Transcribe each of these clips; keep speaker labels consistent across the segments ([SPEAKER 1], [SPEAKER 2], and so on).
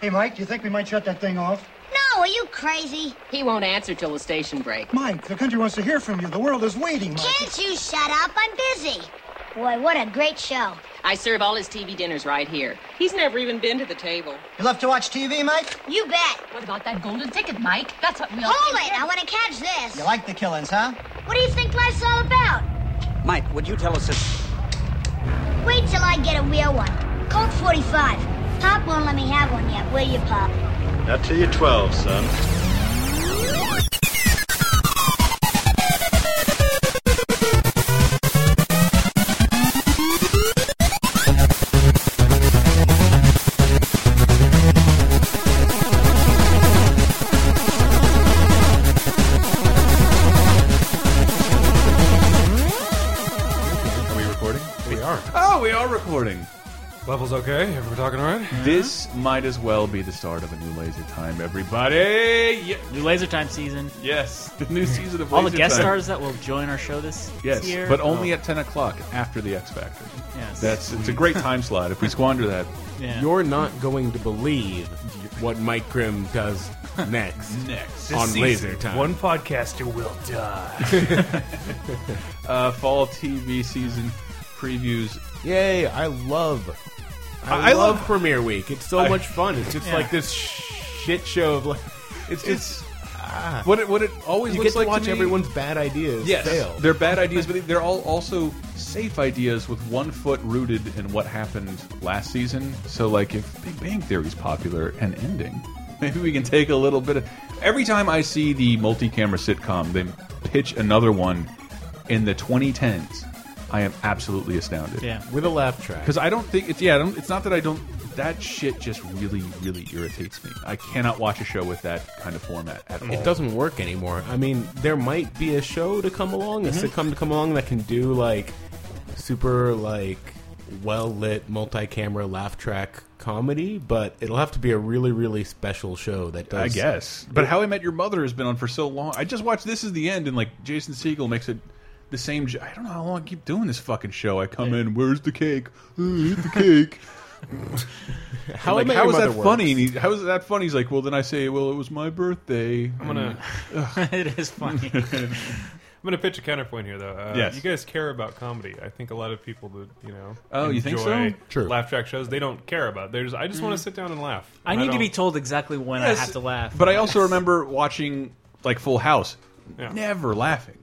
[SPEAKER 1] Hey, Mike, do you think we might shut that thing off?
[SPEAKER 2] No, are you crazy?
[SPEAKER 3] He won't answer till the station break.
[SPEAKER 1] Mike, the country wants to hear from you. The world is waiting, Mike.
[SPEAKER 2] Can't you shut up? I'm busy. Boy, what a great show.
[SPEAKER 3] I serve all his TV dinners right here. He's never even been to the table.
[SPEAKER 4] You love to watch TV, Mike?
[SPEAKER 2] You bet.
[SPEAKER 5] What about that golden ticket, Mike? That's what we all.
[SPEAKER 2] Hold it. I want to catch this.
[SPEAKER 4] You like the killings, huh?
[SPEAKER 2] What do you think life's all about?
[SPEAKER 6] Mike, would you tell us if.
[SPEAKER 2] Wait till I get a real one. Colt 45. Pop won't let me have one yet, will you, Pop?
[SPEAKER 7] Not till you're 12, son.
[SPEAKER 8] Are we recording?
[SPEAKER 9] We are.
[SPEAKER 8] Oh, we are recording.
[SPEAKER 9] Level's okay. Everyone talking all right?
[SPEAKER 8] This might as well be the start of a new Laser Time, everybody. Ye-
[SPEAKER 10] New Laser Time season.
[SPEAKER 8] Yes, the new season of
[SPEAKER 10] All the
[SPEAKER 8] Laser
[SPEAKER 10] guest
[SPEAKER 8] Time.
[SPEAKER 10] stars that will join our show this,
[SPEAKER 8] Yes,
[SPEAKER 10] this year. Oh.
[SPEAKER 8] but only at 10 o'clock after the X Factor.
[SPEAKER 10] Yes.
[SPEAKER 8] That's it's a great time slot. If we squander that,
[SPEAKER 10] Yeah.
[SPEAKER 9] You're not going to believe what Mike Grimm does next.
[SPEAKER 8] Next.
[SPEAKER 9] on
[SPEAKER 8] This season.
[SPEAKER 9] Laser Time.
[SPEAKER 10] One podcaster will die.
[SPEAKER 8] uh, fall TV season previews.
[SPEAKER 9] Yay! I love.
[SPEAKER 8] I
[SPEAKER 9] I, love,
[SPEAKER 8] love-
[SPEAKER 9] Premiere Week. It's so
[SPEAKER 8] I-
[SPEAKER 9] much fun. It's just
[SPEAKER 10] Yeah.
[SPEAKER 9] like this shit show of like. It's just
[SPEAKER 8] It's ah. what it what it always
[SPEAKER 9] you
[SPEAKER 8] looks
[SPEAKER 9] get to
[SPEAKER 8] like
[SPEAKER 9] watch
[SPEAKER 8] to me-
[SPEAKER 9] everyone's bad ideas
[SPEAKER 8] Yes,
[SPEAKER 9] fail.
[SPEAKER 8] they're bad ideas, but they're all also safe ideas with one foot rooted in what happened last season. So, like, if Big Bang Theory's popular and ending, maybe we can take a little bit of. Every time I see the multi-camera sitcom, they pitch another one in the 2010s. I am absolutely astounded.
[SPEAKER 10] Yeah.
[SPEAKER 9] with a laugh track.
[SPEAKER 8] because I don't think it's yeah. I don't, it's not that I don't. That shit just really, really irritates me. I cannot watch a show with that kind of format at all.
[SPEAKER 9] it doesn't work anymore. I mean, there might be a show to come along,
[SPEAKER 8] Mm-hmm.
[SPEAKER 9] a sitcom to come along that can do like super like well lit multi-camera laugh track comedy, but it'll have to be a really really special show that does.
[SPEAKER 8] I guess. But How I Met Your Mother has been on for so long. I just watched This Is the End, and like Jason Siegel makes it the same. j- I don't know how long I keep doing this fucking show. I come in, where's the cake? Ooh, eat the cake.
[SPEAKER 9] How,
[SPEAKER 8] like,
[SPEAKER 9] I Met
[SPEAKER 8] how
[SPEAKER 9] Your
[SPEAKER 8] is that
[SPEAKER 9] Mother works.
[SPEAKER 8] funny? And he, how is that funny? He's like, well, then I say, well, it was my birthday. I'm
[SPEAKER 9] gonna-
[SPEAKER 10] it is funny.
[SPEAKER 9] I'm going to pitch a counterpoint here, though. Uh,
[SPEAKER 8] Yes. you
[SPEAKER 9] guys care about comedy. I think a lot of people that you know.
[SPEAKER 8] Oh, you think so?
[SPEAKER 9] True. laugh
[SPEAKER 11] track shows they don't care about. They're just, I just want to sit down and laugh.
[SPEAKER 10] Mm. I need to be told exactly when
[SPEAKER 8] Yes,
[SPEAKER 10] I have to laugh.
[SPEAKER 8] But I also remember watching like Full House,
[SPEAKER 11] Yeah.
[SPEAKER 8] never laughing,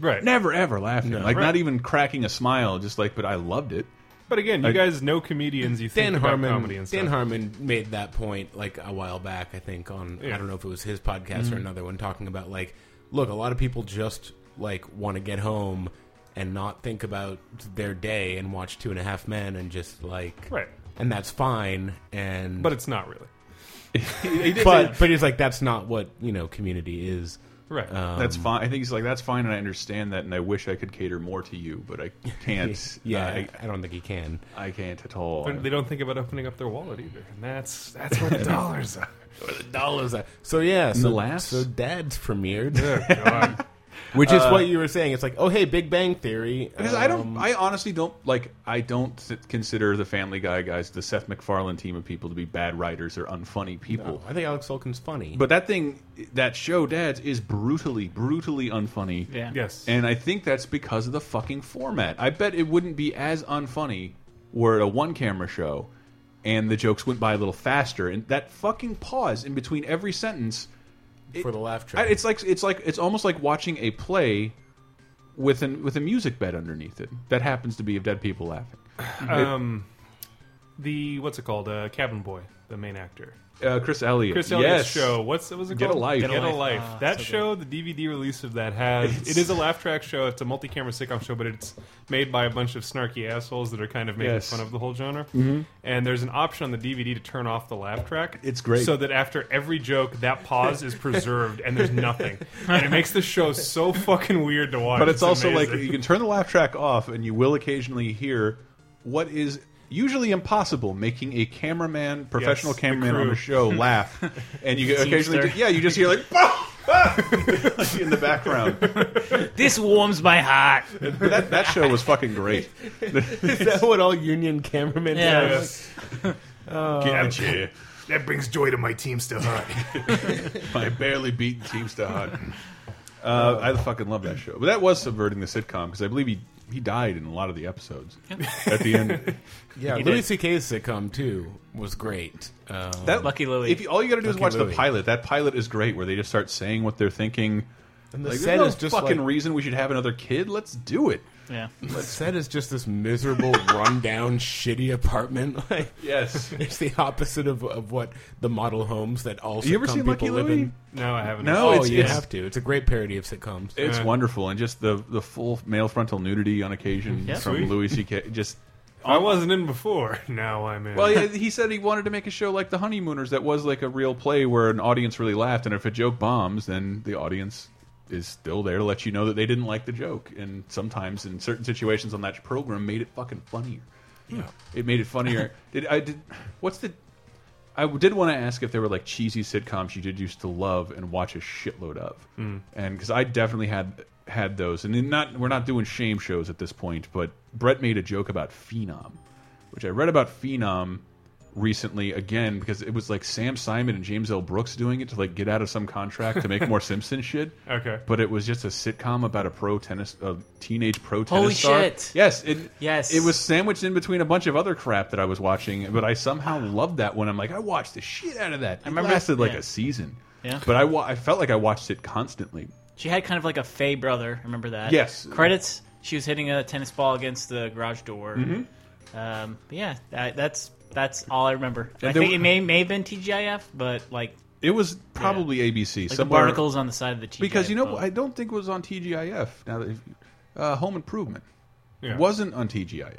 [SPEAKER 11] right.
[SPEAKER 8] never ever laughing, like
[SPEAKER 11] Right.
[SPEAKER 8] not even cracking a smile. Just like, but I loved it.
[SPEAKER 11] But again, you
[SPEAKER 8] I-
[SPEAKER 11] guys know comedians. You
[SPEAKER 9] Dan
[SPEAKER 11] think about
[SPEAKER 9] Harmon,
[SPEAKER 11] comedy and stuff.
[SPEAKER 9] Dan Harmon made that point like a while back, I think. On I
[SPEAKER 11] Yeah. Mm-hmm.
[SPEAKER 9] don't know if it was his podcast or another one, talking about like, look, a lot of people just like want to get home and not think about their day and watch Two and a Half Men and just like,
[SPEAKER 11] Right.
[SPEAKER 9] and that's fine. And
[SPEAKER 11] but it's not really
[SPEAKER 9] but but he's like, that's not what you know, community is.
[SPEAKER 11] right.
[SPEAKER 8] That's
[SPEAKER 9] Um,
[SPEAKER 8] fine. I think he's like, that's fine, and I understand that, and I wish I could cater more to you, but I can't.
[SPEAKER 11] Uh,
[SPEAKER 9] Yeah,
[SPEAKER 8] I,
[SPEAKER 9] I, I don't think he can.
[SPEAKER 8] I can't at all.
[SPEAKER 11] They- they don't think about opening up their wallet either, and that's that's where the dollars are.
[SPEAKER 9] Dollars. So yeah, so,
[SPEAKER 8] laughs?
[SPEAKER 9] so Dad's premiered, which
[SPEAKER 11] Uh,
[SPEAKER 9] is what Um, you were saying. It's like, oh hey, Big Bang Theory.
[SPEAKER 8] Uh, Because I don't. I honestly don't like. I don't s- consider the Family Guy guys, the Seth MacFarlane team of people, to be bad writers or unfunny people.
[SPEAKER 9] I think Alex Sulkin's funny.
[SPEAKER 8] But that thing, that show, Dads, is brutally, brutally unfunny.
[SPEAKER 10] yeah.
[SPEAKER 11] Yes,
[SPEAKER 8] And I think that's because of the fucking format. I bet it wouldn't be as unfunny were it a one camera show and the jokes went by a little faster. And that fucking pause in between every sentence
[SPEAKER 9] for the laugh track.
[SPEAKER 8] I- It's like it's like it's almost like watching a play with an with a music bed underneath it that happens to be of dead people laughing.
[SPEAKER 11] um, the what's it called? Uh, Cabin Boy, the main actor,
[SPEAKER 8] Uh, Chris Elliott.
[SPEAKER 11] Chris Elliott's
[SPEAKER 8] yes.
[SPEAKER 11] show. What's what was it
[SPEAKER 8] Get a
[SPEAKER 11] called?
[SPEAKER 8] Life.
[SPEAKER 11] Get,
[SPEAKER 8] Get a
[SPEAKER 11] a life.
[SPEAKER 10] Ah,
[SPEAKER 11] that
[SPEAKER 10] so good.
[SPEAKER 11] show, the DVD release of that has it is a laugh track show. It's a multi-camera sitcom show, but it's made by a bunch of snarky assholes that are kind of making
[SPEAKER 8] Yes.
[SPEAKER 11] fun of the whole genre. Mm-hmm. And there's an option on the DVD to turn off the laugh track.
[SPEAKER 8] It's great.
[SPEAKER 11] so that after every joke, that pause is preserved and there's nothing, and it makes the show so fucking weird to watch.
[SPEAKER 8] But it's, also like
[SPEAKER 11] amazing.
[SPEAKER 8] you can turn the laugh track off, and you will occasionally hear what is usually impossible making a cameraman, professional
[SPEAKER 11] the
[SPEAKER 8] cameraman on
[SPEAKER 11] crew.
[SPEAKER 8] a show laugh, and you get occasionally,
[SPEAKER 10] Teamster.
[SPEAKER 8] yeah, you just hear like, like in the background.
[SPEAKER 10] This warms my heart.
[SPEAKER 8] But that that show was fucking great.
[SPEAKER 9] is that what all union cameramen
[SPEAKER 10] Yeah.
[SPEAKER 9] do?
[SPEAKER 11] Yes.
[SPEAKER 8] Gotcha.
[SPEAKER 12] That brings joy to my teams to hunt.
[SPEAKER 8] My barely beaten teams to hunt. Uh, I fucking love that show. But that was subverting the sitcom because I believe he he died in a lot of the episodes at the end.
[SPEAKER 9] Yeah,
[SPEAKER 8] He
[SPEAKER 9] Louis
[SPEAKER 8] did.
[SPEAKER 9] C.K.'s sitcom too was great. Um,
[SPEAKER 8] That If you, all you got to do is
[SPEAKER 9] Lucky
[SPEAKER 8] watch the
[SPEAKER 9] Louie.
[SPEAKER 8] pilot. That pilot is great, where they just start saying what they're thinking.
[SPEAKER 9] And the
[SPEAKER 8] like,
[SPEAKER 9] set
[SPEAKER 8] there's no
[SPEAKER 9] is just
[SPEAKER 8] fucking
[SPEAKER 9] like-
[SPEAKER 8] reason we should have another kid. Let's do it.
[SPEAKER 10] Yeah.
[SPEAKER 9] The set is just this miserable, rundown, shitty apartment. Like,
[SPEAKER 8] yes,
[SPEAKER 9] it's the opposite of, of what the model homes that all
[SPEAKER 8] You ever
[SPEAKER 9] sitcom
[SPEAKER 8] seen Lucky
[SPEAKER 9] people live in.
[SPEAKER 8] Louie? No, I haven't. No,
[SPEAKER 9] oh,
[SPEAKER 8] it's-
[SPEAKER 9] you
[SPEAKER 8] it's-
[SPEAKER 9] have to. It's a great parody of sitcoms.
[SPEAKER 8] It's wonderful, and just the the full male frontal nudity on occasion
[SPEAKER 9] Yeah.
[SPEAKER 8] from
[SPEAKER 9] Sweet.
[SPEAKER 8] Louis C.K. Just
[SPEAKER 11] I wasn't in before. Now I'm in.
[SPEAKER 8] Uh-huh. well, yeah, he said he wanted to make a show like The Honeymooners that was like a real play where an audience really laughed, and if a joke bombs, then the audience is still there to let you know that they didn't like the joke. And sometimes, in certain situations on that program, made it fucking funnier.
[SPEAKER 9] Yeah.
[SPEAKER 8] It made it funnier. did I did? What's the? I did want to ask if there were like cheesy sitcoms you did used to love and watch a shitload of,
[SPEAKER 11] Mm.
[SPEAKER 8] and because I definitely had had those. And then not we're not doing shame shows at this point, but Brett made a joke about Phenom, which I read about Phenom recently again because it was like Sam Simon and James L. Brooks doing it to like get out of some contract to make more Simpson shit.
[SPEAKER 11] Okay.
[SPEAKER 8] but it was just a sitcom about a pro tennis, a teenage pro tennis
[SPEAKER 10] Holy
[SPEAKER 8] star.
[SPEAKER 10] shit.
[SPEAKER 8] Yes, it,
[SPEAKER 10] Yes.
[SPEAKER 8] it was sandwiched in between a bunch of other crap that I was watching, but I somehow loved that one. I'm like, I watched the shit out of that. It
[SPEAKER 10] I remember-
[SPEAKER 8] lasted like
[SPEAKER 10] yeah.
[SPEAKER 8] a season.
[SPEAKER 10] Yeah.
[SPEAKER 8] But I, wa I felt like I watched it constantly.
[SPEAKER 10] She had kind of like a Fey brother. Remember that?
[SPEAKER 8] Yes.
[SPEAKER 10] Credits. She was hitting a tennis ball against the garage door.
[SPEAKER 8] Mhm.
[SPEAKER 10] Um, but yeah, that, that's that's all I remember.
[SPEAKER 8] And
[SPEAKER 10] I
[SPEAKER 8] there
[SPEAKER 10] think
[SPEAKER 8] were-
[SPEAKER 10] it may may have been TGIF, but like
[SPEAKER 8] It was probably ABC.
[SPEAKER 10] like the
[SPEAKER 8] somewhere-
[SPEAKER 10] barnacles Oh. on the side of the TGIF.
[SPEAKER 8] Because you know,
[SPEAKER 10] boat.
[SPEAKER 8] I don't think it was on TGIF. Now that uh, Home Improvement
[SPEAKER 11] Yeah.
[SPEAKER 8] wasn't on TGIF,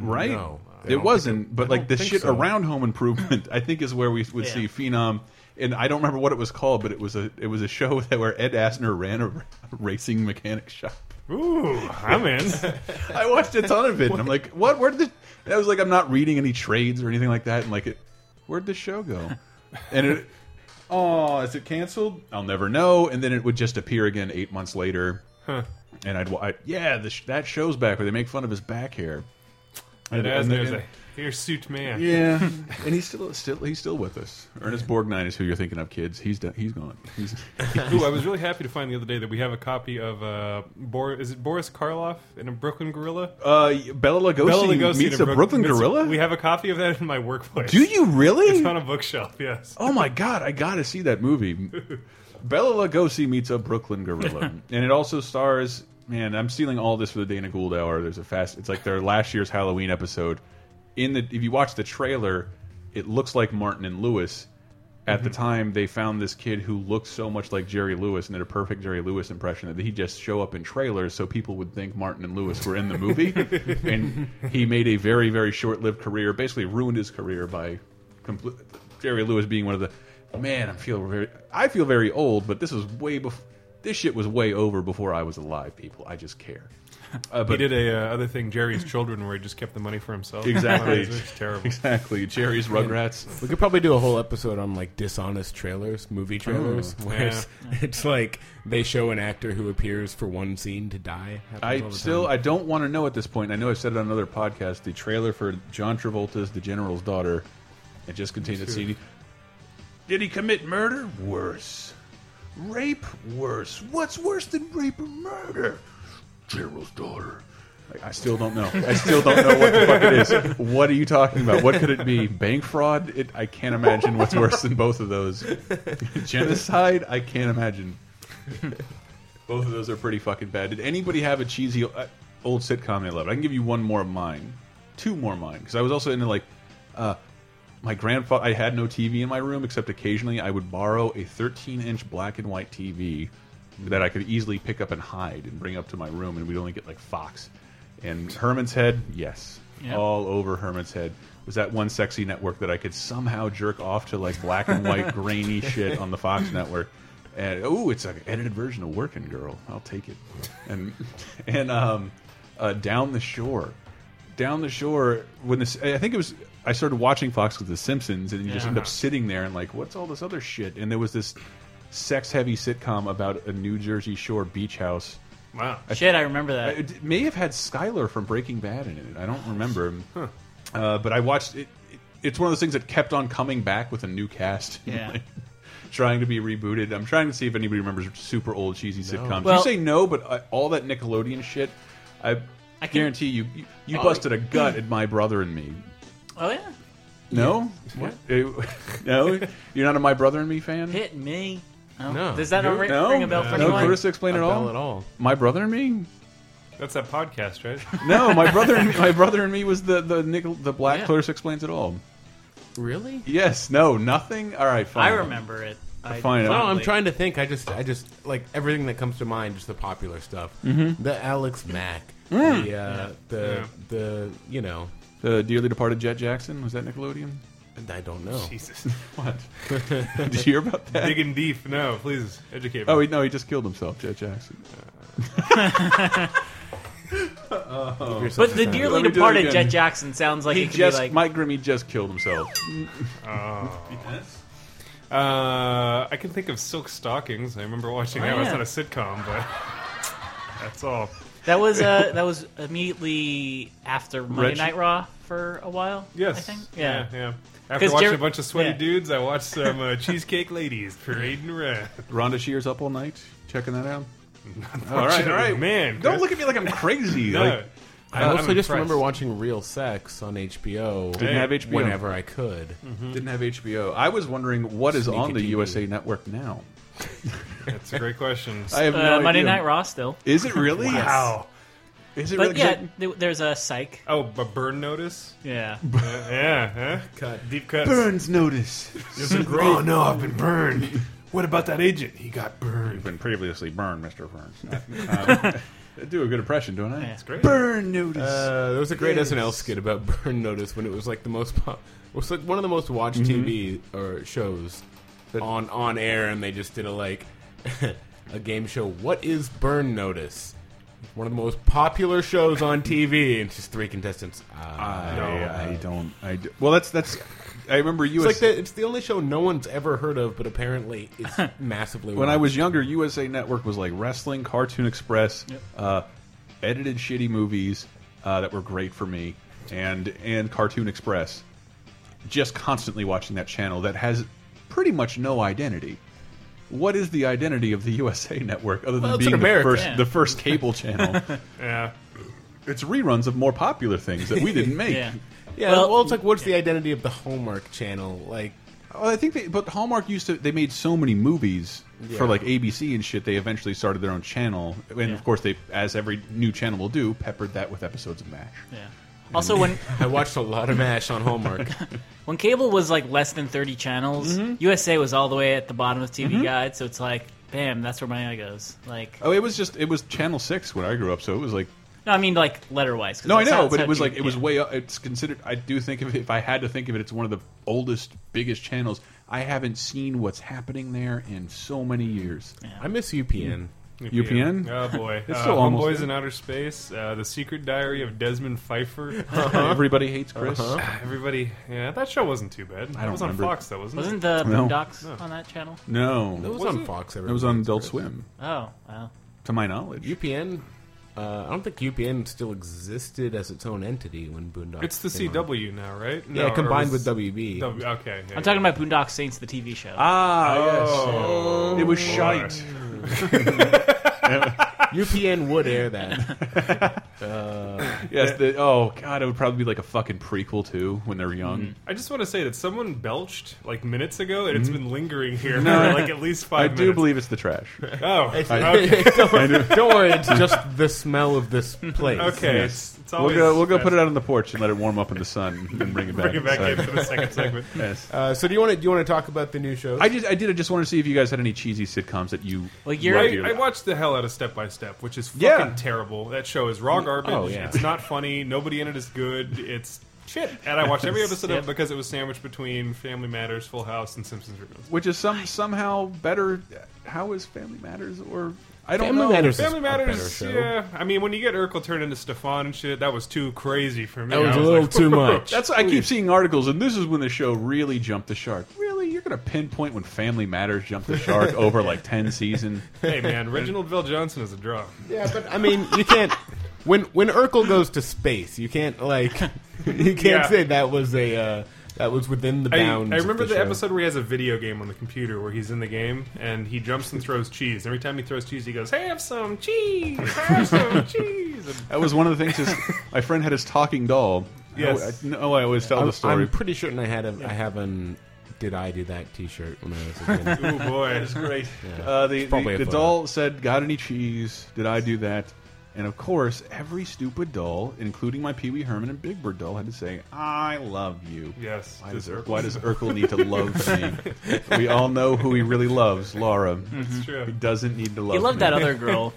[SPEAKER 8] right?
[SPEAKER 11] no. I
[SPEAKER 8] it
[SPEAKER 11] don't
[SPEAKER 8] wasn't.
[SPEAKER 11] think it-
[SPEAKER 8] but
[SPEAKER 11] I
[SPEAKER 8] like
[SPEAKER 11] don't
[SPEAKER 8] the
[SPEAKER 11] think
[SPEAKER 8] shit
[SPEAKER 11] so.
[SPEAKER 8] around Home Improvement, I think is where we would
[SPEAKER 11] Yeah.
[SPEAKER 8] see Phenom. And I don't remember what it was called, but it was a it was a show that where Ed Asner ran a, r- racing mechanic shop.
[SPEAKER 11] Ooh, I'm in.
[SPEAKER 8] I watched a ton of it, and I'm like, what? Where did? This? And I was like, I'm not reading any trades or anything like that, and like, it, where'd the show go? And it, oh, is it canceled? I'll never know. And then it would just appear again eight months later,
[SPEAKER 11] Huh.
[SPEAKER 8] and I'd, wa- I, yeah, the, sh- that show's back where they make fun of his back hair.
[SPEAKER 11] And as
[SPEAKER 8] then-
[SPEAKER 11] there's a hirsute man.
[SPEAKER 8] yeah, and he's still still he's still with us. Ernest Borgnine is who you're thinking of, kids. He's done, he's gone. He's,
[SPEAKER 11] Ooh, I was really happy to find the other day that we have a copy of uh, Bor- is it Boris Karloff in a Brooklyn Gorilla?
[SPEAKER 8] uh, Bella Lugosi,
[SPEAKER 11] Bela Lugosi
[SPEAKER 8] meets
[SPEAKER 11] in
[SPEAKER 8] a
[SPEAKER 11] Brook-
[SPEAKER 8] Brooklyn
[SPEAKER 11] meets-
[SPEAKER 8] gorilla.
[SPEAKER 11] We have a copy of that in my workplace.
[SPEAKER 8] Do you really?
[SPEAKER 11] It's on a bookshelf. Yes.
[SPEAKER 8] Oh my god, I gotta see that movie. Bella Lugosi meets a Brooklyn gorilla, and it also stars. Man, I'm stealing all this for the Dana Gould hour. There's a fast. It's like their last year's Halloween episode. In the if you watch the trailer, it looks like Martin and Lewis. At the time, they found this kid who looked so much like Jerry Lewis and did a perfect Jerry Lewis impression that he'd just show up in trailers so people would think Martin and Lewis were in the movie. and he made a very, very short lived career, basically ruined his career by compl- Jerry Lewis being one of the. Man, I feel very. I feel very old, but this was way before. This shit was way over before I was alive, people. I just care. Uh,
[SPEAKER 11] he did a uh, other thing, Jerry's Children, where he just kept the money for himself.
[SPEAKER 8] Exactly.
[SPEAKER 11] It was terrible.
[SPEAKER 8] Exactly. Jerry's Rugrats.
[SPEAKER 9] We could probably do a whole episode on like dishonest trailers, movie trailers,
[SPEAKER 8] Oh.
[SPEAKER 9] where it's, it's like they show an actor who appears for one scene to die. Happens all
[SPEAKER 8] I
[SPEAKER 9] the
[SPEAKER 8] still
[SPEAKER 9] time.
[SPEAKER 8] I don't want to know at this point. I know I've said it on another podcast. The trailer for John Travolta's The General's Daughter, it just contained a
[SPEAKER 11] Sure.
[SPEAKER 8] scene. Did he commit murder? Worse, rape? Worse. What's worse than rape or murder? General's daughter. Like, I still don't know. I still don't know what the fuck it is. What are you talking about? What could it be? Bank fraud? It, I can't imagine what's worse than both of those. Genocide? I can't imagine. Both of those are pretty fucking bad. Did anybody have a cheesy uh, old sitcom they loved? I can give you one more of mine, two more of mine, because I was also into like uh, my grandfather. I had no TV in my room except occasionally I would borrow a 13-inch black and white TV that I could easily pick up and hide and bring up to my room, and we'd only get like Fox and Herman's Head. Yes,
[SPEAKER 11] Yeah.
[SPEAKER 8] all over Herman's Head was that one sexy network that I could somehow jerk off to like black and white grainy shit on the Fox network. And oh, it's an edited version of Working Girl. I'll take it. And and um, uh, down the shore, down the shore. When this, I think it was. I started watching Fox with The Simpsons, and you just end up
[SPEAKER 11] Yeah.
[SPEAKER 8] sitting there and like, what's all this other shit? And there was this sex-heavy sitcom about a New Jersey Shore beach house.
[SPEAKER 11] Wow.
[SPEAKER 10] Shit, I remember that.
[SPEAKER 8] It may have had Skyler from Breaking Bad in it. I don't remember. Uh, but I watched it, it. it's one of those things that kept on coming back with a new cast.
[SPEAKER 10] Yeah.
[SPEAKER 8] Trying to be rebooted. I'm trying to see if anybody remembers super old cheesy sitcoms.
[SPEAKER 10] Well-
[SPEAKER 8] you say no, but I, all that Nickelodeon shit, I, guarantee you, you, you
[SPEAKER 10] Oh.
[SPEAKER 8] busted a gut at my brother and me.
[SPEAKER 10] Oh yeah.
[SPEAKER 8] No, what? no, you're not a My Brother and Me fan.
[SPEAKER 10] Hit me. Oh,
[SPEAKER 11] No.
[SPEAKER 10] Does that not
[SPEAKER 11] You-
[SPEAKER 10] ring,
[SPEAKER 8] no,
[SPEAKER 10] ring a bell for
[SPEAKER 8] no,
[SPEAKER 10] anyone?
[SPEAKER 8] Carissa explain
[SPEAKER 11] A
[SPEAKER 8] at all.
[SPEAKER 11] bell at all.
[SPEAKER 8] My brother and me.
[SPEAKER 11] That's that podcast, right?
[SPEAKER 8] No, my brother and me, my brother and me was the the nickel, the black
[SPEAKER 11] Yeah.
[SPEAKER 8] Clarissa explains it all.
[SPEAKER 9] Really?
[SPEAKER 8] Yes. No. Nothing. All right. Fine.
[SPEAKER 10] I remember it. I
[SPEAKER 8] fine.
[SPEAKER 9] No, I'm trying to think. I just, I just like everything that comes to mind, just the popular stuff.
[SPEAKER 8] Mhm.
[SPEAKER 9] The Alex Mack,
[SPEAKER 8] Mm.
[SPEAKER 9] the,
[SPEAKER 8] Yeah.
[SPEAKER 9] uh, the,
[SPEAKER 8] Yeah.
[SPEAKER 9] the, you know,
[SPEAKER 8] The dearly departed Jet Jackson was that Nickelodeon?
[SPEAKER 9] I don't know.
[SPEAKER 11] Jesus.
[SPEAKER 8] what? Did you hear about that?
[SPEAKER 11] Digging deep. No, please educate me.
[SPEAKER 8] Oh, he, no, he just killed himself, Jet Jackson.
[SPEAKER 10] But the dearly
[SPEAKER 8] Let me do it
[SPEAKER 10] departed
[SPEAKER 8] again.
[SPEAKER 10] Jet Jackson sounds like
[SPEAKER 8] he
[SPEAKER 10] it could be
[SPEAKER 8] just
[SPEAKER 10] like-
[SPEAKER 8] Mike Grimmie just killed himself.
[SPEAKER 11] Oh. Uh, I can think of Silk Stockings. I remember watching
[SPEAKER 10] Oh,
[SPEAKER 11] that.
[SPEAKER 10] yeah.
[SPEAKER 11] It was not a sitcom, but that's all.
[SPEAKER 10] That was uh, that was immediately after Monday
[SPEAKER 11] Reggie-
[SPEAKER 10] Night Raw for a while.
[SPEAKER 11] Yes.
[SPEAKER 10] I think.
[SPEAKER 11] Yeah.
[SPEAKER 10] Yeah,
[SPEAKER 11] yeah, After
[SPEAKER 10] 'Cause
[SPEAKER 11] watching
[SPEAKER 10] Jer-
[SPEAKER 11] a bunch of sweaty
[SPEAKER 10] yeah.
[SPEAKER 11] dudes, I watched some uh, Cheesecake Ladies parading around.
[SPEAKER 8] Rhonda Shears up all night, checking that out. all right,
[SPEAKER 11] Unfortunately,
[SPEAKER 8] all right,
[SPEAKER 11] man,
[SPEAKER 8] Don't
[SPEAKER 11] Chris.
[SPEAKER 8] look at me like I'm crazy.
[SPEAKER 11] No.
[SPEAKER 8] Like,
[SPEAKER 9] I
[SPEAKER 11] I'm
[SPEAKER 9] also
[SPEAKER 11] impressed.
[SPEAKER 9] just remember watching Real Sex on HBO.
[SPEAKER 8] Didn't have HBO.
[SPEAKER 9] whenever I could.
[SPEAKER 11] Mm-hmm.
[SPEAKER 8] Didn't have HBO. I was wondering what is
[SPEAKER 9] Sneaky
[SPEAKER 8] on the
[SPEAKER 9] TV.
[SPEAKER 8] USA Network now.
[SPEAKER 11] That's a great question.
[SPEAKER 8] I have
[SPEAKER 10] Uh,
[SPEAKER 8] no idea.
[SPEAKER 10] Monday Night Raw still.
[SPEAKER 8] Is it really?
[SPEAKER 11] Wow.
[SPEAKER 8] Is it
[SPEAKER 10] but
[SPEAKER 8] really?
[SPEAKER 10] yeah, th- there's a psych.
[SPEAKER 11] Oh, but burn notice.
[SPEAKER 10] Yeah.
[SPEAKER 11] Uh, yeah. Huh? Cut. Deep cuts.
[SPEAKER 8] Burns notice.
[SPEAKER 11] This is great.
[SPEAKER 12] Oh no, I've been burned. What about that agent? He got burned.
[SPEAKER 8] been previously burned, Mr. Burns. Um, I do a good impression, don't I? That's
[SPEAKER 11] great.
[SPEAKER 8] Burn notice.
[SPEAKER 9] Uh, there was a great
[SPEAKER 8] Yes.
[SPEAKER 9] SNL skit about Burn Notice when it was like the most pop, it was like one of the most watched TV or shows on on air, and they just did a like a game show. What is Burn Notice? One of the most popular shows on TV, and it's just three contestants.
[SPEAKER 8] I,
[SPEAKER 9] Uh,
[SPEAKER 8] I don't. I do. Well, that's that's. I remember
[SPEAKER 9] It's
[SPEAKER 8] USA.
[SPEAKER 9] like the, it's the only show no one's ever heard of, but apparently it's massively.
[SPEAKER 8] when I
[SPEAKER 9] watched.
[SPEAKER 8] was younger, USA Network was like wrestling, Cartoon Express, uh, edited shitty movies uh, that were great for me, and and Cartoon Express. Just constantly watching that channel that has pretty much no identity. What is the identity of the USA Network other than
[SPEAKER 9] Well, it's
[SPEAKER 8] being
[SPEAKER 9] in
[SPEAKER 8] the
[SPEAKER 9] America.
[SPEAKER 8] first
[SPEAKER 10] Yeah.
[SPEAKER 8] the first cable channel?
[SPEAKER 11] Yeah.
[SPEAKER 8] it's reruns of more popular things that we didn't make.
[SPEAKER 10] Yeah.
[SPEAKER 9] yeah, well,
[SPEAKER 10] Well-
[SPEAKER 9] it's like what's the identity of the Hallmark Channel? Like,
[SPEAKER 8] Well, I think, they, but Hallmark used to. They made so many movies
[SPEAKER 9] Yeah.
[SPEAKER 8] for like ABC and shit. They eventually started their own channel, and of course, they, as every new channel will do, peppered that with episodes of Mash.
[SPEAKER 10] Yeah. Also, when
[SPEAKER 9] I watched a lot of Mash on Hallmark.
[SPEAKER 10] when cable was like less than 30 channels,
[SPEAKER 8] Mm-hmm.
[SPEAKER 10] USA was all the way at the bottom of TV
[SPEAKER 8] Mhm.
[SPEAKER 10] Guide, so it's like, bam, that's where my eye goes. Like,
[SPEAKER 8] Oh, it was just it was Channel Six when I grew up, so it was like
[SPEAKER 10] no, I mean like letter-wise. 'cause
[SPEAKER 8] no, I
[SPEAKER 10] that's
[SPEAKER 8] know,
[SPEAKER 10] how-
[SPEAKER 8] but
[SPEAKER 10] that's
[SPEAKER 8] it was
[SPEAKER 10] how
[SPEAKER 8] like it was
[SPEAKER 10] yeah.
[SPEAKER 8] way up. It's considered. I do think of it. If I had to think of it, it's one of the oldest, biggest channels. I haven't seen what's happening there in so many years.
[SPEAKER 9] I miss UPN.
[SPEAKER 8] UPN?
[SPEAKER 11] Oh boy.
[SPEAKER 8] It's
[SPEAKER 11] uh,
[SPEAKER 8] still almost
[SPEAKER 11] Homeboys
[SPEAKER 8] there.
[SPEAKER 11] in Outer Space. Uh, the Secret Diary of Desmond Pfeiffer.
[SPEAKER 8] Everybody hates Chris.
[SPEAKER 11] Uh-huh. Everybody. Yeah, that show wasn't too bad.
[SPEAKER 8] don't
[SPEAKER 11] It was on
[SPEAKER 8] remember.
[SPEAKER 11] Fox though, wasn't it?
[SPEAKER 10] Wasn't the
[SPEAKER 8] No.
[SPEAKER 10] Boondocks on that channel?
[SPEAKER 8] No,
[SPEAKER 9] It was,
[SPEAKER 11] Was
[SPEAKER 9] on
[SPEAKER 11] it?
[SPEAKER 9] Fox.
[SPEAKER 8] it was on Adult Swim,
[SPEAKER 10] Oh, wow.
[SPEAKER 8] to my knowledge.
[SPEAKER 9] UPN. Uh, I don't think UPN still existed as its own entity when Boondocks.
[SPEAKER 11] It's the
[SPEAKER 9] came out.
[SPEAKER 11] CW now, right?
[SPEAKER 9] Yeah,
[SPEAKER 11] or
[SPEAKER 9] combined
[SPEAKER 11] was-
[SPEAKER 9] with WB.
[SPEAKER 11] W- okay. yeah,
[SPEAKER 10] I'm talking about Boondock Saints, the TV show.
[SPEAKER 8] Ah,
[SPEAKER 11] Oh,
[SPEAKER 8] yes. It was
[SPEAKER 11] boy.
[SPEAKER 8] shite.
[SPEAKER 9] UPN would air that.
[SPEAKER 8] Yes. The, oh God, it would probably be like a fucking prequel too when they're young.
[SPEAKER 11] I just want to say that someone belched like minutes ago, and it's been lingering here
[SPEAKER 8] Mm-hmm. No.
[SPEAKER 11] for like at least
[SPEAKER 8] I
[SPEAKER 11] five.
[SPEAKER 8] do
[SPEAKER 11] minutes.
[SPEAKER 8] believe it's the trash.
[SPEAKER 11] Oh, okay.
[SPEAKER 9] don't, don't worry, it's just the smell of this place.
[SPEAKER 11] okay. It's, it's always
[SPEAKER 8] we'll go. We'll go
[SPEAKER 11] best.
[SPEAKER 8] put it out on the porch and let it warm up in the sun and then bring it back.
[SPEAKER 11] Bring it back in
[SPEAKER 8] inside.
[SPEAKER 11] for the second segment.
[SPEAKER 8] Yes.
[SPEAKER 9] Uh, so do you want to do you want to talk about the new show?
[SPEAKER 8] I just I did. I just wanted to see if you guys had any cheesy sitcoms that you.
[SPEAKER 10] Well, you're-
[SPEAKER 8] loved.
[SPEAKER 11] I, I watched the hell out of Step by Step, which is fucking
[SPEAKER 8] Yeah.
[SPEAKER 11] terrible. That show is raw garbage.
[SPEAKER 9] Oh, yeah.
[SPEAKER 11] It's not funny. Nobody in it is good. It's shit. And I watched every episode of
[SPEAKER 10] Yep.
[SPEAKER 11] it because it was sandwiched between Family Matters, Full House, and Simpsons Reruns.
[SPEAKER 8] Which is some somehow better. How is Family Matters or I don't
[SPEAKER 9] Family
[SPEAKER 8] know.
[SPEAKER 9] Matters is
[SPEAKER 11] Family
[SPEAKER 9] a better
[SPEAKER 11] Matters,
[SPEAKER 9] show.
[SPEAKER 11] yeah. I mean, when you get Urkel turned into Stefan and shit, that was too crazy for me.
[SPEAKER 9] That was
[SPEAKER 11] I
[SPEAKER 9] a little
[SPEAKER 11] like,
[SPEAKER 9] too much.
[SPEAKER 8] That's I keep seeing articles, and this is when the show really jumped the shark. Really, you're gonna pinpoint when Family Matters jumped the shark over like ten season?
[SPEAKER 11] hey man, Reginald Bill Johnson is a draw.
[SPEAKER 9] Yeah, but I mean, you can't. When when Urkel goes to space, you can't like you can't
[SPEAKER 11] Yeah.
[SPEAKER 9] say that was a uh, That was within the
[SPEAKER 11] I,
[SPEAKER 9] bounds.
[SPEAKER 11] I remember
[SPEAKER 9] of
[SPEAKER 11] the,
[SPEAKER 9] the, show.
[SPEAKER 11] episode where he has a video game on the computer where he's in the game and he jumps and throws cheese. Every time he throws cheese, he goes, "Have some cheese! Have some cheese!" And
[SPEAKER 8] That was one of the things. Is my friend had his talking doll.
[SPEAKER 9] Yes.
[SPEAKER 8] I, no, I always tell
[SPEAKER 9] I'm,
[SPEAKER 8] the story.
[SPEAKER 9] I'm pretty certain I had a, I have an did I do that T-shirt when I was a kid.
[SPEAKER 11] Ooh, oh, boy.
[SPEAKER 8] that is great.
[SPEAKER 9] Yeah.
[SPEAKER 8] Uh, the
[SPEAKER 9] It's probably
[SPEAKER 8] the,
[SPEAKER 9] a
[SPEAKER 8] the
[SPEAKER 9] photo.
[SPEAKER 8] doll said, "Got any cheese?" Did I do that? And of course, every stupid doll, including my Pee Wee Herman and Big Bird doll, had to say, "I love you."
[SPEAKER 11] Yes.
[SPEAKER 8] Why does, Urkel. why does Urkel need to love me? we all know who he really loves, Laura.
[SPEAKER 11] That's true.
[SPEAKER 8] He doesn't need to love.
[SPEAKER 10] He loved
[SPEAKER 8] me.
[SPEAKER 10] that other girl.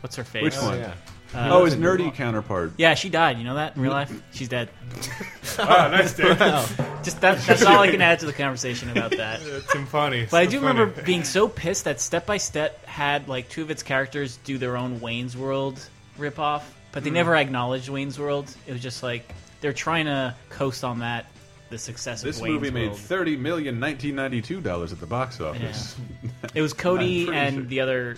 [SPEAKER 10] What's her face?
[SPEAKER 8] Which one?
[SPEAKER 10] Uh,
[SPEAKER 8] oh, his nerdy counterpart.
[SPEAKER 10] Yeah, she died. You know that in real life? She's dead.
[SPEAKER 11] Wow, Ah, nice, dude.
[SPEAKER 10] Just that, that's all I can add to the conversation about that.
[SPEAKER 11] it's some funny.
[SPEAKER 10] But I
[SPEAKER 11] so
[SPEAKER 10] do
[SPEAKER 11] funny.
[SPEAKER 10] remember being so pissed that Step by Step had like two of its characters do their own Wayne's World ripoff, but they
[SPEAKER 8] Hmm.
[SPEAKER 10] never acknowledged Wayne's World. It was just like they're trying to coast on that the success
[SPEAKER 8] This
[SPEAKER 10] of Wayne's
[SPEAKER 8] movie made
[SPEAKER 10] World.
[SPEAKER 8] thirty million nineteen ninety two dollars at the box office.
[SPEAKER 10] it was
[SPEAKER 8] I'm
[SPEAKER 10] Cody
[SPEAKER 8] pretty
[SPEAKER 10] and
[SPEAKER 8] sure.
[SPEAKER 10] the other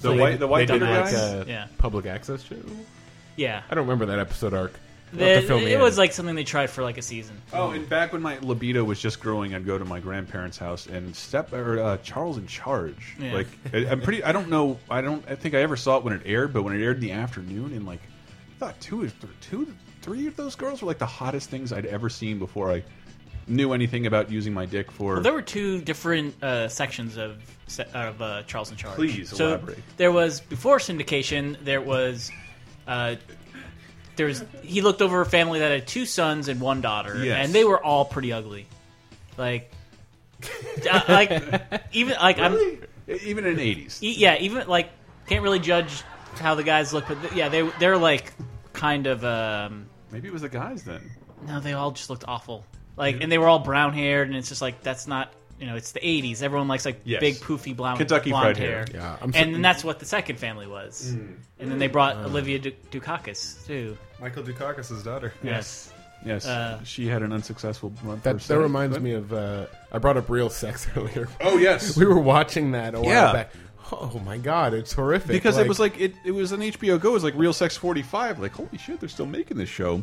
[SPEAKER 8] The
[SPEAKER 10] like,
[SPEAKER 8] white- the white
[SPEAKER 9] They did
[SPEAKER 8] Dumbass.
[SPEAKER 9] like a
[SPEAKER 10] Yeah.
[SPEAKER 9] public access show.
[SPEAKER 10] yeah.
[SPEAKER 9] I don't remember that episode arc. You'll have
[SPEAKER 10] The-
[SPEAKER 9] to fill me
[SPEAKER 10] it
[SPEAKER 9] in.
[SPEAKER 10] was like something they tried for like a season.
[SPEAKER 8] Oh, and back when my libido was just growing, I'd go to my grandparents' house and step or uh, Charles in Charge.
[SPEAKER 10] Yeah.
[SPEAKER 8] Like I, I'm pretty. I don't know. I don't. I think I ever saw it when it aired, but when it aired in the afternoon, and like I thought two, or th- two, three of those girls were like the hottest things I'd ever seen before I knew anything about using my dick for.
[SPEAKER 10] Well, there were two different uh, sections of se- of uh, Charles in Charge.
[SPEAKER 8] Please
[SPEAKER 10] so
[SPEAKER 8] elaborate.
[SPEAKER 10] There was before syndication. There was. Uh, there was, he looked over a family that had two sons and one daughter,
[SPEAKER 8] Yes.
[SPEAKER 10] and they were all pretty ugly. Like, uh, like even like I'm
[SPEAKER 8] even in the eighties.
[SPEAKER 10] e- yeah even like can't really judge how the guys look, but th- yeah they they're like kind of um,
[SPEAKER 8] Maybe it was the guys then.
[SPEAKER 10] no, they all just looked awful. Like, and they were all brown haired, and it's just like that's not. You know, it's the '80s. Everyone likes like
[SPEAKER 8] Yes.
[SPEAKER 10] big, poofy blonde,
[SPEAKER 8] Kentucky
[SPEAKER 10] blonde
[SPEAKER 8] Fried Hair. Mm.
[SPEAKER 10] hair.
[SPEAKER 9] Yeah, I'm
[SPEAKER 10] and
[SPEAKER 9] so- Uh.
[SPEAKER 10] then that's what the second family was. And then they brought Olivia Du- Dukakis too.
[SPEAKER 11] Michael Dukakis' daughter.
[SPEAKER 10] Yes.
[SPEAKER 8] Yes,
[SPEAKER 10] Uh,
[SPEAKER 8] she had an unsuccessful run.
[SPEAKER 9] That,
[SPEAKER 8] for
[SPEAKER 9] that
[SPEAKER 8] a
[SPEAKER 9] reminds
[SPEAKER 8] second.
[SPEAKER 9] me of uh, I brought up real sex earlier.
[SPEAKER 8] Oh yes,
[SPEAKER 9] we were watching that a while
[SPEAKER 8] Yeah.
[SPEAKER 9] back. Oh my god, it's horrific.
[SPEAKER 8] because it was like it, it was on HBO Go. It was like Real Sex 45. Like holy shit, they're still making this show.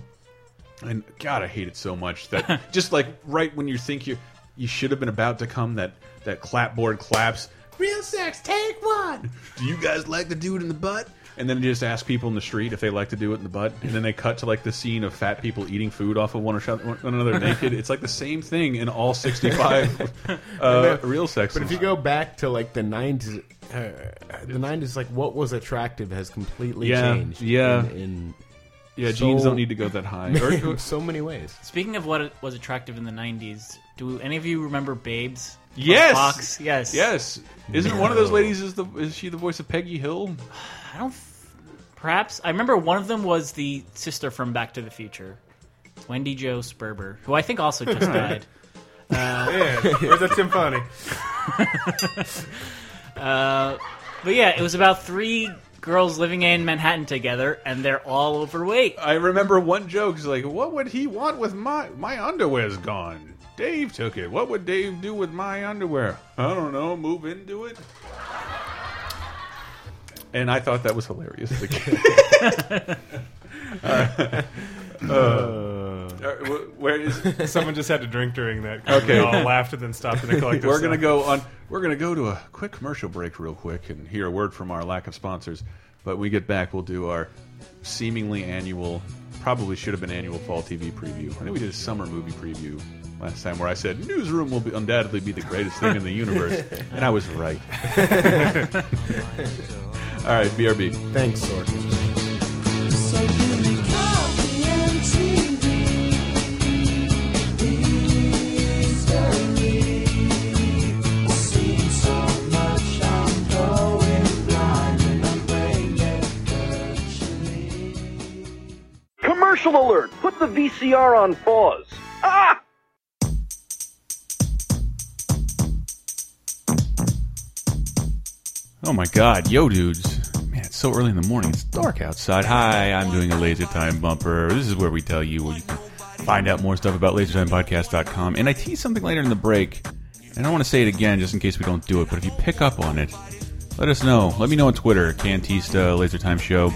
[SPEAKER 8] And God, I hate it so much that just like right when you think you you should have been about to come, that that clapboard claps. Real sex, take one. Do you guys like to do it in the butt? And then you just ask people in the street if they like to do it in the butt, and then they cut to like the scene of fat people eating food off of one or one another naked. It's like the same thing in all sixty-five uh, real sex.
[SPEAKER 9] But if you go back to like the nineties, uh, the nineties, like what was attractive has completely
[SPEAKER 8] Yeah,
[SPEAKER 9] changed.
[SPEAKER 8] yeah.
[SPEAKER 9] in, in
[SPEAKER 8] yeah,
[SPEAKER 9] so-
[SPEAKER 8] jeans don't need to go that high. Or-
[SPEAKER 9] in so many ways.
[SPEAKER 10] Speaking of what was attractive in the '90s, do any of you remember Babes? on
[SPEAKER 8] Yes.
[SPEAKER 10] Fox. Yes.
[SPEAKER 8] Yes. Isn't one of those ladies is the is she the voice of Peggy Hill?
[SPEAKER 10] I don't. f- Perhaps I remember one of them was the sister from Back to the Future, Wendy Jo Sperber, who I think also just died.
[SPEAKER 11] Yeah, where's that symphony?
[SPEAKER 10] But yeah, it was about three girls living in Manhattan together, and they're all overweight.
[SPEAKER 8] I remember one joke is like, "What would he want with my my underwear's gone? Dave took it. What would Dave do with my underwear? I don't know. Move into it." And I thought that was hilarious. as a kid. Uh, uh, wh- uh, where is
[SPEAKER 11] Someone just had to drink during that. 'cause
[SPEAKER 8] Okay.
[SPEAKER 11] We all laughed and then stopped in a collective.
[SPEAKER 8] We're gonna
[SPEAKER 11] sigh.
[SPEAKER 8] go on. We're gonna go to a quick commercial break, real quick, and hear a word from our lack of sponsors. But when we get back, we'll do our seemingly annual, probably should have been annual fall TV preview. I think we did a summer movie preview last time, where I said Newsroom will be, undoubtedly be the greatest thing in the universe, and I was right. All right, BRB.
[SPEAKER 9] Thanks, Sorkin.
[SPEAKER 13] Commercial alert! Put the VCR on pause. Ah!
[SPEAKER 8] Oh my god, yo dudes. Man, it's so early in the morning. It's dark outside. Hi, I'm doing a Laser Time bumper. This is where we tell you where you can find out more stuff about lasertimepodcast.com. And I tease something later in the break. And I want to say it again just in case we don't do it, but if you pick up on it, let us know. Let me know on Twitter, Cantista, Laser Time Show.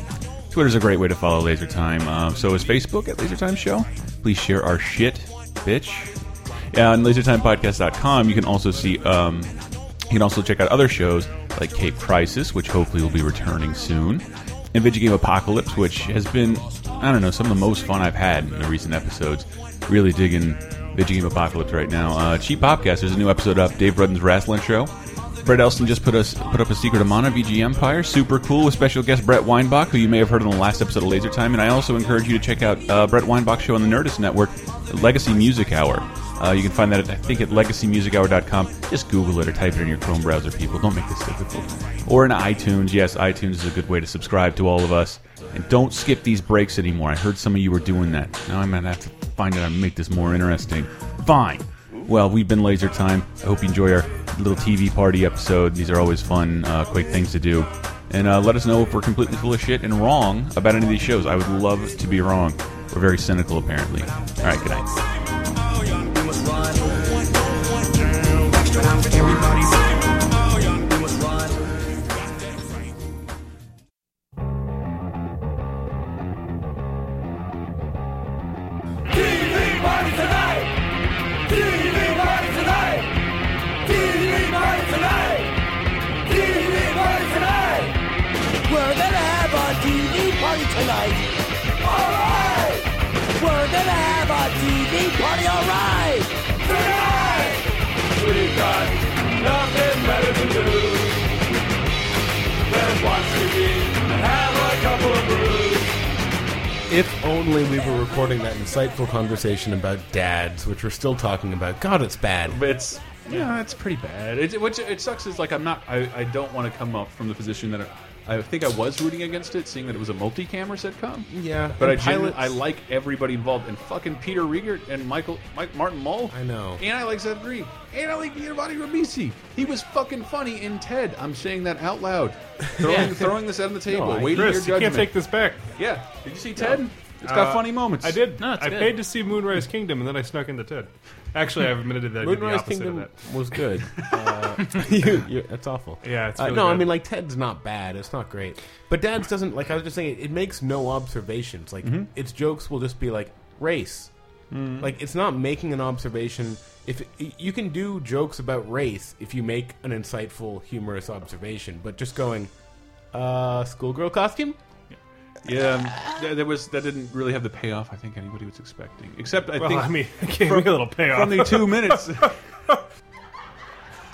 [SPEAKER 8] Twitter's a great way to follow Laser Time. Uh, so is Facebook at Laser Time Show. Please share our shit. bitch. Yeah, on lasertimepodcast.com, you can also see, um, you can also check out other shows like Cape Crisis, which hopefully will be returning soon, and Video Game Apocalypse, which has been, I don't know, some of the most fun I've had in the recent episodes. Really digging Video Game Apocalypse right now. Uh, Cheap Popcast, there's a new episode up, Dave Rudden's Wrestling Show. Brett Elston just put us put up a secret Amana VG Empire, super cool with special guest Brett Weinbach, who you may have heard in the last episode of Laser Time. And I also encourage you to check out uh, Brett Weinbach's show on the Nerdist Network, Legacy Music Hour. Uh, you can find that at, I think at legacymusichour.com. Just Google it or type it in your Chrome browser, people. Don't make this difficult. Or in iTunes. Yes, iTunes is a good way to subscribe to all of us. And don't skip these breaks anymore. I heard some of you were doing that. Now I'm gonna have to find out how to make this more interesting. Fine. Well, we've been Laser Time. I hope you enjoy our little TV party episode. These are always fun, uh, quick things to do. And uh, let us know if we're completely full of shit and wrong about any of these shows. I would love to be wrong. We're very cynical, apparently. All right, good night.
[SPEAKER 14] TV party tonight! TV party tonight! TV party tonight! TV party tonight! We're gonna have a TV party tonight! Alright! We're gonna have a TV party, alright! Tonight! We've got nothing better to do than watch TV and have a couple of brews.
[SPEAKER 9] If only we were recording that insightful conversation about dads, which we're still talking about. God, it's bad.
[SPEAKER 8] It's yeah, it's pretty bad. It, which it sucks is like I'm not. I, I don't want to come up from the position that I, I think I was rooting against it, seeing that it was a multi-camera sitcom.
[SPEAKER 9] Yeah,
[SPEAKER 8] but I
[SPEAKER 9] and
[SPEAKER 8] genu-
[SPEAKER 9] pilots-
[SPEAKER 8] I like everybody involved and fucking Peter Riegert and Michael Mike Martin Mull. I know, and I like Seth Green, and I like Giovanni Ribisi. He was fucking funny in Ted. I'm saying that out loud, throwing
[SPEAKER 11] Yeah.
[SPEAKER 8] throwing this out on the table,
[SPEAKER 11] No, I-
[SPEAKER 8] waiting
[SPEAKER 11] Chris,
[SPEAKER 8] your judgment.
[SPEAKER 11] you can't take this back.
[SPEAKER 8] Yeah, did you see Ted? It's got funny moments.
[SPEAKER 11] I did.
[SPEAKER 8] No, it's
[SPEAKER 11] I
[SPEAKER 8] good.
[SPEAKER 11] paid to see Moonrise Kingdom, and then I snuck into Ted. Actually, I've admitted that I did the
[SPEAKER 9] Moonrise
[SPEAKER 11] opposite
[SPEAKER 9] Kingdom
[SPEAKER 11] of that.
[SPEAKER 9] was good. Uh, you, you, that's awful.
[SPEAKER 11] Yeah, it's
[SPEAKER 9] Uh,
[SPEAKER 11] really
[SPEAKER 9] no, I
[SPEAKER 11] bad.
[SPEAKER 9] mean like Ted's not bad. It's not great, but Dad's doesn't like. I was just saying, it, it makes no observations. Like
[SPEAKER 11] Mhm.
[SPEAKER 9] its jokes will just be like race.
[SPEAKER 11] Mm.
[SPEAKER 9] Like it's not making an observation. If you can do jokes about race, if you make an insightful, humorous observation, but just going, uh, schoolgirl costume.
[SPEAKER 8] Yeah, um, there was that didn't really have the payoff I think anybody was expecting. Except I
[SPEAKER 11] Well,
[SPEAKER 8] think
[SPEAKER 11] I mean, it gave me a little payoff.
[SPEAKER 8] from the two minutes.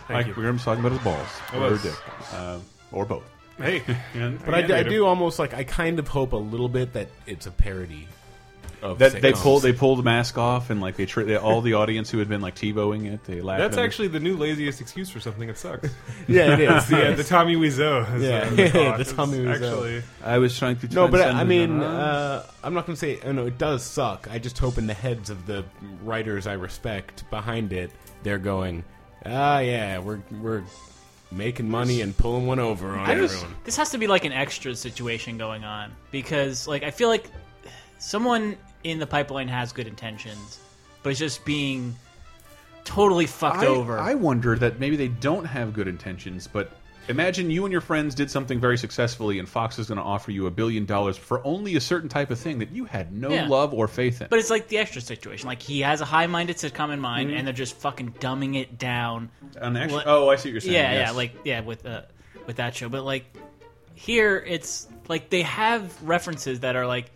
[SPEAKER 11] Thank
[SPEAKER 8] Mike Williams talking about his balls
[SPEAKER 11] It
[SPEAKER 8] or
[SPEAKER 11] was.
[SPEAKER 8] dick, um, or both.
[SPEAKER 11] Hey,
[SPEAKER 9] But I, d- I do almost like I kind of hope a little bit that it's a parody. Of
[SPEAKER 8] That they
[SPEAKER 9] sitcoms.
[SPEAKER 8] pull they pull the mask off and like they, tra they all the audience who had been like TiVoing it they laughed.
[SPEAKER 11] That's
[SPEAKER 8] at them.
[SPEAKER 11] actually the new laziest excuse for something that sucks.
[SPEAKER 9] Yeah, it is.
[SPEAKER 11] yeah, the Tommy Wiseau. is,
[SPEAKER 9] Yeah,
[SPEAKER 11] uh,
[SPEAKER 9] yeah, the
[SPEAKER 11] it's
[SPEAKER 9] Tommy Wiseau.
[SPEAKER 11] Actually,
[SPEAKER 8] I was trying to
[SPEAKER 9] No, but
[SPEAKER 8] transcend
[SPEAKER 9] I mean,
[SPEAKER 8] the-
[SPEAKER 9] uh, I'm not going to say. Oh, no, it does suck. I just hope in the heads of the writers I respect behind it, they're going, ah, yeah, we're we're making money and pulling one over on
[SPEAKER 10] I
[SPEAKER 9] everyone.
[SPEAKER 10] just- this has to be like an extra situation going on because, like, I feel like someone in the pipeline has good intentions, but it's just being totally fucked
[SPEAKER 8] I,
[SPEAKER 10] over.
[SPEAKER 8] I wonder that maybe they don't have good intentions, but imagine you and your friends did something very successfully, and Fox is going to offer you a billion dollars for only a certain type of thing that you had no
[SPEAKER 10] Yeah.
[SPEAKER 8] love or faith in.
[SPEAKER 10] But it's like the extra situation. Like he has a high-minded sitcom in mind,
[SPEAKER 8] Mhm.
[SPEAKER 10] and they're just fucking dumbing it down.
[SPEAKER 8] An extra-
[SPEAKER 10] What-
[SPEAKER 8] oh, I see what you're saying,
[SPEAKER 10] Yeah,
[SPEAKER 8] yes.
[SPEAKER 10] yeah, like yeah, with uh, with that show. But like here, it's like they have references that are like,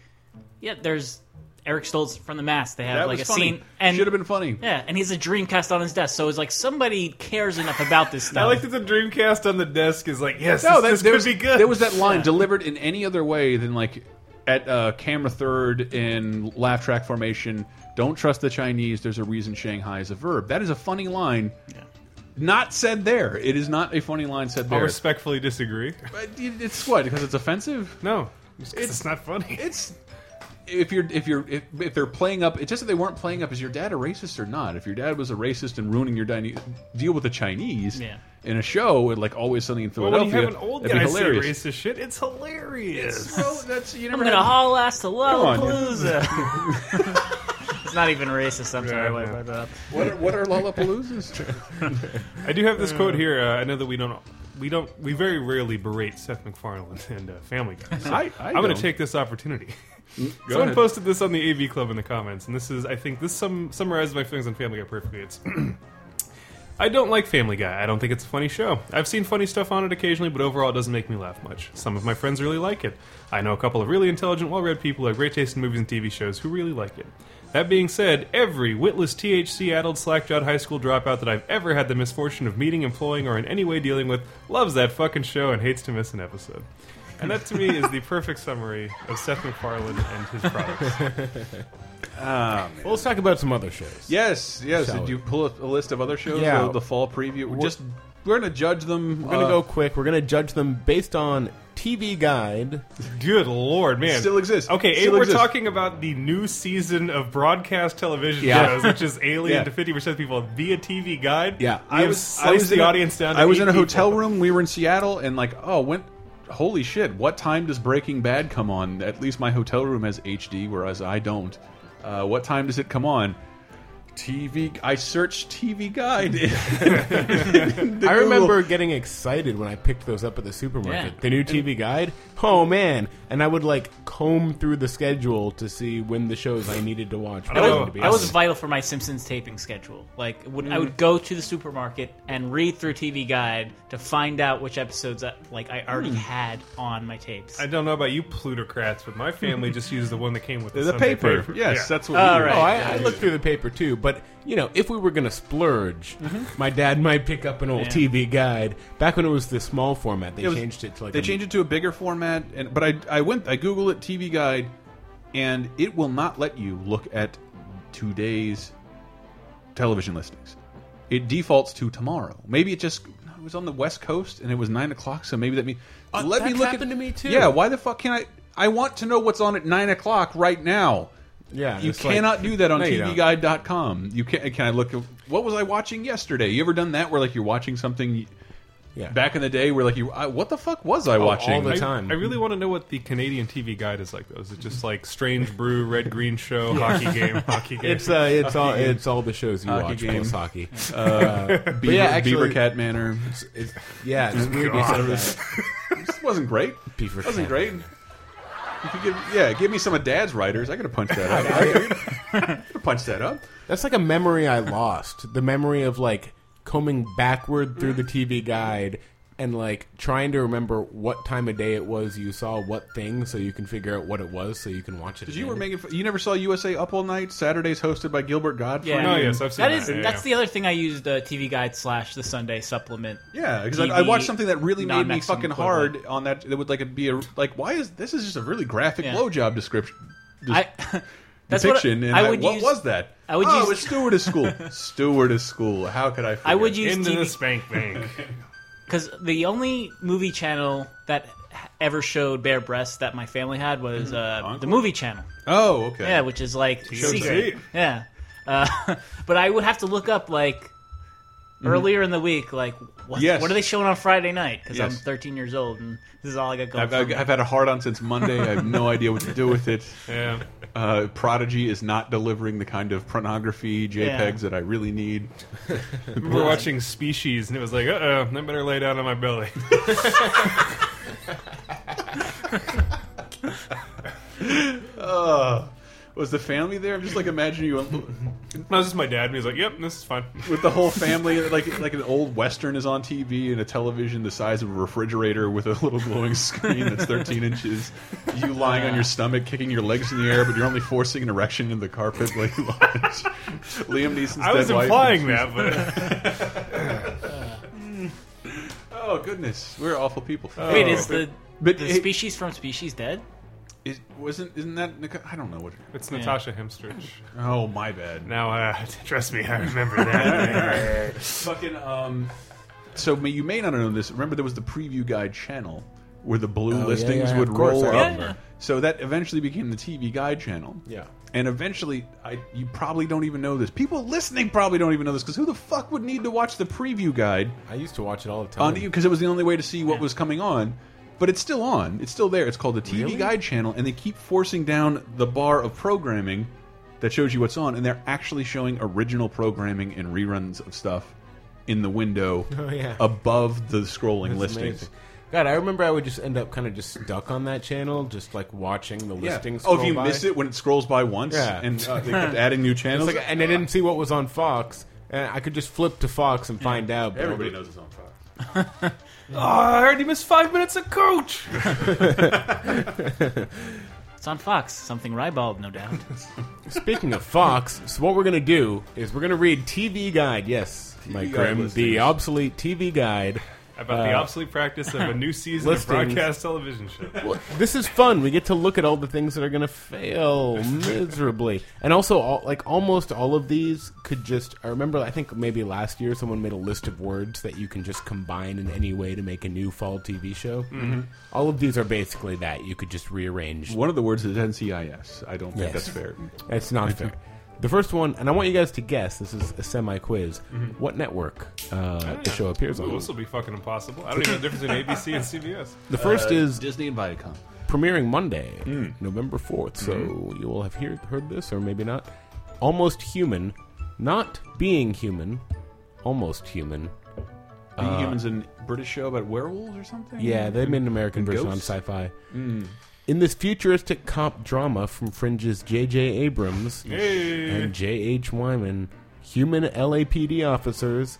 [SPEAKER 10] yeah, there's Eric Stoltz from The Mask. They have
[SPEAKER 8] That
[SPEAKER 10] like
[SPEAKER 8] was
[SPEAKER 10] a
[SPEAKER 8] funny.
[SPEAKER 10] scene and
[SPEAKER 8] Should have been funny.
[SPEAKER 10] Yeah, and he's a Dreamcast on his desk. So it's like somebody cares enough about this stuff.
[SPEAKER 11] I like that the Dreamcast on the desk is like, yes,
[SPEAKER 8] no,
[SPEAKER 11] no,
[SPEAKER 8] that,
[SPEAKER 11] this,
[SPEAKER 8] there
[SPEAKER 11] could
[SPEAKER 8] was,
[SPEAKER 11] be good.
[SPEAKER 8] There was that line delivered in any other way than like at uh, camera third in laugh track formation. Don't trust the Chinese. There's a reason Shanghai is a verb. That is a funny line. Not said there. It is not a funny line said
[SPEAKER 11] I
[SPEAKER 8] there.
[SPEAKER 11] respectfully disagree.
[SPEAKER 8] But it's what because it's offensive.
[SPEAKER 11] No, it's, not funny.
[SPEAKER 8] It's if you're if you're if, if they're playing up. It's just that they weren't playing up. Is your dad a racist or not? If your dad was a racist and ruining your dine- deal with the Chinese
[SPEAKER 11] Yeah.
[SPEAKER 8] in a show, and like always something in
[SPEAKER 11] But when
[SPEAKER 8] Philadelphia,
[SPEAKER 11] you have an old
[SPEAKER 8] that'd be
[SPEAKER 11] guy say
[SPEAKER 8] hilarious.
[SPEAKER 11] racist shit, it's hilarious.
[SPEAKER 8] So that's you
[SPEAKER 10] I'm
[SPEAKER 8] never
[SPEAKER 10] gonna
[SPEAKER 8] had-
[SPEAKER 10] haul ass to
[SPEAKER 8] Come on.
[SPEAKER 10] Lollapalooza. it's not even racist. I'm sorry. why I brought that up.
[SPEAKER 8] What are, what are Lollapaloozas?
[SPEAKER 11] I do have this quote here. Uh, I know that we don't. We don't. We very rarely berate Seth MacFarlane and uh, Family Guy. So
[SPEAKER 8] I- I
[SPEAKER 11] am going
[SPEAKER 8] don't.
[SPEAKER 11] to take this opportunity. Someone
[SPEAKER 8] ahead.
[SPEAKER 11] posted this on the AV Club in the comments, and this is, I think, this sum, summarizes my feelings on Family Guy perfectly. It's, I don't like Family Guy. I don't think it's a funny show. I've seen funny stuff on it occasionally, but overall, it doesn't make me laugh much. Some of my friends really like it. I know a couple of really intelligent, well-read people who have great taste in movies and TV shows who really like it. That being said, every witless, THC-addled, slack-jawed high school dropout that I've ever had the misfortune of meeting, employing, or in any way dealing with loves that fucking show and hates to miss an episode. And that to me is the perfect summary of Seth MacFarlane and his products.
[SPEAKER 9] well, let's talk about some other shows.
[SPEAKER 8] Yes, yes.
[SPEAKER 9] Shall
[SPEAKER 8] Did
[SPEAKER 9] we?
[SPEAKER 8] you pull up a list of other shows?
[SPEAKER 9] Yeah.
[SPEAKER 8] The, the fall preview. We're
[SPEAKER 9] We're-
[SPEAKER 8] just we're gonna judge them.
[SPEAKER 9] We're gonna
[SPEAKER 8] uh,
[SPEAKER 9] go quick. We're gonna judge them based on TV Guide.
[SPEAKER 11] Good lord, man!
[SPEAKER 8] Still exists.
[SPEAKER 11] Okay,
[SPEAKER 8] Still
[SPEAKER 11] A, we're
[SPEAKER 8] exists.
[SPEAKER 11] talking about the new season of broadcast television
[SPEAKER 8] Yeah.
[SPEAKER 11] shows, which is alien
[SPEAKER 8] Yeah.
[SPEAKER 11] to fifty percent of people via TV guide.
[SPEAKER 8] Yeah,
[SPEAKER 11] I have sliced the
[SPEAKER 8] in a-
[SPEAKER 11] audience down. To
[SPEAKER 8] I was
[SPEAKER 11] eight
[SPEAKER 8] in a
[SPEAKER 11] people.
[SPEAKER 8] hotel room. We were in Seattle, and like, oh, when, holy shit! What time does Breaking Bad come on? At least my hotel room has HD, whereas I don't. Uh, what time does it come on? TV. I searched TV Guide.
[SPEAKER 9] I remember getting excited when I picked those up at the supermarket.
[SPEAKER 8] Yeah.
[SPEAKER 9] The new TV Guide. Oh man! And I would like comb through the schedule to see when the shows I needed to watch.
[SPEAKER 10] That
[SPEAKER 9] were going to
[SPEAKER 10] was,
[SPEAKER 9] be
[SPEAKER 10] that was
[SPEAKER 9] on.
[SPEAKER 10] vital for my Simpsons taping schedule. Like, would, I
[SPEAKER 9] Mm.
[SPEAKER 10] would go to the supermarket and read through TV Guide to find out which episodes that, like I already
[SPEAKER 11] Mm.
[SPEAKER 10] had on my tapes.
[SPEAKER 11] I don't know about you plutocrats, but my family just used the one that came with the,
[SPEAKER 10] The
[SPEAKER 11] Sunday
[SPEAKER 10] paper.
[SPEAKER 9] Yes,
[SPEAKER 10] that's what we All do. right.
[SPEAKER 9] Oh, I,
[SPEAKER 10] Yeah,
[SPEAKER 9] I
[SPEAKER 10] yeah.
[SPEAKER 9] looked through the paper too, but you know, if we were gonna splurge, my dad might pick up an
[SPEAKER 8] Mm-hmm.
[SPEAKER 9] old
[SPEAKER 8] Yeah.
[SPEAKER 9] TV guide. Back when it was the small format, they
[SPEAKER 8] It was-
[SPEAKER 9] changed it to like
[SPEAKER 8] they
[SPEAKER 9] a-
[SPEAKER 8] changed it to a bigger format. And but I I went I googled it TV Guide, and it will not let you look at today's television listings. It defaults to tomorrow. Maybe it just no, it was on the West Coast and it was nine o'clock, so maybe that means
[SPEAKER 9] Uh,
[SPEAKER 8] let me
[SPEAKER 9] that's
[SPEAKER 8] look
[SPEAKER 9] happened
[SPEAKER 8] at
[SPEAKER 9] to me, too.
[SPEAKER 8] Yeah, why the fuck can I? I want to know what's on at nine o'clock right now.
[SPEAKER 9] Yeah,
[SPEAKER 8] you
[SPEAKER 9] it's like-
[SPEAKER 8] cannot do that on
[SPEAKER 9] No, you don't.
[SPEAKER 8] TVGuide.com. You can can I look? at- What was I watching yesterday? You ever done that where like you're watching something?
[SPEAKER 9] Yeah.
[SPEAKER 8] Back in the day, where like you, I, what the fuck was I watching
[SPEAKER 11] I- I, really want to know what the Canadian TV guide is like, though. Is it just like Strange Brew, Red Green Show, hockey game, hockey game?
[SPEAKER 9] It's uh, it's
[SPEAKER 11] Hockey
[SPEAKER 9] all
[SPEAKER 11] game.
[SPEAKER 9] it's all the shows you
[SPEAKER 8] Hockey
[SPEAKER 9] watch
[SPEAKER 8] game.
[SPEAKER 9] plus hockey.
[SPEAKER 8] Uh,
[SPEAKER 9] but
[SPEAKER 8] Beaver- Beaver Cat Manor.
[SPEAKER 9] It's, it's, yeah, it's uh, weird. you
[SPEAKER 8] God.
[SPEAKER 9] said that.
[SPEAKER 8] this wasn't great.
[SPEAKER 9] Beaver
[SPEAKER 8] wasn't
[SPEAKER 9] Cat.
[SPEAKER 8] great. You could give, yeah, give me some of Dad's writers. I could have punched that up. I could have punched that up.
[SPEAKER 9] That's like a memory I lost. The memory of like combing backward through the TV guide and like trying to remember what time of day it was you saw what thing so you can figure out what it was so you can watch it.
[SPEAKER 8] Because you
[SPEAKER 9] again.
[SPEAKER 8] were making, fun- you never saw USA Up All Night Saturdays hosted by Gilbert Godfrey.
[SPEAKER 10] Yeah, that
[SPEAKER 8] That
[SPEAKER 10] is that's the other thing I used uh, TV Guide slash the Sunday supplement.
[SPEAKER 8] Yeah, because I, I
[SPEAKER 10] TV
[SPEAKER 8] watched something that really made me
[SPEAKER 10] non-maximum
[SPEAKER 8] fucking
[SPEAKER 10] equivalent.
[SPEAKER 8] hard on that. That would like be a like why is this is just a really graphic
[SPEAKER 10] Yeah.
[SPEAKER 8] blowjob description.
[SPEAKER 10] I- That's what I-
[SPEAKER 8] depiction. and
[SPEAKER 10] I would
[SPEAKER 8] what
[SPEAKER 10] use-
[SPEAKER 8] was that?
[SPEAKER 10] I would
[SPEAKER 8] oh,
[SPEAKER 10] use-
[SPEAKER 8] it was stewardess school. stewardess school. How could I? Forget?
[SPEAKER 10] I would use TV
[SPEAKER 11] spank bank.
[SPEAKER 10] because the only movie channel that h- ever showed bare breasts that my family had was uh, the movie channel.
[SPEAKER 8] Oh, okay.
[SPEAKER 10] Yeah, which is like
[SPEAKER 8] Shows
[SPEAKER 10] secret.
[SPEAKER 8] eight.
[SPEAKER 10] Yeah, uh, but I would have to look up like earlier in the week, like what,
[SPEAKER 8] Yes.
[SPEAKER 10] what are they showing on Friday night? Because I'm
[SPEAKER 8] Yes.
[SPEAKER 10] 13 years old and this is all I got going.
[SPEAKER 8] I've, I've,
[SPEAKER 10] for me.
[SPEAKER 8] I've had a hard on since Monday. I have no idea what to do with it.
[SPEAKER 11] Yeah.
[SPEAKER 8] Uh, Prodigy is not delivering the kind of pornography JPEGs
[SPEAKER 11] Yeah.
[SPEAKER 8] that I really need.
[SPEAKER 11] I remember watching Species, and it was like, uh oh, I better lay down on my belly. Oh.
[SPEAKER 8] Uh, was the family there? I'm just like imagining you.
[SPEAKER 11] No, it's just my dad, and he's like, "Yep, this is fine."
[SPEAKER 8] With the whole family, like like an old western is on TV, and a television the size of a refrigerator with a little glowing screen that's 13 inches. You lying on your stomach, kicking your legs in the air, but you're only forcing an erection into the carpet. Like Liam Neeson's
[SPEAKER 11] I was
[SPEAKER 8] dead wife.
[SPEAKER 11] implying that,
[SPEAKER 8] but. oh goodness, we're awful people.
[SPEAKER 11] Oh.
[SPEAKER 10] Wait, is the
[SPEAKER 8] But
[SPEAKER 10] the
[SPEAKER 8] it-
[SPEAKER 10] species from Species dead?
[SPEAKER 8] It wasn't. Isn't that? Nica- I don't know what.
[SPEAKER 11] It's Natasha Hemstridge.
[SPEAKER 8] Oh my bad.
[SPEAKER 11] Now, uh, trust me, I remember that.
[SPEAKER 8] Fucking um. So may, you may not have known this. Remember, there was the preview guide channel where the blue
[SPEAKER 9] Oh, yeah,
[SPEAKER 8] listings
[SPEAKER 9] yeah,
[SPEAKER 8] would
[SPEAKER 9] of course,
[SPEAKER 8] roll
[SPEAKER 9] I
[SPEAKER 8] up.
[SPEAKER 9] remember.
[SPEAKER 8] So that eventually became the TV guide channel.
[SPEAKER 9] Yeah.
[SPEAKER 8] And eventually, I you probably don't even know this. People listening probably don't even know this because who the fuck would need to watch the preview guide
[SPEAKER 9] I used to watch it all the time.
[SPEAKER 8] on because it was the only way to see what was coming on. But it's still on. It's still there. It's called the TV
[SPEAKER 9] Really?
[SPEAKER 8] Guide channel, and they keep forcing down the bar of programming that shows you what's on, and they're actually showing original programming and reruns of stuff in the window
[SPEAKER 9] Oh, yeah.
[SPEAKER 8] above the scrolling
[SPEAKER 9] That's
[SPEAKER 8] listings.
[SPEAKER 9] amazing. God, I remember I would just end up kind of just stuck on that channel, just like watching the
[SPEAKER 8] Yeah.
[SPEAKER 9] listings.
[SPEAKER 8] Oh, if
[SPEAKER 9] scroll
[SPEAKER 8] you
[SPEAKER 9] by.
[SPEAKER 8] miss it when it scrolls by once,
[SPEAKER 9] yeah.
[SPEAKER 8] and uh, they kept adding new
[SPEAKER 9] It's
[SPEAKER 8] channels.
[SPEAKER 9] like- and I didn't see what was on Fox, and I could just flip to Fox and find out. But
[SPEAKER 8] Everybody
[SPEAKER 9] I would-
[SPEAKER 8] knows it's on Fox.
[SPEAKER 11] Oh, I already missed five minutes of coach.
[SPEAKER 10] It's on Fox. Something ribald, no doubt.
[SPEAKER 9] Speaking of Fox, so what we're going to do is we're going to read TV Guide. Yes, Mike
[SPEAKER 11] Guide
[SPEAKER 9] Grimm,
[SPEAKER 11] listings.
[SPEAKER 9] the obsolete TV Guide.
[SPEAKER 11] About
[SPEAKER 8] Uh,
[SPEAKER 11] the obsolete practice of a new season of
[SPEAKER 9] listings.
[SPEAKER 11] broadcast television show.
[SPEAKER 9] Well, this is fun. We get to look at all the things that are going to fail miserably, and also all, like almost all of these could just. I remember, I think maybe last year someone made a list of words that you can just combine in any way to make a new fall TV show.
[SPEAKER 8] Mhm.
[SPEAKER 9] All of these are basically that you could just rearrange.
[SPEAKER 8] One of the words is NCIS. I don't think that's fair.
[SPEAKER 9] That's not fair. The first one, and I want you guys to guess. This is a semi quiz.
[SPEAKER 11] Mhm.
[SPEAKER 9] What network uh, the show appears on?
[SPEAKER 11] Ooh, this will be fucking impossible. I don't even know the difference between ABC and CBS.
[SPEAKER 9] The first is
[SPEAKER 8] Disney and Viacom,
[SPEAKER 9] premiering Monday, November fourth. So you will have hear, heard this, or maybe not. Almost human, not being human, almost human.
[SPEAKER 8] Being
[SPEAKER 9] Uh,
[SPEAKER 8] Humans, and British show about werewolves or something.
[SPEAKER 9] Yeah, they made an American
[SPEAKER 8] And
[SPEAKER 9] version
[SPEAKER 8] Mm. ghosts?
[SPEAKER 9] on Sci-Fi.
[SPEAKER 8] Mm.
[SPEAKER 9] In this futuristic cop drama from Fringe's J.J. Abrams
[SPEAKER 11] Hey.
[SPEAKER 9] and J.H. Wyman, human LAPD officers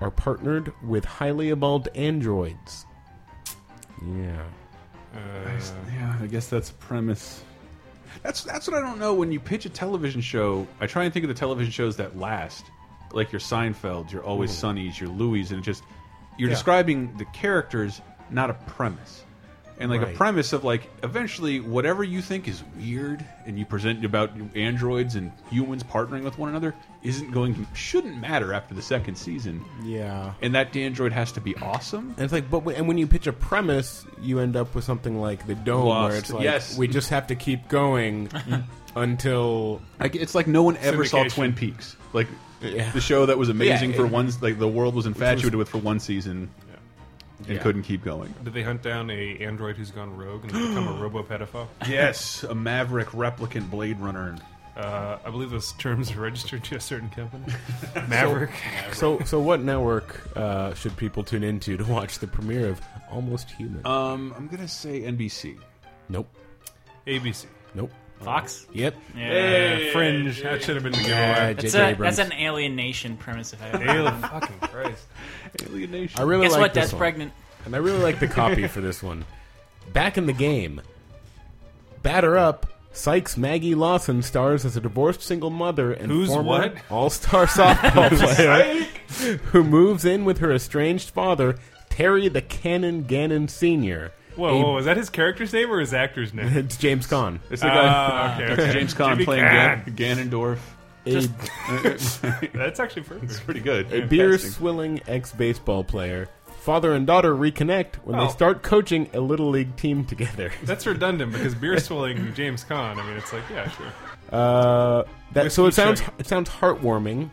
[SPEAKER 9] are partnered with highly evolved androids. Yeah.
[SPEAKER 8] yeah, I guess that's a premise. That's that's what I don't know. When you pitch a television show, I try and think of the television shows that last, like your Seinfeld, your Always
[SPEAKER 9] Mm.
[SPEAKER 8] Sunnies, your Louis, and it just you're
[SPEAKER 9] Yeah.
[SPEAKER 8] describing the characters, not a premise. And like a
[SPEAKER 9] Right.
[SPEAKER 8] premise of like eventually whatever you think is weird and you present about androids and humans partnering with one another isn't going to shouldn't matter after the second season.
[SPEAKER 9] Yeah.
[SPEAKER 8] And that android has to be awesome.
[SPEAKER 9] And it's like, but when, and when you pitch a premise, you end up with something like the dome,
[SPEAKER 8] Lost.
[SPEAKER 9] where it's like,
[SPEAKER 8] Yes.
[SPEAKER 9] we just have to keep going until
[SPEAKER 8] Like, it's like no one ever saw Twin Peaks. Like the show that was amazing
[SPEAKER 9] Yeah,
[SPEAKER 8] for
[SPEAKER 9] it-
[SPEAKER 8] one, like the world was
[SPEAKER 9] was-
[SPEAKER 8] infatuated with for one season, and
[SPEAKER 11] Yeah.
[SPEAKER 8] couldn't keep going.
[SPEAKER 11] Did they hunt down a android who's gone rogue and become a robo pedophile?
[SPEAKER 8] Yes, a maverick replicant Blade Runner.
[SPEAKER 11] Uh, I believe those terms are registered to a certain company. Maverick.
[SPEAKER 9] So, so, so what network uh, should people tune into to watch the premiere of Almost Human?
[SPEAKER 10] Uh.
[SPEAKER 8] Um, I'm gonna say NBC.
[SPEAKER 9] Nope.
[SPEAKER 11] ABC.
[SPEAKER 9] Nope.
[SPEAKER 10] Fox?
[SPEAKER 9] Yep. Uh,
[SPEAKER 10] Yeah.
[SPEAKER 11] Hey, Fringe. That should have been the giveaway.
[SPEAKER 10] That's, a, that's an alien nation premise if I ever
[SPEAKER 11] Alien- fucking Christ.
[SPEAKER 8] Alienation.
[SPEAKER 9] I really
[SPEAKER 10] Guess
[SPEAKER 9] like
[SPEAKER 10] what?
[SPEAKER 9] this
[SPEAKER 10] That's
[SPEAKER 9] one.
[SPEAKER 10] pregnant.
[SPEAKER 9] and I really like the copy for this one. Back in the game, batter up. Sykes Maggie Lawson stars as a divorced single mother and
[SPEAKER 11] Who's
[SPEAKER 9] former
[SPEAKER 11] what?
[SPEAKER 9] all-star softball player
[SPEAKER 11] Psych.
[SPEAKER 9] who moves in with her estranged father, Terry the Cannon Gannon Sr.
[SPEAKER 11] Whoa, whoa, is that his character's name or his actor's name?
[SPEAKER 9] It's James Caan.
[SPEAKER 8] It's the guy,
[SPEAKER 11] Ah, okay,
[SPEAKER 8] it's
[SPEAKER 11] okay.
[SPEAKER 8] James Conn
[SPEAKER 11] Jimmy
[SPEAKER 8] playing
[SPEAKER 11] Caan.
[SPEAKER 8] Gan Ganondorf.
[SPEAKER 9] Just-
[SPEAKER 11] That's actually perfect.
[SPEAKER 8] It's pretty good.
[SPEAKER 9] A beer swilling ex baseball player. Father and daughter reconnect when
[SPEAKER 11] Oh.
[SPEAKER 9] they start coaching a little league team together.
[SPEAKER 11] That's redundant because beer swilling James Caan. I mean, it's like, yeah, sure.
[SPEAKER 9] Uh, that so it
[SPEAKER 11] Whiskey
[SPEAKER 9] sounds
[SPEAKER 11] chugging.
[SPEAKER 9] it sounds heartwarming.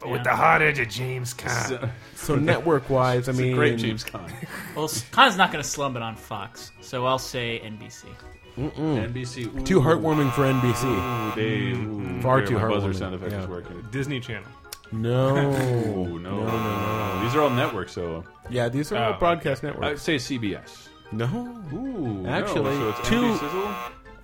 [SPEAKER 11] But with the hot edge of James Caan.
[SPEAKER 10] So-
[SPEAKER 9] So network wise, I
[SPEAKER 10] It's a
[SPEAKER 9] mean,
[SPEAKER 10] great James
[SPEAKER 8] Caan.
[SPEAKER 10] Well, Khan's not going to slump it on Fox, so I'll say NBC.
[SPEAKER 9] Mm-mm.
[SPEAKER 8] NBC.
[SPEAKER 9] Too heartwarming for
[SPEAKER 8] Mm.
[SPEAKER 9] NBC.
[SPEAKER 8] Dave, ooh,
[SPEAKER 9] Far
[SPEAKER 8] there,
[SPEAKER 9] too
[SPEAKER 8] my
[SPEAKER 9] heartwarming.
[SPEAKER 8] buzzer sound effect
[SPEAKER 9] yeah.
[SPEAKER 8] is working.
[SPEAKER 11] Disney Channel.
[SPEAKER 9] No.
[SPEAKER 8] Ooh, no,
[SPEAKER 9] No, no,
[SPEAKER 8] no. These are all networks, so
[SPEAKER 9] Yeah, these are all
[SPEAKER 8] Oh.
[SPEAKER 9] broadcast
[SPEAKER 8] I'd
[SPEAKER 9] networks.
[SPEAKER 8] say CBS.
[SPEAKER 9] No.
[SPEAKER 8] Ooh, no,
[SPEAKER 9] Actually,
[SPEAKER 8] so it's
[SPEAKER 9] two.
[SPEAKER 8] NBC Sizzle?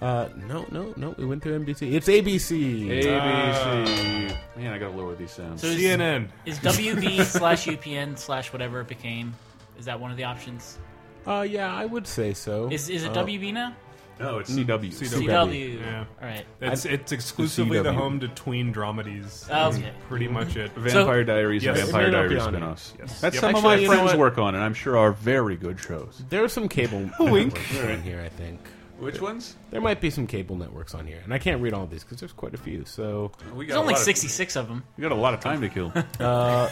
[SPEAKER 9] Uh, no, no, no. We went through NBC. It's ABC.
[SPEAKER 8] ABC. Uh, Man, I gotta lower these sounds.
[SPEAKER 10] is-
[SPEAKER 11] CNN.
[SPEAKER 10] Is WB slash UPN slash whatever it became? Is that one of the options?
[SPEAKER 9] Uh, yeah, I would say so.
[SPEAKER 10] Is is it
[SPEAKER 9] Uh,
[SPEAKER 10] WB now?
[SPEAKER 8] No, it's CW.
[SPEAKER 10] CW.
[SPEAKER 11] Yeah.
[SPEAKER 10] All right.
[SPEAKER 11] It's,
[SPEAKER 10] I-
[SPEAKER 11] it's exclusively the
[SPEAKER 8] CW.
[SPEAKER 11] home to tween dramedies.
[SPEAKER 10] Oh,
[SPEAKER 11] That's
[SPEAKER 10] okay.
[SPEAKER 11] pretty much it.
[SPEAKER 8] Vampire Diaries
[SPEAKER 11] Yes.
[SPEAKER 8] and Vampire
[SPEAKER 9] It may not be
[SPEAKER 8] Diaries
[SPEAKER 9] on it.
[SPEAKER 8] spin-offs.
[SPEAKER 11] Yes.
[SPEAKER 8] That's
[SPEAKER 11] Yep.
[SPEAKER 8] some
[SPEAKER 9] Actually,
[SPEAKER 8] of my
[SPEAKER 9] you know
[SPEAKER 8] friends
[SPEAKER 9] what?
[SPEAKER 8] work on, and I'm sure are very good shows.
[SPEAKER 9] There are some cable
[SPEAKER 8] Wink.
[SPEAKER 9] networks on here, I think.
[SPEAKER 8] Which ones?
[SPEAKER 9] There might be some cable networks on here, and I can't read all these because there's quite a few. So
[SPEAKER 8] We
[SPEAKER 10] There's only 66 of them.
[SPEAKER 8] We got a lot of time to kill.
[SPEAKER 9] Uh,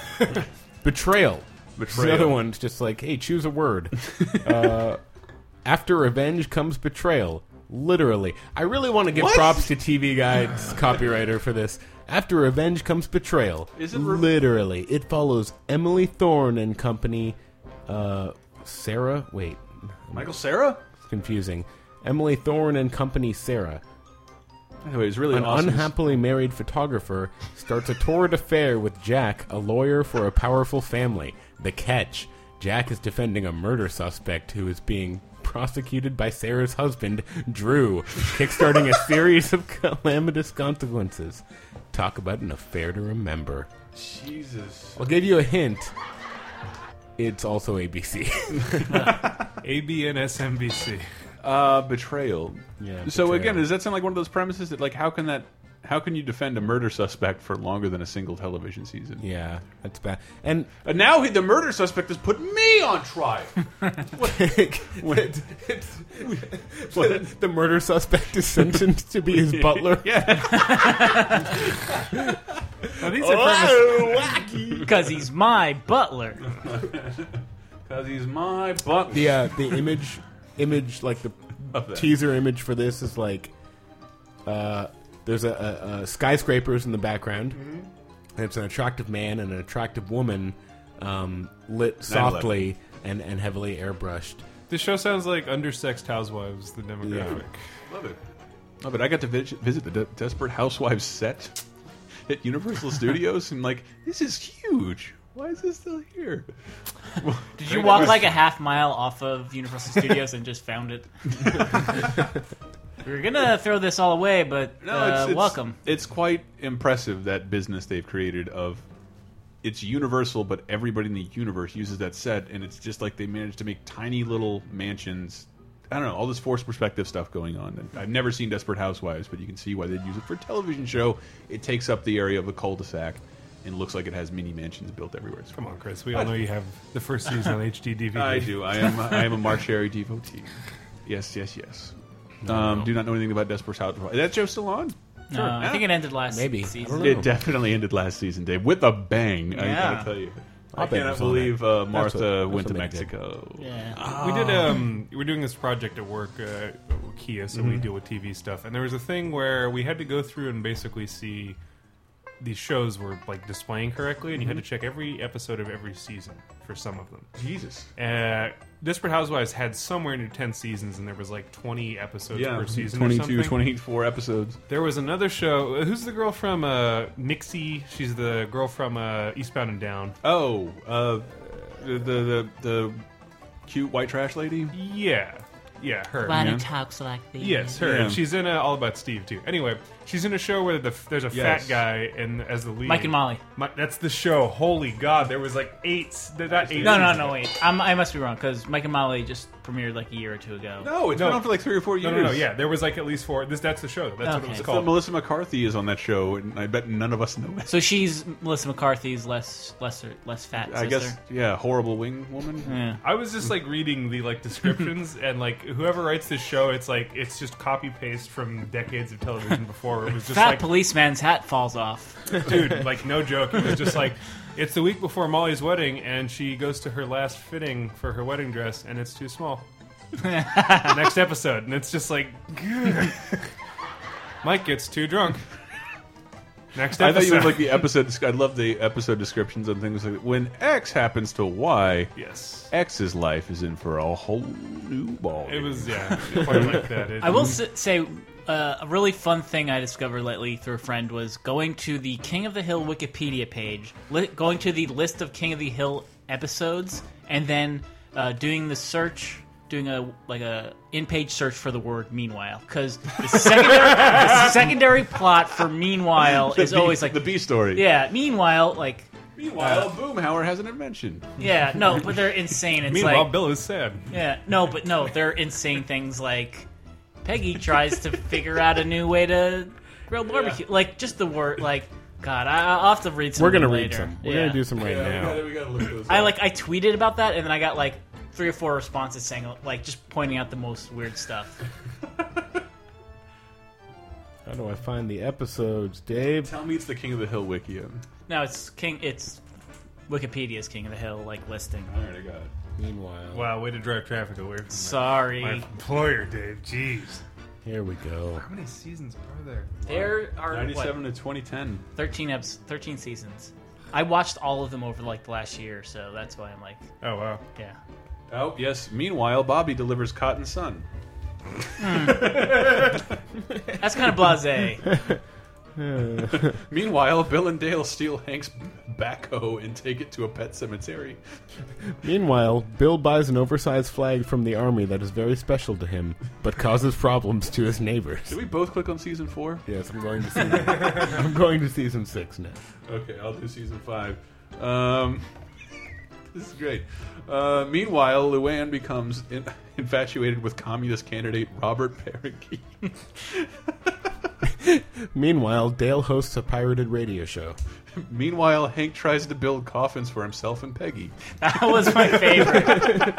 [SPEAKER 9] betrayal.
[SPEAKER 8] Betrayal.
[SPEAKER 9] The other one's just like, hey, choose a word. uh, after revenge comes betrayal. Literally, I really want to give
[SPEAKER 8] What?
[SPEAKER 9] props to TV Guide's copywriter for this. After revenge comes betrayal.
[SPEAKER 8] Is it re-
[SPEAKER 9] literally? It follows Emily Thorne and company. Uh, Sarah, wait,
[SPEAKER 8] Michael Sarah?
[SPEAKER 9] It's confusing. Emily Thorne and company Sarah.
[SPEAKER 8] By the way, it's really
[SPEAKER 9] an
[SPEAKER 8] awesome.
[SPEAKER 9] unhappily married photographer starts a torrid affair with Jack, a lawyer for a powerful family. The catch: Jack is defending a murder suspect who is being prosecuted by Sarah's husband, Drew, kickstarting a series of calamitous consequences. Talk about an affair to remember.
[SPEAKER 8] Jesus.
[SPEAKER 9] I'll give you a hint. It's also ABC.
[SPEAKER 11] ABN SMBC.
[SPEAKER 8] Uh, betrayal.
[SPEAKER 9] Yeah.
[SPEAKER 8] So
[SPEAKER 9] betrayal.
[SPEAKER 8] again, does that sound like one of those premises that like how can that how can you defend a murder suspect for longer than a single television season?
[SPEAKER 9] Yeah, that's bad. And
[SPEAKER 8] now he, the murder suspect has put me on trial.
[SPEAKER 9] What? The, the murder suspect is sentenced to be his butler.
[SPEAKER 10] Yeah. Because he's my butler.
[SPEAKER 8] Because he's my butler.
[SPEAKER 9] the uh, the image image like the
[SPEAKER 8] Of that.
[SPEAKER 9] teaser image for this is like uh, there's a, a, a skyscrapers in the background and it's an attractive man and an attractive woman um, lit
[SPEAKER 11] 9/11.
[SPEAKER 9] softly and, and heavily airbrushed
[SPEAKER 11] This show sounds like undersexed housewives, the demographic.
[SPEAKER 8] Love it. Oh, but I got to vis- visit the De Desperate Housewives set at Universal Studios, and like this is huge. Why is this still here?
[SPEAKER 10] Did you walk like a half mile off of Universal Studios and just found it? we were gonna throw this all away, but
[SPEAKER 8] No,
[SPEAKER 10] uh,
[SPEAKER 8] it's, it's-
[SPEAKER 10] welcome.
[SPEAKER 8] It's quite impressive that business they've created of it's universal, but everybody in the universe uses that set, and it's just like they managed to make tiny little mansions. I don't know all this force perspective stuff going on. And I've never seen Desperate Housewives, but you can see why they'd use it for a television show. It takes up the area of a cul-de-sac and looks like it has mini mansions built everywhere. Come
[SPEAKER 11] on, Chris. We all know you have the first season on HD DVD.
[SPEAKER 8] I do. I am. I am a March Harry devotee. Yes, yes, yes. Um, Do not know anything about Desperate Housewives. Is that show still on?
[SPEAKER 10] No, I think it ended last Maybe. season. I don't know.
[SPEAKER 8] It definitely ended last season, Dave, with a bang. I
[SPEAKER 10] Yeah.
[SPEAKER 8] gotta tell you,
[SPEAKER 11] I'll
[SPEAKER 8] I,
[SPEAKER 11] bet it
[SPEAKER 8] cannot
[SPEAKER 11] was on
[SPEAKER 8] believe
[SPEAKER 11] that.
[SPEAKER 8] uh,
[SPEAKER 11] That's
[SPEAKER 8] Martha
[SPEAKER 11] what- that's
[SPEAKER 8] went to
[SPEAKER 11] what they did.
[SPEAKER 8] Mexico.
[SPEAKER 11] We did. Um, we're doing this project at work, uh, with Kia, so we
[SPEAKER 8] Mhm.
[SPEAKER 11] deal with TV stuff. And there was a thing where we had to go through and basically see these shows were like displaying correctly, and you had to
[SPEAKER 8] Mhm.
[SPEAKER 11] check every episode of every season for some of them.
[SPEAKER 8] Jesus.
[SPEAKER 11] Uh, Desperate Housewives had somewhere near ten seasons, and there was like twenty episodes
[SPEAKER 8] Yeah,
[SPEAKER 11] per season. or
[SPEAKER 8] 22,
[SPEAKER 11] something.
[SPEAKER 8] 24 episodes.
[SPEAKER 11] There was another show. Who's the girl from uh, Nixie? She's the girl from uh, Eastbound and Down.
[SPEAKER 8] Oh, uh, the, the the cute white trash lady.
[SPEAKER 11] Yeah, yeah, her.
[SPEAKER 8] Ronnie Yeah.
[SPEAKER 11] talks like Yes, her.
[SPEAKER 8] Yeah.
[SPEAKER 11] She's in uh, All About Steve too. Anyway, she's in a show where the, there's a
[SPEAKER 8] Yes.
[SPEAKER 11] fat guy and as the lead.
[SPEAKER 10] Mike and Molly.
[SPEAKER 11] Mi- that's the show. Holy God! There was like eight. s- They're not eight.
[SPEAKER 10] No, no,
[SPEAKER 11] seasons.
[SPEAKER 10] no, wait. I'm, I must be wrong because Mike and Molly just premiered like a year or two ago.
[SPEAKER 11] No, No, no, yeah, there was like at least four. This that's the show. That's what it was
[SPEAKER 10] Okay.
[SPEAKER 11] called.
[SPEAKER 8] So Uh, Melissa McCarthy is on that show, and I bet none of us know it.
[SPEAKER 10] So she's Melissa McCarthy's less lesser less fat sister.
[SPEAKER 8] I guess, yeah, horrible wing woman.
[SPEAKER 11] I was just like reading the like descriptions and like whoever writes this show, it's like it's just copy paste from decades of television before. It was just
[SPEAKER 10] fat
[SPEAKER 11] like
[SPEAKER 10] policeman's hat falls off.
[SPEAKER 11] dude, like no joke. It was just like it's the week before Molly's wedding, and she goes to her last fitting for her wedding dress, and it's too small. Next episode, and it's just like Mike gets too drunk. Next
[SPEAKER 8] I thought you
[SPEAKER 11] episode,
[SPEAKER 8] would like the episode. I love the episode descriptions and things like that. When X happens to Y,
[SPEAKER 11] yes,
[SPEAKER 8] X's life is in for a whole new ball.
[SPEAKER 11] It was yeah, quite like that. It-
[SPEAKER 10] I will s- say uh, a really fun thing I discovered lately through a friend was going to the King of the Hill Wikipedia page, li- going to the list of King of the Hill episodes, and then uh, doing the search. Doing a like a in-page search for the word meanwhile because the secondary, the secondary plot for meanwhile
[SPEAKER 8] The
[SPEAKER 10] is
[SPEAKER 8] B-
[SPEAKER 10] always like
[SPEAKER 8] the B story.
[SPEAKER 10] Yeah, meanwhile, like
[SPEAKER 8] Meanwhile, Boomhauer has an invention.
[SPEAKER 10] yeah, no, but they're insane. It's
[SPEAKER 11] Meanwhile,
[SPEAKER 10] like,
[SPEAKER 11] Bill is sad.
[SPEAKER 10] Yeah, no, but no, they're insane things like Peggy tries to figure out a new way to grill barbecue. Like just the word, like God, I, I'll have to read some.
[SPEAKER 9] we're
[SPEAKER 10] of them
[SPEAKER 9] gonna read
[SPEAKER 10] later.
[SPEAKER 9] some we're
[SPEAKER 10] Yeah.
[SPEAKER 9] gonna do some right now
[SPEAKER 10] I like I tweeted about that, and then I got like three or four responses saying like just pointing out the most weird stuff.
[SPEAKER 9] how do i find the episodes dave
[SPEAKER 8] tell me it's the king of the hill wiki
[SPEAKER 10] No, it's King. It's Wikipedia's King of the Hill like listing.
[SPEAKER 8] I already got it.
[SPEAKER 9] meanwhile
[SPEAKER 11] Wow, way to drive traffic away from my-
[SPEAKER 10] Sorry.
[SPEAKER 11] my employer, Dave. Jeez.
[SPEAKER 9] here we go
[SPEAKER 11] How many seasons are there?
[SPEAKER 10] There are what,
[SPEAKER 8] 97 to 2010.
[SPEAKER 10] 13 eps, 13 seasons. I watched all of them over like the last year, so that's why I'm like,
[SPEAKER 11] oh wow,
[SPEAKER 10] yeah.
[SPEAKER 8] Oh yes. Meanwhile, Bobby delivers Cotton Sun.
[SPEAKER 10] That's kind of blasé.
[SPEAKER 8] Meanwhile, Bill and Dale steal Hank's backhoe and take it to a pet cemetery.
[SPEAKER 9] Meanwhile, Bill buys an oversized flag from the army that is very special to him, but causes problems to his neighbors.
[SPEAKER 8] Did we both click on season four?
[SPEAKER 9] Yes, I'm going to season. I'm going to season six now.
[SPEAKER 8] Okay, I'll do season five. Um, this is great. Uh, meanwhile, Luann becomes in, infatuated with communist candidate Robert Parakeet.
[SPEAKER 9] Meanwhile, Dale hosts a pirated radio show.
[SPEAKER 8] meanwhile, Hank tries to build coffins for himself and Peggy.
[SPEAKER 10] That was my
[SPEAKER 8] favorite.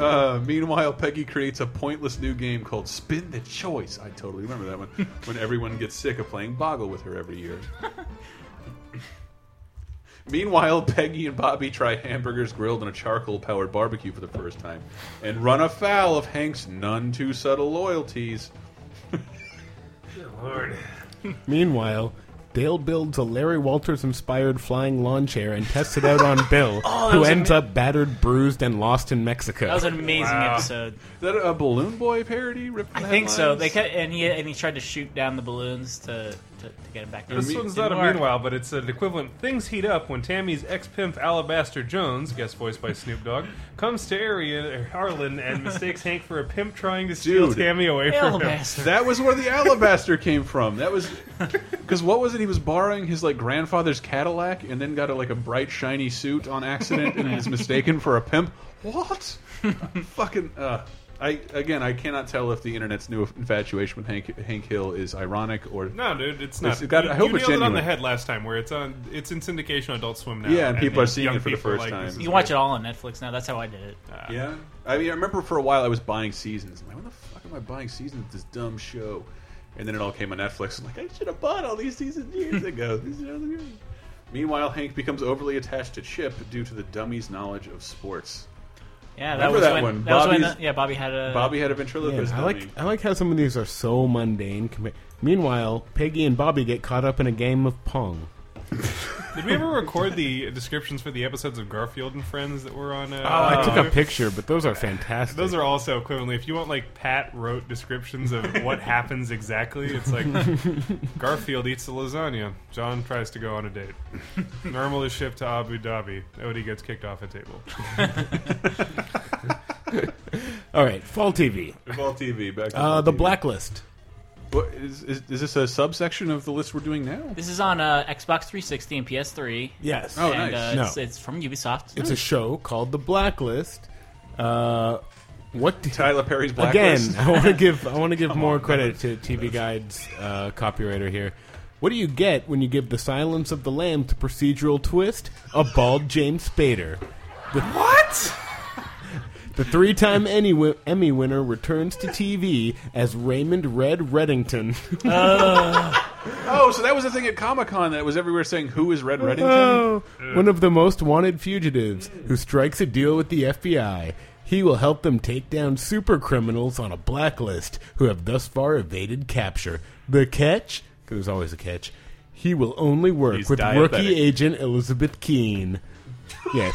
[SPEAKER 8] uh, meanwhile, Peggy creates a pointless new game called Spin the Choice. I totally remember that one. when everyone gets sick of playing Boggle with her every year. Meanwhile, Peggy and Bobby try hamburgers grilled on a charcoal powered barbecue for the first time and run afoul of Hank's none too subtle loyalties.
[SPEAKER 12] Lord.
[SPEAKER 9] Meanwhile, Dale builds a Larry Walters inspired flying lawn chair and tests it out on Bill,
[SPEAKER 10] Oh, that
[SPEAKER 9] who
[SPEAKER 10] was
[SPEAKER 9] ends
[SPEAKER 10] ama-
[SPEAKER 9] up battered, bruised, and lost in Mexico.
[SPEAKER 10] That was an amazing episode.
[SPEAKER 8] Is that a Balloon Boy parody? Ripped
[SPEAKER 10] I think so. They cut, and he and he tried to shoot down the balloons to, to, to get him back.
[SPEAKER 11] This one's not a meanwhile, but it's an equivalent. Things heat up when Tammy's ex-pimp Alabaster Jones, guest voiced by Snoop Dogg, comes to area er, Harlan and mistakes Hank for a pimp trying to steal
[SPEAKER 8] Dude.
[SPEAKER 11] Tammy away from him.
[SPEAKER 8] That was where the alabaster came from. That was because what was it? He was borrowing his like grandfather's Cadillac and then got a, like a bright shiny suit on accident and is mistaken for a pimp. What? Fucking. Uh, I again, I cannot tell if the internet's new infatuation with Hank Hank Hill is ironic or
[SPEAKER 11] No, dude, it's not.
[SPEAKER 8] got-
[SPEAKER 11] you,
[SPEAKER 8] I hope
[SPEAKER 11] you
[SPEAKER 8] it's
[SPEAKER 11] nailed
[SPEAKER 8] genuine.
[SPEAKER 11] it on the head last time, where it's on. It's in syndication on Adult Swim now.
[SPEAKER 8] Yeah, and people are
[SPEAKER 11] young
[SPEAKER 8] seeing it for the
[SPEAKER 11] people are
[SPEAKER 8] first
[SPEAKER 11] like,
[SPEAKER 8] time.
[SPEAKER 11] this is
[SPEAKER 10] You watch it all on Netflix now. That's how I did it.
[SPEAKER 8] Yeah, I mean, I remember for a while I was buying seasons. I'm like, what the fuck am I buying seasons of this dumb show? And then it all came on Netflix. I'm like, I should have bought all these seasons years ago. These are the years. Meanwhile, Hank becomes overly attached to Chip due to the dummy's knowledge of sports.
[SPEAKER 10] Yeah, that
[SPEAKER 8] Remember
[SPEAKER 10] was
[SPEAKER 8] that
[SPEAKER 10] when-
[SPEAKER 8] one.
[SPEAKER 10] that was when
[SPEAKER 8] Bobby's-
[SPEAKER 10] the- yeah, Bobby had a-
[SPEAKER 8] Bobby had a
[SPEAKER 9] Man,
[SPEAKER 8] ventriloquist
[SPEAKER 9] I
[SPEAKER 8] dummy.
[SPEAKER 9] like I like how some of these are so mundane. compa- Meanwhile, Peggy and Bobby get caught up in a game of pong.
[SPEAKER 11] Did we ever record the descriptions for the episodes of Garfield and Friends that were on? Uh,
[SPEAKER 10] Oh.
[SPEAKER 8] Oh,
[SPEAKER 9] I took a
[SPEAKER 11] YouTube?
[SPEAKER 9] picture, but those are fantastic.
[SPEAKER 11] Those are also equivalently. If you want like Pat wrote descriptions of what happens exactly, it's like Garfield eats the lasagna. John tries to go on a date. Normal is shipped to Abu Dhabi. Odie gets kicked off a table.
[SPEAKER 9] All right, fall TV.
[SPEAKER 8] Fall TV, back to
[SPEAKER 9] Uh,
[SPEAKER 8] fall
[SPEAKER 9] the
[SPEAKER 8] TV.
[SPEAKER 9] Blacklist.
[SPEAKER 8] What, is, is, is this a subsection of the list we're doing now?
[SPEAKER 10] This is on uh, Xbox 360 and PS3.
[SPEAKER 9] Yes.
[SPEAKER 10] Oh,
[SPEAKER 9] Oh,
[SPEAKER 10] and,
[SPEAKER 9] nice.
[SPEAKER 10] Uh,
[SPEAKER 9] No.
[SPEAKER 10] it's, it's from Ubisoft.
[SPEAKER 9] It's a show called The Blacklist. Uh, what do-
[SPEAKER 8] Tyler Perry's Blacklist.
[SPEAKER 9] Again, I want to give I want to give more credit to TV Guide's uh, copywriter here. What do you get when you give The Silence of the Lambs a procedural twist? A bald James Spader. The,
[SPEAKER 11] what?
[SPEAKER 9] The three-time Emmy, wi- Emmy winner returns to TV as Raymond Red Reddington.
[SPEAKER 8] oh, so that was the thing at Comic Con that was everywhere saying who is Red Reddington.
[SPEAKER 9] Oh, one of the most wanted fugitives who strikes a deal with the FBI. He will help them take down super criminals on a blacklist who have thus far evaded capture. The catch? 'Cause there's always a catch. He will only work
[SPEAKER 8] He's
[SPEAKER 9] with
[SPEAKER 8] diabetic.
[SPEAKER 9] rookie agent Elizabeth Keene. Yes.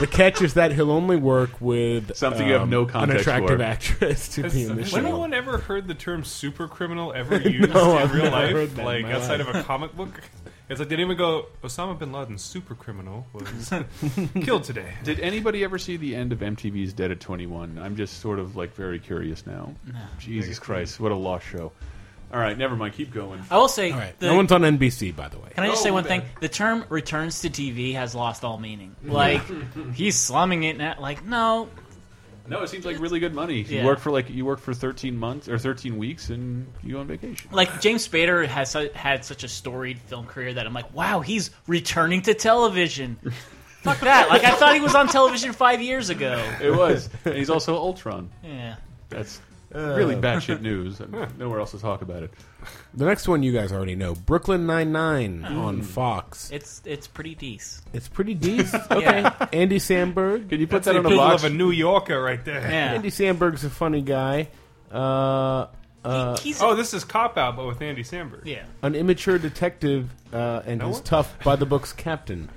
[SPEAKER 9] the catch is that he'll only work with um,
[SPEAKER 8] Something you have no
[SPEAKER 9] an
[SPEAKER 8] context
[SPEAKER 9] attractive
[SPEAKER 8] for.
[SPEAKER 9] actress to be in the
[SPEAKER 11] Has
[SPEAKER 9] show.
[SPEAKER 11] anyone ever heard the term super criminal ever used in
[SPEAKER 9] I've
[SPEAKER 11] real
[SPEAKER 9] never
[SPEAKER 11] life?
[SPEAKER 9] heard that in
[SPEAKER 11] like
[SPEAKER 9] my
[SPEAKER 11] outside
[SPEAKER 9] life.
[SPEAKER 11] of a comic book? It's like they didn't even go Osama bin Laden's super criminal was killed today.
[SPEAKER 8] Did anybody ever see the end of MTV's Dead at 21? I'm just sort of like very curious now. Jesus Christ, what a lost show. All right, never mind. Keep going.
[SPEAKER 10] I will say,
[SPEAKER 9] All right.
[SPEAKER 10] the-
[SPEAKER 9] no one's on NBC, by the way.
[SPEAKER 10] Can I just say
[SPEAKER 8] Oh,
[SPEAKER 10] one
[SPEAKER 8] man.
[SPEAKER 10] thing? The term "returns to TV" has lost all meaning. Like he's slumming it now. Like no,
[SPEAKER 8] No, it seems like really good money. You
[SPEAKER 10] Yeah.
[SPEAKER 8] work for like you work for 13 months or 13 weeks and you go on vacation.
[SPEAKER 10] like James Spader has su- had such a storied film career that I'm like, wow, he's returning to television. Fuck that! Like I thought he was on television five years ago.
[SPEAKER 8] It was. and he's also Ultron.
[SPEAKER 10] Yeah.
[SPEAKER 8] That's really
[SPEAKER 9] Uh.
[SPEAKER 8] batshit news. Nowhere else to talk about it.
[SPEAKER 9] The next one you guys already know Brooklyn Nine-Nine on
[SPEAKER 8] Mm.
[SPEAKER 9] Fox.
[SPEAKER 10] It's it's pretty decent.
[SPEAKER 9] It's pretty decent. okay. Andy Samberg.
[SPEAKER 8] Can you
[SPEAKER 11] That's the equivalent of a New Yorker right there.
[SPEAKER 9] Andy Samberg's a funny guy. Uh, uh,
[SPEAKER 11] oh, this is Cop Out, but with Andy Samberg.
[SPEAKER 10] Yeah.
[SPEAKER 9] an immature detective uh, and he's tough by the book's captain.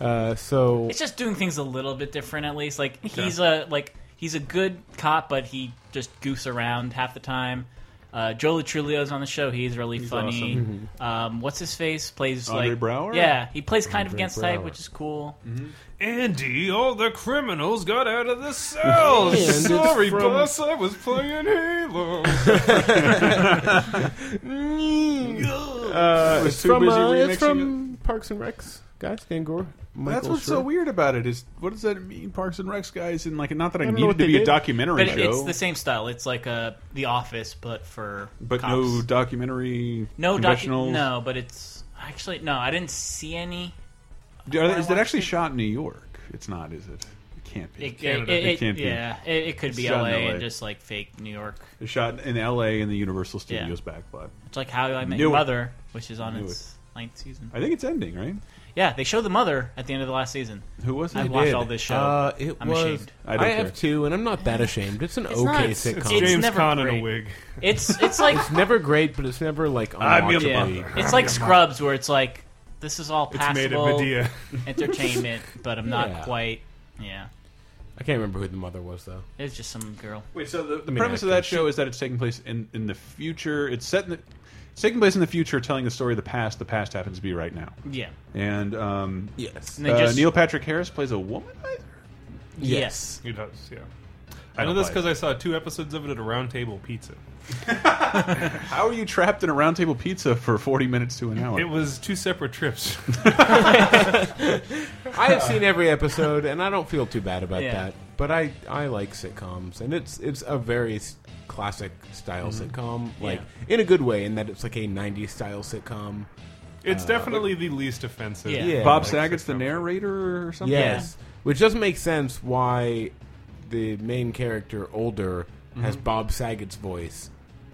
[SPEAKER 9] Uh, so
[SPEAKER 10] It's just doing things a little bit different, at least. Like he's a like he's a good cop, but he just goofs around half the time. Uh, Joe Latrulio's on the show. He's really funny.
[SPEAKER 8] awesome.
[SPEAKER 10] Um, what's his face? Plays
[SPEAKER 8] Andre
[SPEAKER 10] like
[SPEAKER 8] Brower?
[SPEAKER 10] Yeah, he plays kind of
[SPEAKER 8] Andre
[SPEAKER 10] against type,
[SPEAKER 8] Brower.
[SPEAKER 10] which is cool.
[SPEAKER 11] Andy, all the criminals got out of the cells.
[SPEAKER 10] And it's
[SPEAKER 11] Sorry,
[SPEAKER 10] from-
[SPEAKER 11] boss, I was playing Halo.
[SPEAKER 9] Uh,
[SPEAKER 8] We're
[SPEAKER 9] it's
[SPEAKER 8] too
[SPEAKER 9] from,
[SPEAKER 8] busy
[SPEAKER 9] uh,
[SPEAKER 8] remixing
[SPEAKER 9] it's from Parks and Recs, guys. Dan Gore.
[SPEAKER 8] That's
[SPEAKER 9] Michael
[SPEAKER 8] what's so
[SPEAKER 9] Schur.
[SPEAKER 8] weird about it is what does that mean? Parks and Recs guys and like not that I,
[SPEAKER 9] I don't know
[SPEAKER 8] need it
[SPEAKER 9] what
[SPEAKER 8] to
[SPEAKER 9] they
[SPEAKER 8] be a
[SPEAKER 9] did.
[SPEAKER 8] documentary
[SPEAKER 10] But it-
[SPEAKER 8] show,
[SPEAKER 10] it's the same style. It's like a The Office, but for
[SPEAKER 8] but
[SPEAKER 10] cops.
[SPEAKER 8] no documentary.
[SPEAKER 10] no docu-
[SPEAKER 8] confessionals.
[SPEAKER 10] No, but it's actually no. I didn't see any.
[SPEAKER 8] Do- are they-
[SPEAKER 10] I
[SPEAKER 8] is that
[SPEAKER 10] watched
[SPEAKER 8] actually shot in New York? It's not, is it? It can't be.
[SPEAKER 10] It, it- it-
[SPEAKER 8] can't be.
[SPEAKER 10] Yeah, it, it could
[SPEAKER 8] It's
[SPEAKER 10] be
[SPEAKER 8] shot in
[SPEAKER 10] LA,
[SPEAKER 8] LA.
[SPEAKER 10] and just like fake New York.
[SPEAKER 8] It's shot in L.A. in the Universal
[SPEAKER 10] Yeah.
[SPEAKER 8] Studios backlot.
[SPEAKER 10] It's like How I Met
[SPEAKER 8] Knew
[SPEAKER 10] Your
[SPEAKER 8] it.
[SPEAKER 10] Mother, which is on
[SPEAKER 8] Knew
[SPEAKER 10] its ninth season.
[SPEAKER 8] I think it's ending, right?
[SPEAKER 10] Yeah, they show the mother at the end of the last season.
[SPEAKER 8] Who was
[SPEAKER 10] I
[SPEAKER 8] it?
[SPEAKER 10] watched
[SPEAKER 8] Did.
[SPEAKER 10] all this show.
[SPEAKER 9] Uh, it
[SPEAKER 10] I'm
[SPEAKER 9] was.
[SPEAKER 10] ashamed.
[SPEAKER 9] I, have two, and I'm not that ashamed. It's an
[SPEAKER 10] It's
[SPEAKER 9] okay
[SPEAKER 10] not- it's-
[SPEAKER 9] sitcom.
[SPEAKER 10] it's James never Caan in a great. wig. It's- it's like-
[SPEAKER 9] it's never great, but it's never like
[SPEAKER 11] I'm your
[SPEAKER 9] unwatchable.
[SPEAKER 11] mother.
[SPEAKER 10] It's like Scrubs, where it's like this is all
[SPEAKER 11] It's made of
[SPEAKER 10] passable
[SPEAKER 11] Medea.
[SPEAKER 10] entertainment, but I'm not
[SPEAKER 9] Yeah.
[SPEAKER 10] quite. Yeah,
[SPEAKER 9] I can't remember who the mother was though.
[SPEAKER 10] it's just some girl.
[SPEAKER 8] Wait, so the, the
[SPEAKER 9] mean,
[SPEAKER 8] premise of that show is that it's taking place in in the future. It's set in the. It's taking place in the future, telling the story of the past. The past happens to be right now.
[SPEAKER 10] Yeah.
[SPEAKER 8] And um,
[SPEAKER 9] yes,
[SPEAKER 11] And they just-
[SPEAKER 8] Neil Patrick Harris plays a woman.
[SPEAKER 10] Yes.
[SPEAKER 11] He does, yeah.
[SPEAKER 8] I
[SPEAKER 11] I know
[SPEAKER 8] don't
[SPEAKER 11] this
[SPEAKER 8] buy
[SPEAKER 11] because I saw two episodes of it at a round table pizza.
[SPEAKER 8] How are you trapped in a round table pizza for forty minutes to an hour?
[SPEAKER 11] It was two separate trips.
[SPEAKER 9] I have seen every episode, and I don't feel too bad about
[SPEAKER 11] Yeah.
[SPEAKER 9] that. But I, I like sitcoms, and it's it's a very s- classic style
[SPEAKER 11] Mhm.
[SPEAKER 9] sitcom, like
[SPEAKER 11] Yeah.
[SPEAKER 9] in a good way, in that it's like a '90s style sitcom.
[SPEAKER 11] It's
[SPEAKER 9] Uh,
[SPEAKER 11] definitely the least offensive.
[SPEAKER 8] Bob Saget's the narrator or something.
[SPEAKER 9] Yes, which doesn't make sense. Why the main character older has
[SPEAKER 8] Mhm.
[SPEAKER 9] Bob Saget's voice,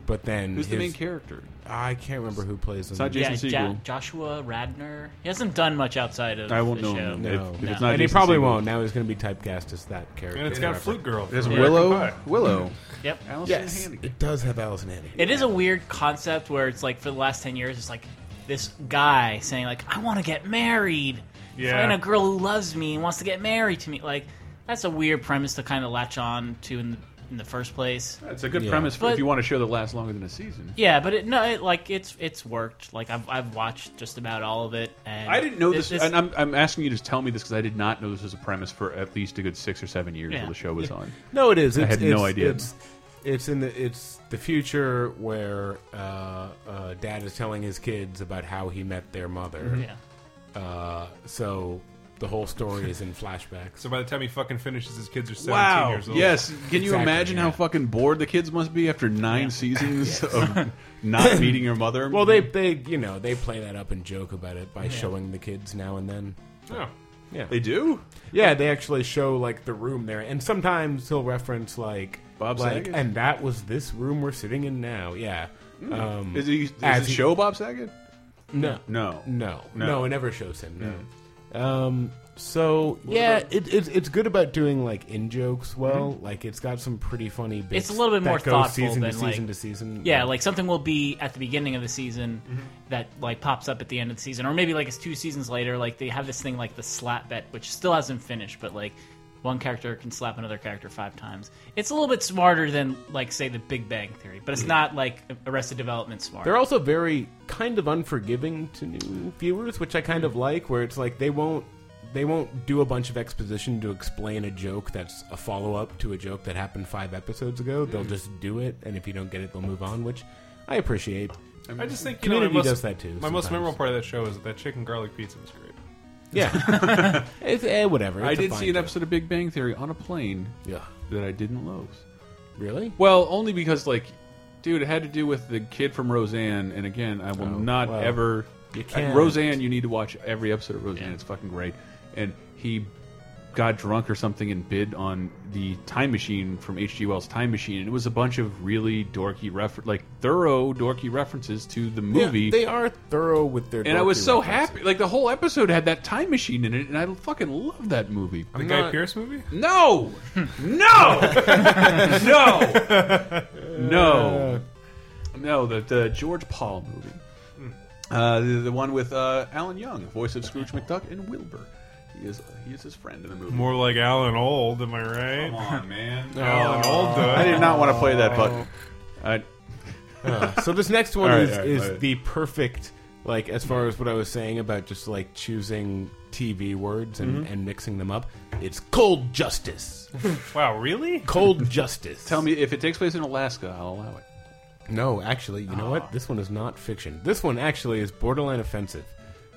[SPEAKER 9] but then
[SPEAKER 8] Who's the
[SPEAKER 9] his-
[SPEAKER 8] main character?
[SPEAKER 9] I can't remember who plays him.
[SPEAKER 8] It's not Jason
[SPEAKER 10] yeah,
[SPEAKER 8] Segel.
[SPEAKER 10] Jo- Joshua Radner. He hasn't done much outside of.
[SPEAKER 8] I won't
[SPEAKER 10] the
[SPEAKER 8] know
[SPEAKER 10] show.
[SPEAKER 8] him if- No. if it's not
[SPEAKER 9] and he
[SPEAKER 8] Jason
[SPEAKER 9] probably
[SPEAKER 8] Segel.
[SPEAKER 9] won't. Now he's going to be typecast as that character.
[SPEAKER 11] And it's got Flute Girl.
[SPEAKER 9] There's
[SPEAKER 11] from
[SPEAKER 8] Willow-
[SPEAKER 11] American Pie.
[SPEAKER 8] Willow.
[SPEAKER 10] Yep.
[SPEAKER 9] yes, it does have Allison Hannigan.
[SPEAKER 10] It is a weird concept where it's like for the last ten years, it's like this guy saying like, "I want to get married,
[SPEAKER 11] Yeah.
[SPEAKER 10] find a girl who loves me and wants to get married to me." Like, that's a weird premise to kind of latch on to in the, in the first place.
[SPEAKER 8] It's a good premise
[SPEAKER 10] But-
[SPEAKER 8] if you want a show that lasts longer than a season.
[SPEAKER 10] Yeah, but it, no, it, like it's it's worked. Like I've I've watched just about all of it, and
[SPEAKER 8] I didn't know this, and I'm, I'm asking you to tell me this because I did not know this was a premise for at least a good six or seven years
[SPEAKER 10] Yeah.
[SPEAKER 8] while the show was on.
[SPEAKER 9] No, it is.
[SPEAKER 8] I
[SPEAKER 9] It's,
[SPEAKER 8] had
[SPEAKER 9] it's-
[SPEAKER 8] no idea.
[SPEAKER 9] It's, it's in the it's the future where uh, uh, dad is telling his kids about how he met their mother.
[SPEAKER 11] Mhm.
[SPEAKER 10] Mm-hmm.
[SPEAKER 9] Uh, so the whole story is in flashbacks.
[SPEAKER 11] So by the time he fucking finishes, his kids are 17
[SPEAKER 8] wow.
[SPEAKER 11] years old.
[SPEAKER 8] Yes. Can you
[SPEAKER 9] Exactly,
[SPEAKER 8] imagine how fucking bored the kids must be after nine seasons of not meeting your mother?
[SPEAKER 9] Well, they they you know they play that up and joke about it by
[SPEAKER 11] Yeah.
[SPEAKER 9] showing the kids now and then.
[SPEAKER 11] Oh.
[SPEAKER 9] Yeah,
[SPEAKER 8] They do.
[SPEAKER 9] Yeah, they actually show like the room there, and sometimes he'll reference like
[SPEAKER 8] Bob
[SPEAKER 9] like,
[SPEAKER 8] Saget?
[SPEAKER 9] and that was this room we're sitting in now. Yeah,
[SPEAKER 8] Hmm.
[SPEAKER 9] um,
[SPEAKER 8] is he, is
[SPEAKER 9] as
[SPEAKER 8] the show Bob Saget?
[SPEAKER 9] No,
[SPEAKER 8] No.
[SPEAKER 9] no,
[SPEAKER 8] No. Mm.
[SPEAKER 9] no, it never shows him. No. Um, so yeah,
[SPEAKER 10] about-
[SPEAKER 9] it, it's it's good about doing like in jokes. Well,
[SPEAKER 8] Mm-hmm.
[SPEAKER 9] like it's got some pretty funny bits.
[SPEAKER 10] it's a little bit
[SPEAKER 9] that
[SPEAKER 10] more
[SPEAKER 9] go
[SPEAKER 10] thoughtful
[SPEAKER 9] season
[SPEAKER 10] than
[SPEAKER 9] to
[SPEAKER 10] like,
[SPEAKER 9] season to season.
[SPEAKER 10] Yeah, like something will be at the beginning of the season
[SPEAKER 9] Mm-hmm.
[SPEAKER 10] that like pops up at the end of the season, or maybe like it's two seasons later. Like they have this thing like the slap bet, which still hasn't finished, but like one character can slap another character five times. It's a little bit smarter than like say the Big Bang Theory, but it's not like Arrested Development smart.
[SPEAKER 9] They're also very kind of unforgiving to new viewers, which I kind
[SPEAKER 8] Mm-hmm.
[SPEAKER 9] of like. Where it's like they won't they won't do a bunch of exposition to explain a joke that's a follow up to a joke that happened five episodes ago.
[SPEAKER 8] Mm-hmm.
[SPEAKER 9] They'll just do it, and if you don't get it, they'll move on, which I appreciate.
[SPEAKER 11] I just think you
[SPEAKER 9] community
[SPEAKER 11] know, my most,
[SPEAKER 9] does that too.
[SPEAKER 11] My most
[SPEAKER 9] sometimes.
[SPEAKER 11] memorable part of that show is that that chicken garlic pizza was great.
[SPEAKER 9] Yeah. it's, eh, whatever.
[SPEAKER 8] I
[SPEAKER 9] It's a
[SPEAKER 8] did
[SPEAKER 9] fine
[SPEAKER 8] see an
[SPEAKER 9] joke.
[SPEAKER 8] episode of Big Bang Theory on a plane.
[SPEAKER 9] Yeah.
[SPEAKER 8] That I didn't love.
[SPEAKER 9] Really?
[SPEAKER 8] Well, only because like, dude, it had to do with the kid from Roseanne, and again, I will
[SPEAKER 9] Oh,
[SPEAKER 8] not
[SPEAKER 9] well,
[SPEAKER 8] ever. uh,
[SPEAKER 9] you can't.
[SPEAKER 8] Roseanne, you need to watch every episode of Roseanne. It's fucking great. And he got drunk or something and bid on the time machine from H.G. Wells' Time Machine, and it was a bunch of really dorky refer like thorough dorky references to the
[SPEAKER 9] Yeah,
[SPEAKER 8] movie.
[SPEAKER 9] they are thorough with their.
[SPEAKER 8] and I was
[SPEAKER 9] dorky
[SPEAKER 8] so
[SPEAKER 9] references.
[SPEAKER 8] happy. Like the whole episode had that time machine in it, and I fucking love that movie.
[SPEAKER 11] The Guy Pierce movie?
[SPEAKER 8] No, no, no, no, no. The, the George Paul movie,
[SPEAKER 9] Hmm.
[SPEAKER 8] uh, the, the one with uh, Alan Young, voice of Scrooge McDuck, and Wilbur. He is he is his friend in the movie.
[SPEAKER 11] More like Alan Old, am I right?
[SPEAKER 8] Come on, man.
[SPEAKER 11] Alan Old,
[SPEAKER 9] Oh.
[SPEAKER 8] I did not want to play that button. I,
[SPEAKER 9] Uh, so this next one
[SPEAKER 8] All right,
[SPEAKER 9] is,
[SPEAKER 8] all right, all
[SPEAKER 9] is
[SPEAKER 8] right.
[SPEAKER 9] the perfect, like as far as what I was saying about just like choosing TV words and,
[SPEAKER 11] Mhm.
[SPEAKER 9] and mixing them up. It's cold justice.
[SPEAKER 11] wow, really?
[SPEAKER 9] Cold justice.
[SPEAKER 8] Tell me if it takes place in Alaska, I'll allow it.
[SPEAKER 9] No, actually, you know what? This one is not fiction. This one actually is borderline offensive.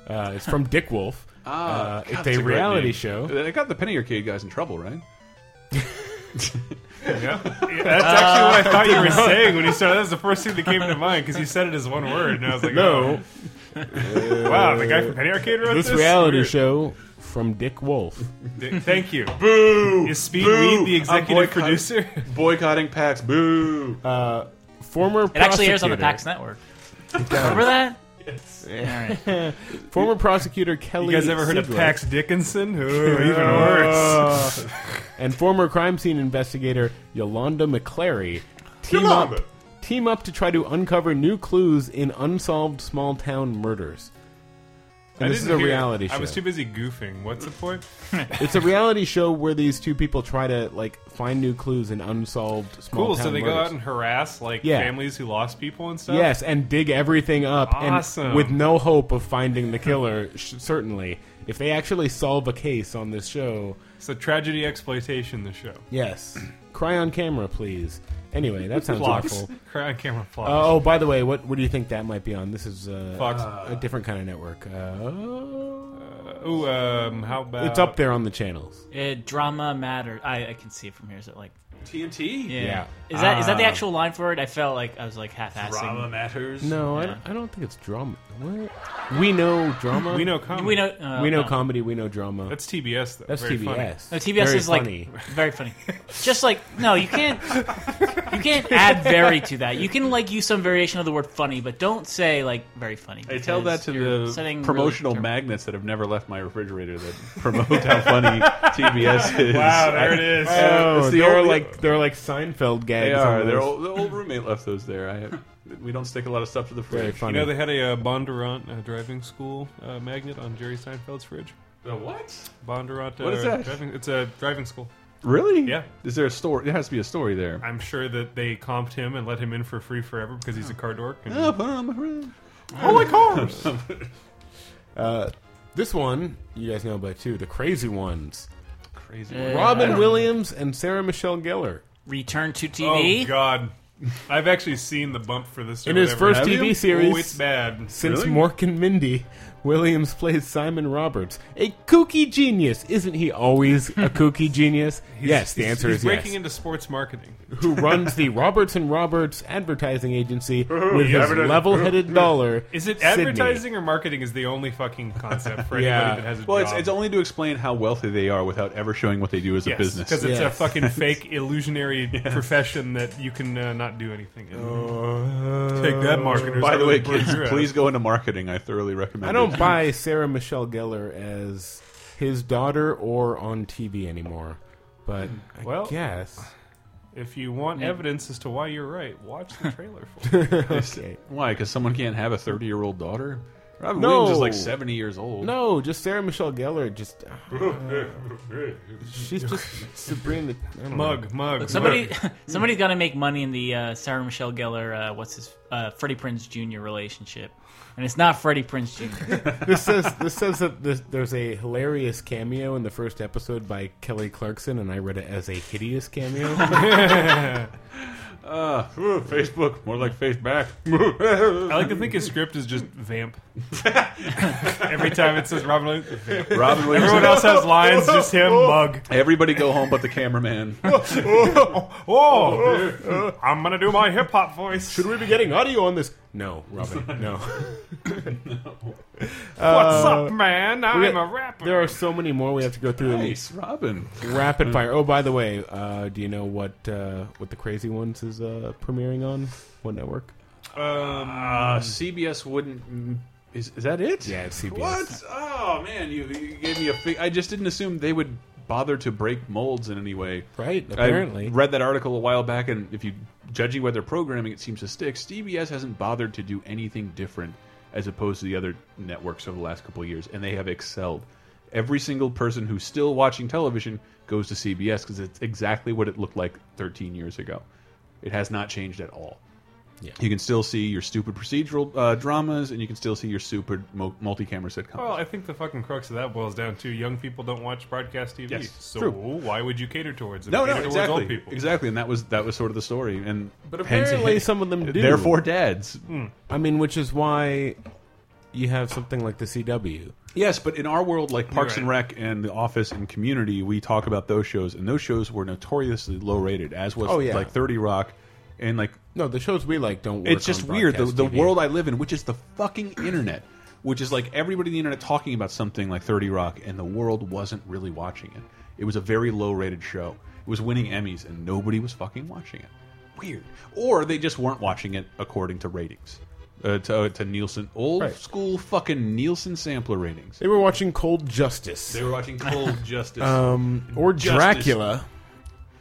[SPEAKER 9] Uh, it's from Dick Wolf.
[SPEAKER 8] Ah,
[SPEAKER 9] uh,
[SPEAKER 8] God,
[SPEAKER 9] it's
[SPEAKER 8] that's
[SPEAKER 9] a
[SPEAKER 8] a great
[SPEAKER 9] reality
[SPEAKER 8] name.
[SPEAKER 9] show.
[SPEAKER 8] They got the penny arcade guys in trouble, right?
[SPEAKER 11] Yeah. Yeah, that's actually
[SPEAKER 9] Uh,
[SPEAKER 11] what I thought you were saying when you started. That was the first thing that came to mind because you said it as one word, and I was like,
[SPEAKER 9] No.
[SPEAKER 11] oh. wow, the guy from Penny Arcade wrote this.
[SPEAKER 9] this, reality
[SPEAKER 11] Weird.
[SPEAKER 9] show from Dick Wolf.
[SPEAKER 11] D- Thank you.
[SPEAKER 8] Boo!
[SPEAKER 11] Is Speed
[SPEAKER 8] Boo!
[SPEAKER 11] Weed the
[SPEAKER 8] I'm
[SPEAKER 11] executive
[SPEAKER 8] boycotting-
[SPEAKER 11] producer?
[SPEAKER 8] boycotting PAX. Boo!
[SPEAKER 9] Uh, former
[SPEAKER 10] It actually airs on the
[SPEAKER 9] prosecutor-
[SPEAKER 10] PAX network.
[SPEAKER 9] does.
[SPEAKER 10] Remember that?
[SPEAKER 11] Yes.
[SPEAKER 10] All right.
[SPEAKER 9] Former prosecutor Kelly.
[SPEAKER 11] You guys ever heard of
[SPEAKER 9] Siegler-
[SPEAKER 11] Pax Dickinson? Oh, even worse.
[SPEAKER 9] and former crime scene investigator Yolanda McClary team up team up to try to uncover new clues in unsolved small town murders. And
[SPEAKER 11] I
[SPEAKER 9] this is a
[SPEAKER 11] didn't hear-
[SPEAKER 9] reality show.
[SPEAKER 11] I was too busy goofing. What's the point?
[SPEAKER 9] it's a reality show where these two people try to like find new clues in unsolved small
[SPEAKER 11] Cool.
[SPEAKER 9] town
[SPEAKER 11] So they
[SPEAKER 9] murders.
[SPEAKER 11] go out and harass like
[SPEAKER 9] Yeah.
[SPEAKER 11] families who lost people and stuff.
[SPEAKER 9] Yes, and dig everything up,
[SPEAKER 11] Awesome.
[SPEAKER 9] and with no hope of finding the killer. sh- certainly, if they actually solve a case on this show,
[SPEAKER 11] So tragedy exploitation. The show.
[SPEAKER 9] yes, cry on camera, please. Anyway, that sounds
[SPEAKER 11] Flops.
[SPEAKER 9] awful.
[SPEAKER 11] Cry on camera flops.
[SPEAKER 9] Uh, oh, by the way, what what do you think that might be on? This is uh,
[SPEAKER 11] Fox.
[SPEAKER 9] a different kind of network. Uh,
[SPEAKER 11] Ooh, um, how about
[SPEAKER 9] Oh. it's up there on the channels.
[SPEAKER 10] Uh, drama matter. I, I can see it from here. Is it like
[SPEAKER 8] TNT?
[SPEAKER 10] Yeah.
[SPEAKER 9] Yeah.
[SPEAKER 10] Is that is that the
[SPEAKER 9] Ah.
[SPEAKER 10] actual line for it? I felt like I was like half assing.
[SPEAKER 8] Drama matters.
[SPEAKER 9] No, I, don't, I don't think it's drama. What? We know drama.
[SPEAKER 11] We know comedy.
[SPEAKER 10] We know- uh,
[SPEAKER 9] we know
[SPEAKER 10] no.
[SPEAKER 9] comedy. We know drama.
[SPEAKER 11] That's TBS though.
[SPEAKER 9] That's
[SPEAKER 11] Very
[SPEAKER 9] TBS.
[SPEAKER 11] funny.
[SPEAKER 10] No, TBS
[SPEAKER 9] Very
[SPEAKER 10] is like
[SPEAKER 9] funny.
[SPEAKER 10] very funny. Just like no, you can't you can't add very to that. You can like use some variation of the word funny, but don't say like very funny.
[SPEAKER 8] I tell that
[SPEAKER 10] because
[SPEAKER 8] to
[SPEAKER 10] you're
[SPEAKER 8] the
[SPEAKER 10] setting
[SPEAKER 8] promotional
[SPEAKER 10] really-
[SPEAKER 8] magnets that have never left my refrigerator that promote how funny TBS is.
[SPEAKER 11] Wow, there it is.
[SPEAKER 8] I-
[SPEAKER 9] Oh,
[SPEAKER 8] it's the
[SPEAKER 9] they're
[SPEAKER 8] only-
[SPEAKER 9] like they're like Seinfeld gags.
[SPEAKER 8] They are. Their
[SPEAKER 9] almost.
[SPEAKER 8] old, the old roommate left those there. I, we don't stick a lot of stuff to the fridge.
[SPEAKER 11] You know they had a uh, Bondurant uh, driving school uh, magnet on Jerry Seinfeld's fridge.
[SPEAKER 8] The what?
[SPEAKER 11] Bondurant. Uh,
[SPEAKER 8] What is that?
[SPEAKER 11] Driving, it's a driving school.
[SPEAKER 8] Really?
[SPEAKER 11] Yeah.
[SPEAKER 8] Is there a story? There has to be a story there.
[SPEAKER 11] I'm sure that they comped him and let him in for free forever because he's a car dork. And
[SPEAKER 8] Oh, put on my fridge.
[SPEAKER 11] Oh, my cars!
[SPEAKER 9] Uh, this one you guys know about too. The crazy ones.
[SPEAKER 8] Crazy.
[SPEAKER 10] Uh,
[SPEAKER 9] Robin Williams and Sarah Michelle Gellar.
[SPEAKER 10] return to TV.
[SPEAKER 11] oh God, I've actually seen the bump for this or
[SPEAKER 9] In his
[SPEAKER 11] whatever.
[SPEAKER 9] first TV series,
[SPEAKER 11] Oh, it's bad.
[SPEAKER 9] Since Mork and Mindy, Williams plays Simon Roberts, a kooky genius. Isn't he always a kooky genius?
[SPEAKER 11] He's-
[SPEAKER 9] yes, the
[SPEAKER 11] he's-
[SPEAKER 9] answer
[SPEAKER 11] he's
[SPEAKER 9] is
[SPEAKER 11] breaking
[SPEAKER 9] yes.
[SPEAKER 11] into sports marketing.
[SPEAKER 9] Who runs the Roberts and Roberts advertising agency with
[SPEAKER 11] Yeah,
[SPEAKER 9] his
[SPEAKER 11] advertising-
[SPEAKER 9] level-headed dollar?
[SPEAKER 11] Is it
[SPEAKER 9] Sydney.
[SPEAKER 11] advertising or marketing? Is the only fucking concept for
[SPEAKER 9] Yeah.
[SPEAKER 11] anybody that has a
[SPEAKER 8] Well,
[SPEAKER 11] job?
[SPEAKER 8] it's, it's only to explain how wealthy they are without ever showing what they do as a business.
[SPEAKER 11] because it's a
[SPEAKER 9] Yes.
[SPEAKER 11] fucking fake illusionary profession that you can uh, not do anything. In. Take that, marketers!
[SPEAKER 8] By
[SPEAKER 11] I
[SPEAKER 8] the way,
[SPEAKER 11] really burned
[SPEAKER 8] kids,
[SPEAKER 11] your ass.
[SPEAKER 8] please go into marketing. I thoroughly recommend.
[SPEAKER 9] I
[SPEAKER 8] it.
[SPEAKER 9] don't buy Sarah Michelle Gellar as his daughter or on TV anymore. But I
[SPEAKER 11] Well-
[SPEAKER 9] guess
[SPEAKER 11] If you want evidence as to why you're right, watch the trailer for it.
[SPEAKER 9] okay.
[SPEAKER 8] Why? Because someone can't have a thirty-year-old daughter. Robin
[SPEAKER 9] No.
[SPEAKER 8] Williams is like seventy years old.
[SPEAKER 9] No, just Sarah Michelle Gellar. Just uh, she's just Sabrina. I don't know.
[SPEAKER 11] Mug, mug.
[SPEAKER 10] Somebody,
[SPEAKER 11] mug.
[SPEAKER 10] somebody's got to make money in the uh, Sarah Michelle Gellar, uh, what's his, uh, Freddie Prince Jr. relationship, and it's not Freddie Prince Jr.
[SPEAKER 9] this says this says that this, there's a hilarious cameo in the first episode by Kelly Clarkson, and I read it as a hideous cameo.
[SPEAKER 8] Uh, ooh, Facebook, more like face back.
[SPEAKER 11] I like to think his script is just vamp. Every time it says Robin Williams, vamp.
[SPEAKER 8] Robin Williams.
[SPEAKER 11] Everyone else has lines, just him, mug.
[SPEAKER 8] Everybody go home, but the cameraman.
[SPEAKER 11] Oh, I'm gonna do my hip hop voice.
[SPEAKER 9] Should we be getting audio on this? No, Robin. No.
[SPEAKER 11] What's up, man? I'm
[SPEAKER 9] We
[SPEAKER 11] a
[SPEAKER 9] got-
[SPEAKER 11] rapper.
[SPEAKER 9] There are so many more we have to go through. in
[SPEAKER 8] nice, Robin.
[SPEAKER 9] Rapid fire. Oh, by the way, uh, do you know what uh, what the Crazy Ones is uh, premiering on? What network?
[SPEAKER 11] Um,
[SPEAKER 8] Uh, CBS wouldn't. mm, Is, is that it?
[SPEAKER 9] Yeah, it's CBS.
[SPEAKER 8] What? Oh man, you, you gave me a. Fi I just didn't assume they would bother to break molds in any way.
[SPEAKER 9] Right,
[SPEAKER 8] I
[SPEAKER 9] apparently.
[SPEAKER 8] read that article a while back, and if you judging by their programming, it seems to stick. CBS hasn't bothered to do anything different as opposed to the other networks over the last couple of years, and they have excelled. Every single person who's still watching television goes to CBS because it's exactly what it looked like 13 years ago. It has not changed at all. You can still see your stupid procedural uh, dramas, and you can still see your stupid mo multi-camera sitcoms.
[SPEAKER 11] Well, I think the fucking crux of that boils down to young people don't watch broadcast TV.
[SPEAKER 8] Yes,
[SPEAKER 11] so
[SPEAKER 8] true.
[SPEAKER 11] why would you cater towards them?
[SPEAKER 8] No,
[SPEAKER 11] cater
[SPEAKER 8] no,
[SPEAKER 11] towards
[SPEAKER 8] exactly,
[SPEAKER 11] old people.
[SPEAKER 8] exactly, and that was that was sort of the story. And
[SPEAKER 11] But
[SPEAKER 8] hence-
[SPEAKER 9] apparently some of them do.
[SPEAKER 8] Therefore, dads.
[SPEAKER 11] Hmm.
[SPEAKER 9] I mean, which is why you have something like the CW.
[SPEAKER 8] Yes, but in our world, like Parks
[SPEAKER 9] You're
[SPEAKER 8] and Rec and The Office and Community, we talk about those shows, and those shows were notoriously low rated, as was
[SPEAKER 9] Oh, yeah.
[SPEAKER 8] like Thirty Rock, and like
[SPEAKER 9] no, the shows we like don't.
[SPEAKER 8] It's
[SPEAKER 9] work
[SPEAKER 8] just
[SPEAKER 9] on
[SPEAKER 8] weird the,
[SPEAKER 9] broadcast
[SPEAKER 8] the
[SPEAKER 9] TV.
[SPEAKER 8] world I live in, which is the fucking internet, which is like everybody on the internet talking about something like Thirty Rock, and the world wasn't really watching it. It was a very low rated show. It was winning Emmys, and nobody was fucking watching it. Weird, or they just weren't watching it according to ratings. Uh, to, to Nielsen, old
[SPEAKER 9] Right.
[SPEAKER 8] school fucking Nielsen sampler ratings.
[SPEAKER 9] They were watching Cold Justice.
[SPEAKER 8] They were watching Cold Justice.
[SPEAKER 9] Um, or
[SPEAKER 8] Justice.
[SPEAKER 9] Dracula.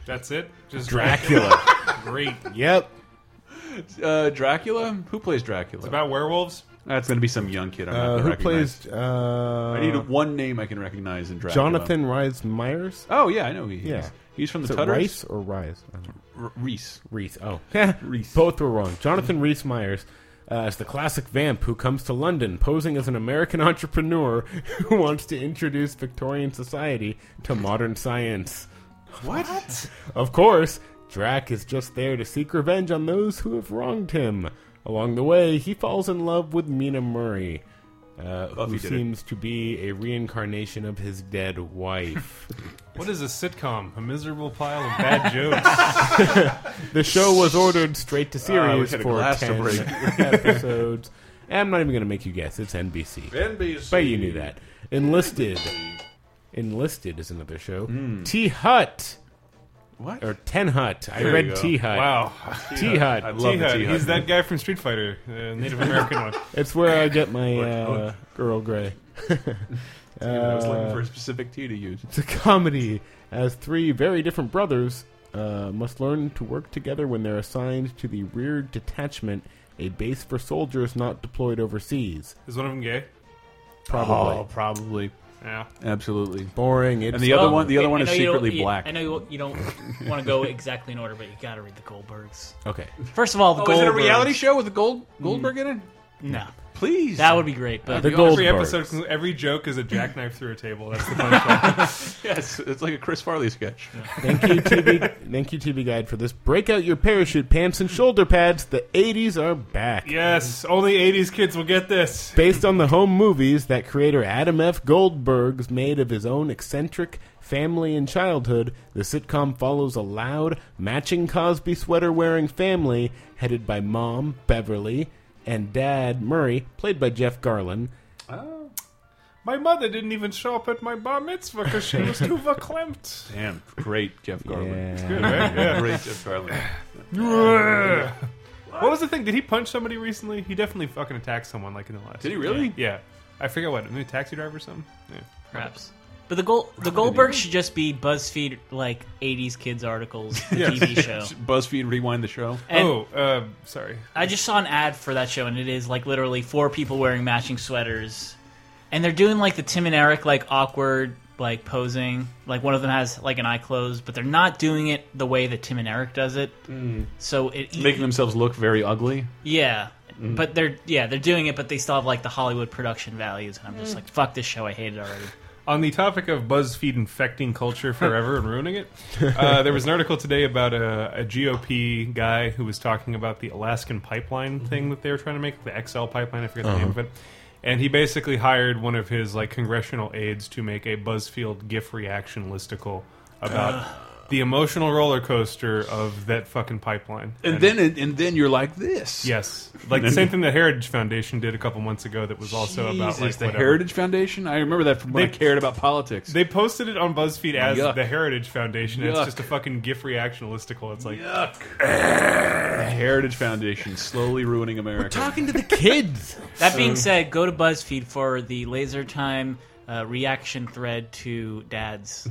[SPEAKER 11] That's it. Just
[SPEAKER 9] Dracula.
[SPEAKER 11] Great.
[SPEAKER 9] Yep.
[SPEAKER 8] Uh, Dracula? Who plays Dracula? It's
[SPEAKER 11] about werewolves?
[SPEAKER 8] That's going to be some young kid I'm not
[SPEAKER 9] Uh,
[SPEAKER 8] gonna
[SPEAKER 9] who
[SPEAKER 8] recognize.
[SPEAKER 9] plays, uh,
[SPEAKER 8] I need one name I can recognize in Dracula.
[SPEAKER 9] Jonathan Rhys Myers.
[SPEAKER 8] Oh, yeah, I know who he is.
[SPEAKER 9] Yeah.
[SPEAKER 8] He's from
[SPEAKER 9] Is
[SPEAKER 8] the
[SPEAKER 9] it
[SPEAKER 8] Tutters?
[SPEAKER 9] Rice or Rise?
[SPEAKER 8] Reese.
[SPEAKER 9] Reese. Oh, Reese. Both were wrong. Jonathan Reese Myers uh, is the classic vamp who comes to London posing as an American entrepreneur who wants to introduce Victorian society to modern science.
[SPEAKER 8] What?
[SPEAKER 9] Of course, Drac is just there to seek revenge on those who have wronged him. Along the way, he falls in love with Mina Murray, uh,
[SPEAKER 11] Buffy
[SPEAKER 9] who
[SPEAKER 11] did it.
[SPEAKER 9] seems to be a reincarnation of his dead wife.
[SPEAKER 11] What is a sitcom? A miserable pile of bad jokes.
[SPEAKER 9] the show was ordered straight to
[SPEAKER 11] Ah, we
[SPEAKER 9] series
[SPEAKER 11] had a
[SPEAKER 9] for
[SPEAKER 11] glass to
[SPEAKER 9] 10
[SPEAKER 11] break.
[SPEAKER 9] episodes. And I'm not even going to make you guess. It's NBC.
[SPEAKER 8] NBC.
[SPEAKER 9] But you knew that. Enlisted. Enlisted is another show.
[SPEAKER 11] Hmm.
[SPEAKER 9] T Hut.
[SPEAKER 8] What?
[SPEAKER 9] Or Ten Hut. I
[SPEAKER 11] There you
[SPEAKER 9] read
[SPEAKER 11] go.
[SPEAKER 9] T Hut.
[SPEAKER 11] Wow.
[SPEAKER 9] T Hut.
[SPEAKER 11] T-Hut. He's Oh. that guy from Street Fighter, the Native American one.
[SPEAKER 9] It's where I get my
[SPEAKER 11] Look,
[SPEAKER 9] uh,
[SPEAKER 11] look.
[SPEAKER 9] Girl Grey.
[SPEAKER 8] I was looking
[SPEAKER 9] Uh, Oh,
[SPEAKER 8] for a specific tea to use.
[SPEAKER 9] It's a comedy as three very different brothers uh, must learn to work together when they're assigned to the Rear Detachment, a base for soldiers not deployed overseas.
[SPEAKER 11] Is one of them gay?
[SPEAKER 9] Probably.
[SPEAKER 8] Oh, probably.
[SPEAKER 11] Yeah.
[SPEAKER 8] Absolutely.
[SPEAKER 9] Boring.
[SPEAKER 8] And
[SPEAKER 9] It's
[SPEAKER 8] the other
[SPEAKER 9] dumb.
[SPEAKER 8] one, the other
[SPEAKER 9] I-
[SPEAKER 8] one
[SPEAKER 9] I
[SPEAKER 8] is
[SPEAKER 9] know you don't-
[SPEAKER 8] secretly
[SPEAKER 9] you-
[SPEAKER 8] black.
[SPEAKER 10] I know you, you don't want to go exactly in order, but you got to read the Goldbergs.
[SPEAKER 9] Okay.
[SPEAKER 10] First of all, the
[SPEAKER 8] Oh, is it a
[SPEAKER 10] Goldbergs-
[SPEAKER 8] reality show with the Gold Goldberg in it?
[SPEAKER 10] No.
[SPEAKER 8] Please.
[SPEAKER 10] That would be great. But
[SPEAKER 11] You know, every episode, every joke is a jackknife through a table. That's the punchline.
[SPEAKER 8] yes, it's like a Chris Farley sketch.
[SPEAKER 9] Thank you, TV. thank you, TV Guide, for this. Break out your parachute pants and shoulder pads. The '80s are back.
[SPEAKER 11] Yes, only 80s kids will get this.
[SPEAKER 9] Based on the home movies that creator Adam F. Goldberg's made of his own eccentric family and childhood, the sitcom follows a loud, matching Cosby sweater wearing family headed by mom, Beverly, and dad, Murray, played by Jeff Garland.
[SPEAKER 11] My mother didn't even show up at my bar mitzvah because she was too verklempt.
[SPEAKER 8] Damn, great Jeff Garland.
[SPEAKER 11] It's good, right? Yeah.
[SPEAKER 8] great Jeff Garland.
[SPEAKER 11] Yeah. What was the thing? Did he punch somebody recently? He definitely fucking attacked someone like in the last.
[SPEAKER 8] Did he really?
[SPEAKER 11] Yeah. Yeah. I forget what. Maybe a taxi driver or something. Yeah.
[SPEAKER 10] Perhaps. But the gold the Goldberg should just be BuzzFeed like '80s kids articles, the
[SPEAKER 8] Yes.
[SPEAKER 10] TV show.
[SPEAKER 8] BuzzFeed rewind the show.
[SPEAKER 10] And-
[SPEAKER 11] oh, uh, sorry.
[SPEAKER 10] I just saw an ad for that show, and it is like literally four people wearing matching sweaters, and they're doing like the Tim and Eric like awkward like posing. Like one of them has like an eye closed, but they're not doing it the way that Tim and Eric does it. So it
[SPEAKER 8] making themselves look very ugly.
[SPEAKER 10] yeah.
[SPEAKER 8] Mm.
[SPEAKER 10] But they're yeah they're doing it, but they still have like the Hollywood production values, and I'm just
[SPEAKER 11] Mm.
[SPEAKER 10] like fuck this show, I hate it already.
[SPEAKER 11] On the topic of BuzzFeed infecting culture forever and ruining it, uh, there was an article today about a, a GOP guy who was talking about the Alaskan
[SPEAKER 8] Mm-hmm.
[SPEAKER 11] pipeline thing that they were trying to make, the XL pipeline. I forget the name of
[SPEAKER 9] Uh-huh.
[SPEAKER 11] it. And he basically hired one of his like congressional aides to make a BuzzFeed GIF reaction listicle about
[SPEAKER 8] Ugh.
[SPEAKER 11] the emotional roller coaster of that fucking pipeline.
[SPEAKER 8] And, then and, and then you're like this.
[SPEAKER 11] Yes, like the same thing the Heritage Foundation did a couple months ago. That was also about
[SPEAKER 8] Jesus,
[SPEAKER 11] like
[SPEAKER 8] the
[SPEAKER 11] whatever.
[SPEAKER 8] Heritage Foundation. I remember that from when
[SPEAKER 11] They-
[SPEAKER 8] I cared about politics.
[SPEAKER 11] They posted it on BuzzFeed as
[SPEAKER 8] Yuck.
[SPEAKER 11] the Heritage Foundation. and
[SPEAKER 8] Yuck.
[SPEAKER 11] It's just a fucking GIF reaction listicle. It's like
[SPEAKER 8] The Heritage Foundation slowly ruining America. We're
[SPEAKER 9] talking to the kids.
[SPEAKER 10] That being said, go to BuzzFeed for the Laser Time uh, reaction thread to dads.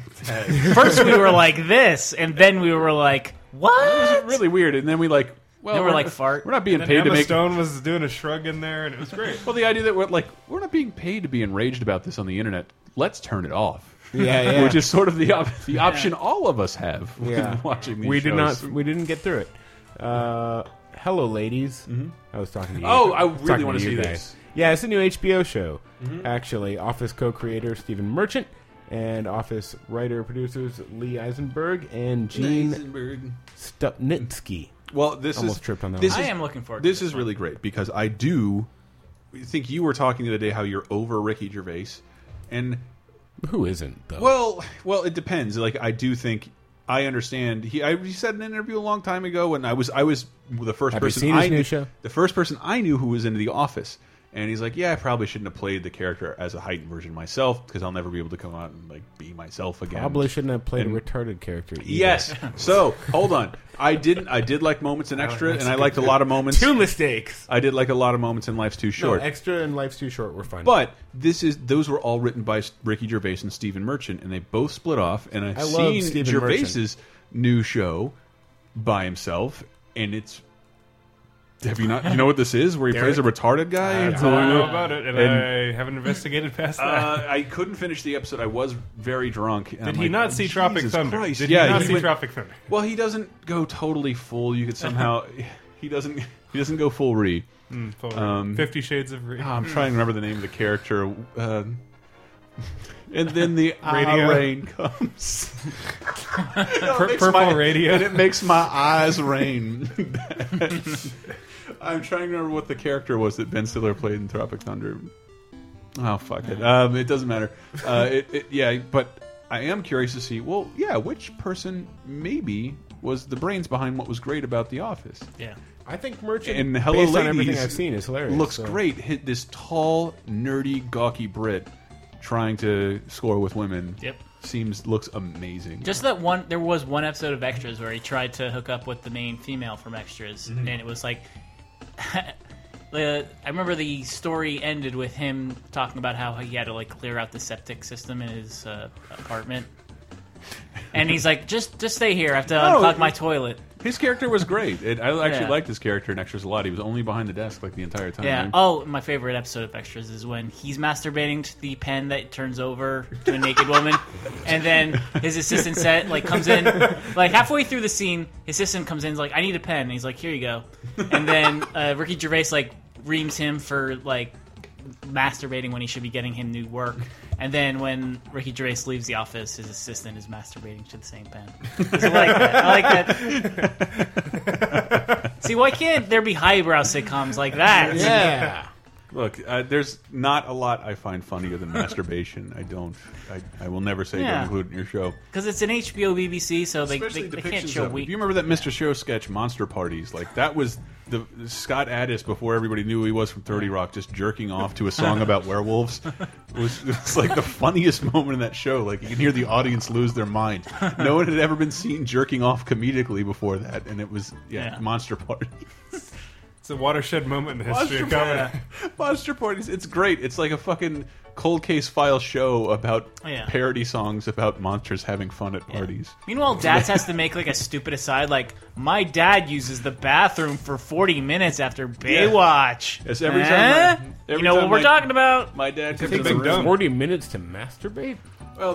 [SPEAKER 10] First, we were like this, and then we were like, what?
[SPEAKER 8] It was really weird. And then we like, well,
[SPEAKER 10] They were like, fart.
[SPEAKER 8] We're not being
[SPEAKER 11] And then
[SPEAKER 8] paid to
[SPEAKER 11] Emma
[SPEAKER 8] make.
[SPEAKER 11] Stone was doing a shrug in there, and it was great.
[SPEAKER 8] Well, the idea that we're like, we're not being paid to be enraged about this on the internet. Let's turn it off.
[SPEAKER 9] Yeah, yeah.
[SPEAKER 8] Which is sort of the op the option all of us have when watching these
[SPEAKER 9] we did
[SPEAKER 8] shows.
[SPEAKER 9] not. We didn't get through it. Uh, Hello, ladies. I was talking to you.
[SPEAKER 8] Mm-hmm. Oh, I
[SPEAKER 9] was
[SPEAKER 8] really
[SPEAKER 9] talking
[SPEAKER 8] wanna
[SPEAKER 9] you
[SPEAKER 8] see
[SPEAKER 9] guys.
[SPEAKER 8] this.
[SPEAKER 9] Yeah, it's a new HBO show,
[SPEAKER 8] Mhm.
[SPEAKER 9] actually. Office co-creator Stephen Merchant and Office writer producers Lee Eisenberg and Gene
[SPEAKER 8] Eisenberg.
[SPEAKER 9] Stupnitsky.
[SPEAKER 8] Well, this
[SPEAKER 9] almost
[SPEAKER 8] is,
[SPEAKER 9] tripped on that.
[SPEAKER 8] This
[SPEAKER 9] one.
[SPEAKER 8] is- This is really great because I do think you were talking the other day how you're over Ricky Gervais, and
[SPEAKER 9] who isn't though?
[SPEAKER 8] Well, well, it depends. Like I do think I understand. He I he said in an interview a long time ago, and I was I was the first
[SPEAKER 9] Have you
[SPEAKER 8] person
[SPEAKER 9] seen his
[SPEAKER 8] I
[SPEAKER 9] new
[SPEAKER 8] knew,
[SPEAKER 9] show?
[SPEAKER 8] the first person I knew who was into The Office. And he's like, "Yeah, I probably shouldn't have played the character as a heightened version myself because I'll never be able to come out and like be myself again."
[SPEAKER 9] Probably shouldn't have played
[SPEAKER 8] And-
[SPEAKER 9] a retarded character. either.
[SPEAKER 8] Yes. So hold on. I didn't. I did like moments in extra, and I liked a lot of moments.
[SPEAKER 9] Two mistakes.
[SPEAKER 8] I did like a lot of moments in Life's Too Short.
[SPEAKER 9] No, extra and life's too short. We're fine.
[SPEAKER 8] but this is those were all written by Ricky Gervais and Stephen Merchant, and they both split off. And I've
[SPEAKER 9] I love
[SPEAKER 8] seen
[SPEAKER 9] Stephen
[SPEAKER 8] Gervais's new show by himself, and it's. Have you not? You know what this is? Where he plays a
[SPEAKER 11] Derek?
[SPEAKER 8] retarded guy.
[SPEAKER 11] That's
[SPEAKER 8] who-
[SPEAKER 11] all I know about it, and, I haven't investigated past that.
[SPEAKER 8] uh, I couldn't finish the episode. I was very drunk. And
[SPEAKER 11] Did
[SPEAKER 8] I'm
[SPEAKER 11] he
[SPEAKER 8] like,
[SPEAKER 11] not see Tropic
[SPEAKER 8] Jesus
[SPEAKER 11] Thunder?
[SPEAKER 8] Christ.
[SPEAKER 11] Did he
[SPEAKER 8] yeah,
[SPEAKER 11] not see
[SPEAKER 8] went-
[SPEAKER 11] Tropic Thunder?
[SPEAKER 8] Well, he doesn't go totally full. You could somehow he doesn't he doesn't go full re.
[SPEAKER 11] Mm, full Ree. Fifty Shades of Ree.
[SPEAKER 8] Ah, I'm trying to remember the name of the character. Uh, and then the
[SPEAKER 11] Radio.
[SPEAKER 8] ah, rain comes. No, it
[SPEAKER 11] Pur-
[SPEAKER 8] makes
[SPEAKER 11] purple
[SPEAKER 8] my-
[SPEAKER 11] radio.
[SPEAKER 8] and it makes my eyes rain. I'm trying to remember what the character was that Ben Stiller played in Tropic Thunder. Oh fuck it. Um, it doesn't matter. Uh, it, it, yeah, but I am curious to see. Well, yeah, which person maybe was the brains behind what was great about The Office?
[SPEAKER 9] yeah, I think Merchant
[SPEAKER 8] And Hello
[SPEAKER 9] based on
[SPEAKER 8] Ladies,
[SPEAKER 9] everything I've seen is hilarious.
[SPEAKER 8] Looks
[SPEAKER 9] so.
[SPEAKER 8] great. Hit this tall, nerdy, gawky Brit trying to score with women.
[SPEAKER 10] Yep.
[SPEAKER 8] Seems looks amazing.
[SPEAKER 10] Just that one. There was one episode of Extras where he tried to hook up with the main female from Extras,
[SPEAKER 8] Mhm.
[SPEAKER 10] and it was like, the I remember the story ended with him talking about how he had to like clear out the septic system in his uh, apartment, and he's like, just just stay here. I have to
[SPEAKER 8] No,
[SPEAKER 10] unplug my
[SPEAKER 8] it-
[SPEAKER 10] toilet.
[SPEAKER 8] His character was great. It, I actually
[SPEAKER 10] Yeah.
[SPEAKER 8] liked his character in Extras a lot. He was only behind the desk like the entire time.
[SPEAKER 10] Yeah. Oh, my favorite episode of Extras is when he's masturbating to the pen that turns over to a naked woman, and then his assistant set like comes in like halfway through the scene. His assistant comes in, is like, "I need a pen," and he's like, "Here you go," and then uh, Ricky Gervais like reams him for like masturbating when he should be getting him new work. And then when Ricky Gervais leaves the office, his assistant is masturbating to the same pen. I like that. I like that. See, why can't there be highbrow sitcoms like that?
[SPEAKER 8] Look, uh, there's not a lot I find funnier than masturbation. I don't. I, I will never say to
[SPEAKER 10] Yeah.
[SPEAKER 8] include in your show.
[SPEAKER 10] Because it's an HBO BBC, so they, they, they can't
[SPEAKER 8] depictions
[SPEAKER 10] show
[SPEAKER 8] of it.
[SPEAKER 10] weak.
[SPEAKER 8] You remember that Mr. Show sketch, Monster Parties? Like that was the Scott Addis before everybody knew who he was from Thirty Rock, just jerking off to a song about werewolves. It was, it was like the funniest moment in that show. Like you can hear the audience lose their mind. No one had ever been seen jerking off comedically before that, and it was yeah,
[SPEAKER 11] Yeah.
[SPEAKER 8] Monster Party.
[SPEAKER 11] It's a watershed moment in the history
[SPEAKER 8] Monster,
[SPEAKER 11] of comedy.
[SPEAKER 8] Party. Monster Parties. It's great. It's like a fucking cold case file show about
[SPEAKER 10] Oh, yeah.
[SPEAKER 8] parody songs about monsters having fun at parties.
[SPEAKER 10] Meanwhile, Dad has to make like a stupid aside, like my dad uses the bathroom for forty minutes after Baywatch.
[SPEAKER 8] Yes, every time
[SPEAKER 10] Eh?
[SPEAKER 8] my- every
[SPEAKER 10] you know
[SPEAKER 8] time
[SPEAKER 10] what we're
[SPEAKER 8] my-
[SPEAKER 10] talking about?
[SPEAKER 8] My dad
[SPEAKER 9] It
[SPEAKER 8] comes in
[SPEAKER 9] takes
[SPEAKER 8] the room.
[SPEAKER 9] forty minutes to masturbate.
[SPEAKER 8] Well,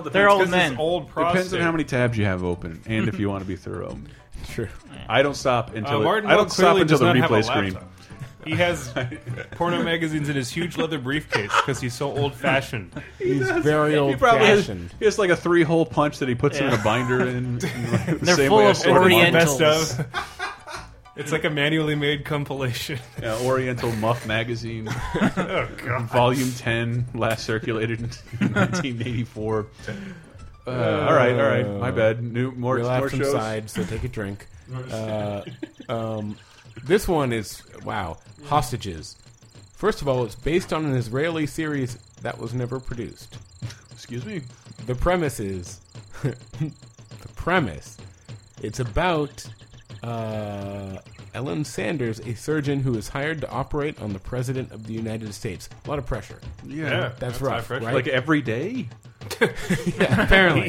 [SPEAKER 10] They're depends, old 'cause men. it's
[SPEAKER 11] old
[SPEAKER 8] Depends on
[SPEAKER 11] prostate.
[SPEAKER 8] how many tabs you have open and if you want to be thorough.
[SPEAKER 9] True.
[SPEAKER 8] I don't stop
[SPEAKER 11] Uh,
[SPEAKER 8] until it-
[SPEAKER 11] Martin
[SPEAKER 8] I don't
[SPEAKER 11] Will
[SPEAKER 8] stop
[SPEAKER 11] clearly
[SPEAKER 8] until
[SPEAKER 11] does
[SPEAKER 8] the
[SPEAKER 11] not have a
[SPEAKER 8] replay screen.
[SPEAKER 11] laptop. He has porno magazines in his huge leather briefcase because he's so old fashioned.
[SPEAKER 9] He's very
[SPEAKER 8] He probably has, he has like a three-hole punch that he puts in
[SPEAKER 11] Yeah.
[SPEAKER 8] a binder in. in the
[SPEAKER 11] They're
[SPEAKER 8] same
[SPEAKER 11] full
[SPEAKER 8] way I
[SPEAKER 11] of
[SPEAKER 8] sort
[SPEAKER 11] Orientals.
[SPEAKER 8] Best of.
[SPEAKER 11] It's like a manually made compilation.
[SPEAKER 8] Yeah, Oriental Muff magazine,
[SPEAKER 11] Oh,
[SPEAKER 8] volume ten, last circulated in 1984. Uh, all right, all right, my bad. New more
[SPEAKER 9] We'll Oh. have
[SPEAKER 8] more
[SPEAKER 9] Uh, some
[SPEAKER 8] shows.
[SPEAKER 9] sides, so take a drink. Uh, um, this one is wow. Hostages. First of all, it's based on an Israeli series that was never produced.
[SPEAKER 8] Excuse me.
[SPEAKER 9] The premise is the premise. It's about uh, Ellen Sanders, a surgeon who is hired to operate on the president of the United States. A lot of pressure.
[SPEAKER 8] Yeah,
[SPEAKER 9] that's, rough. Right?
[SPEAKER 8] Like every day.
[SPEAKER 9] apparently.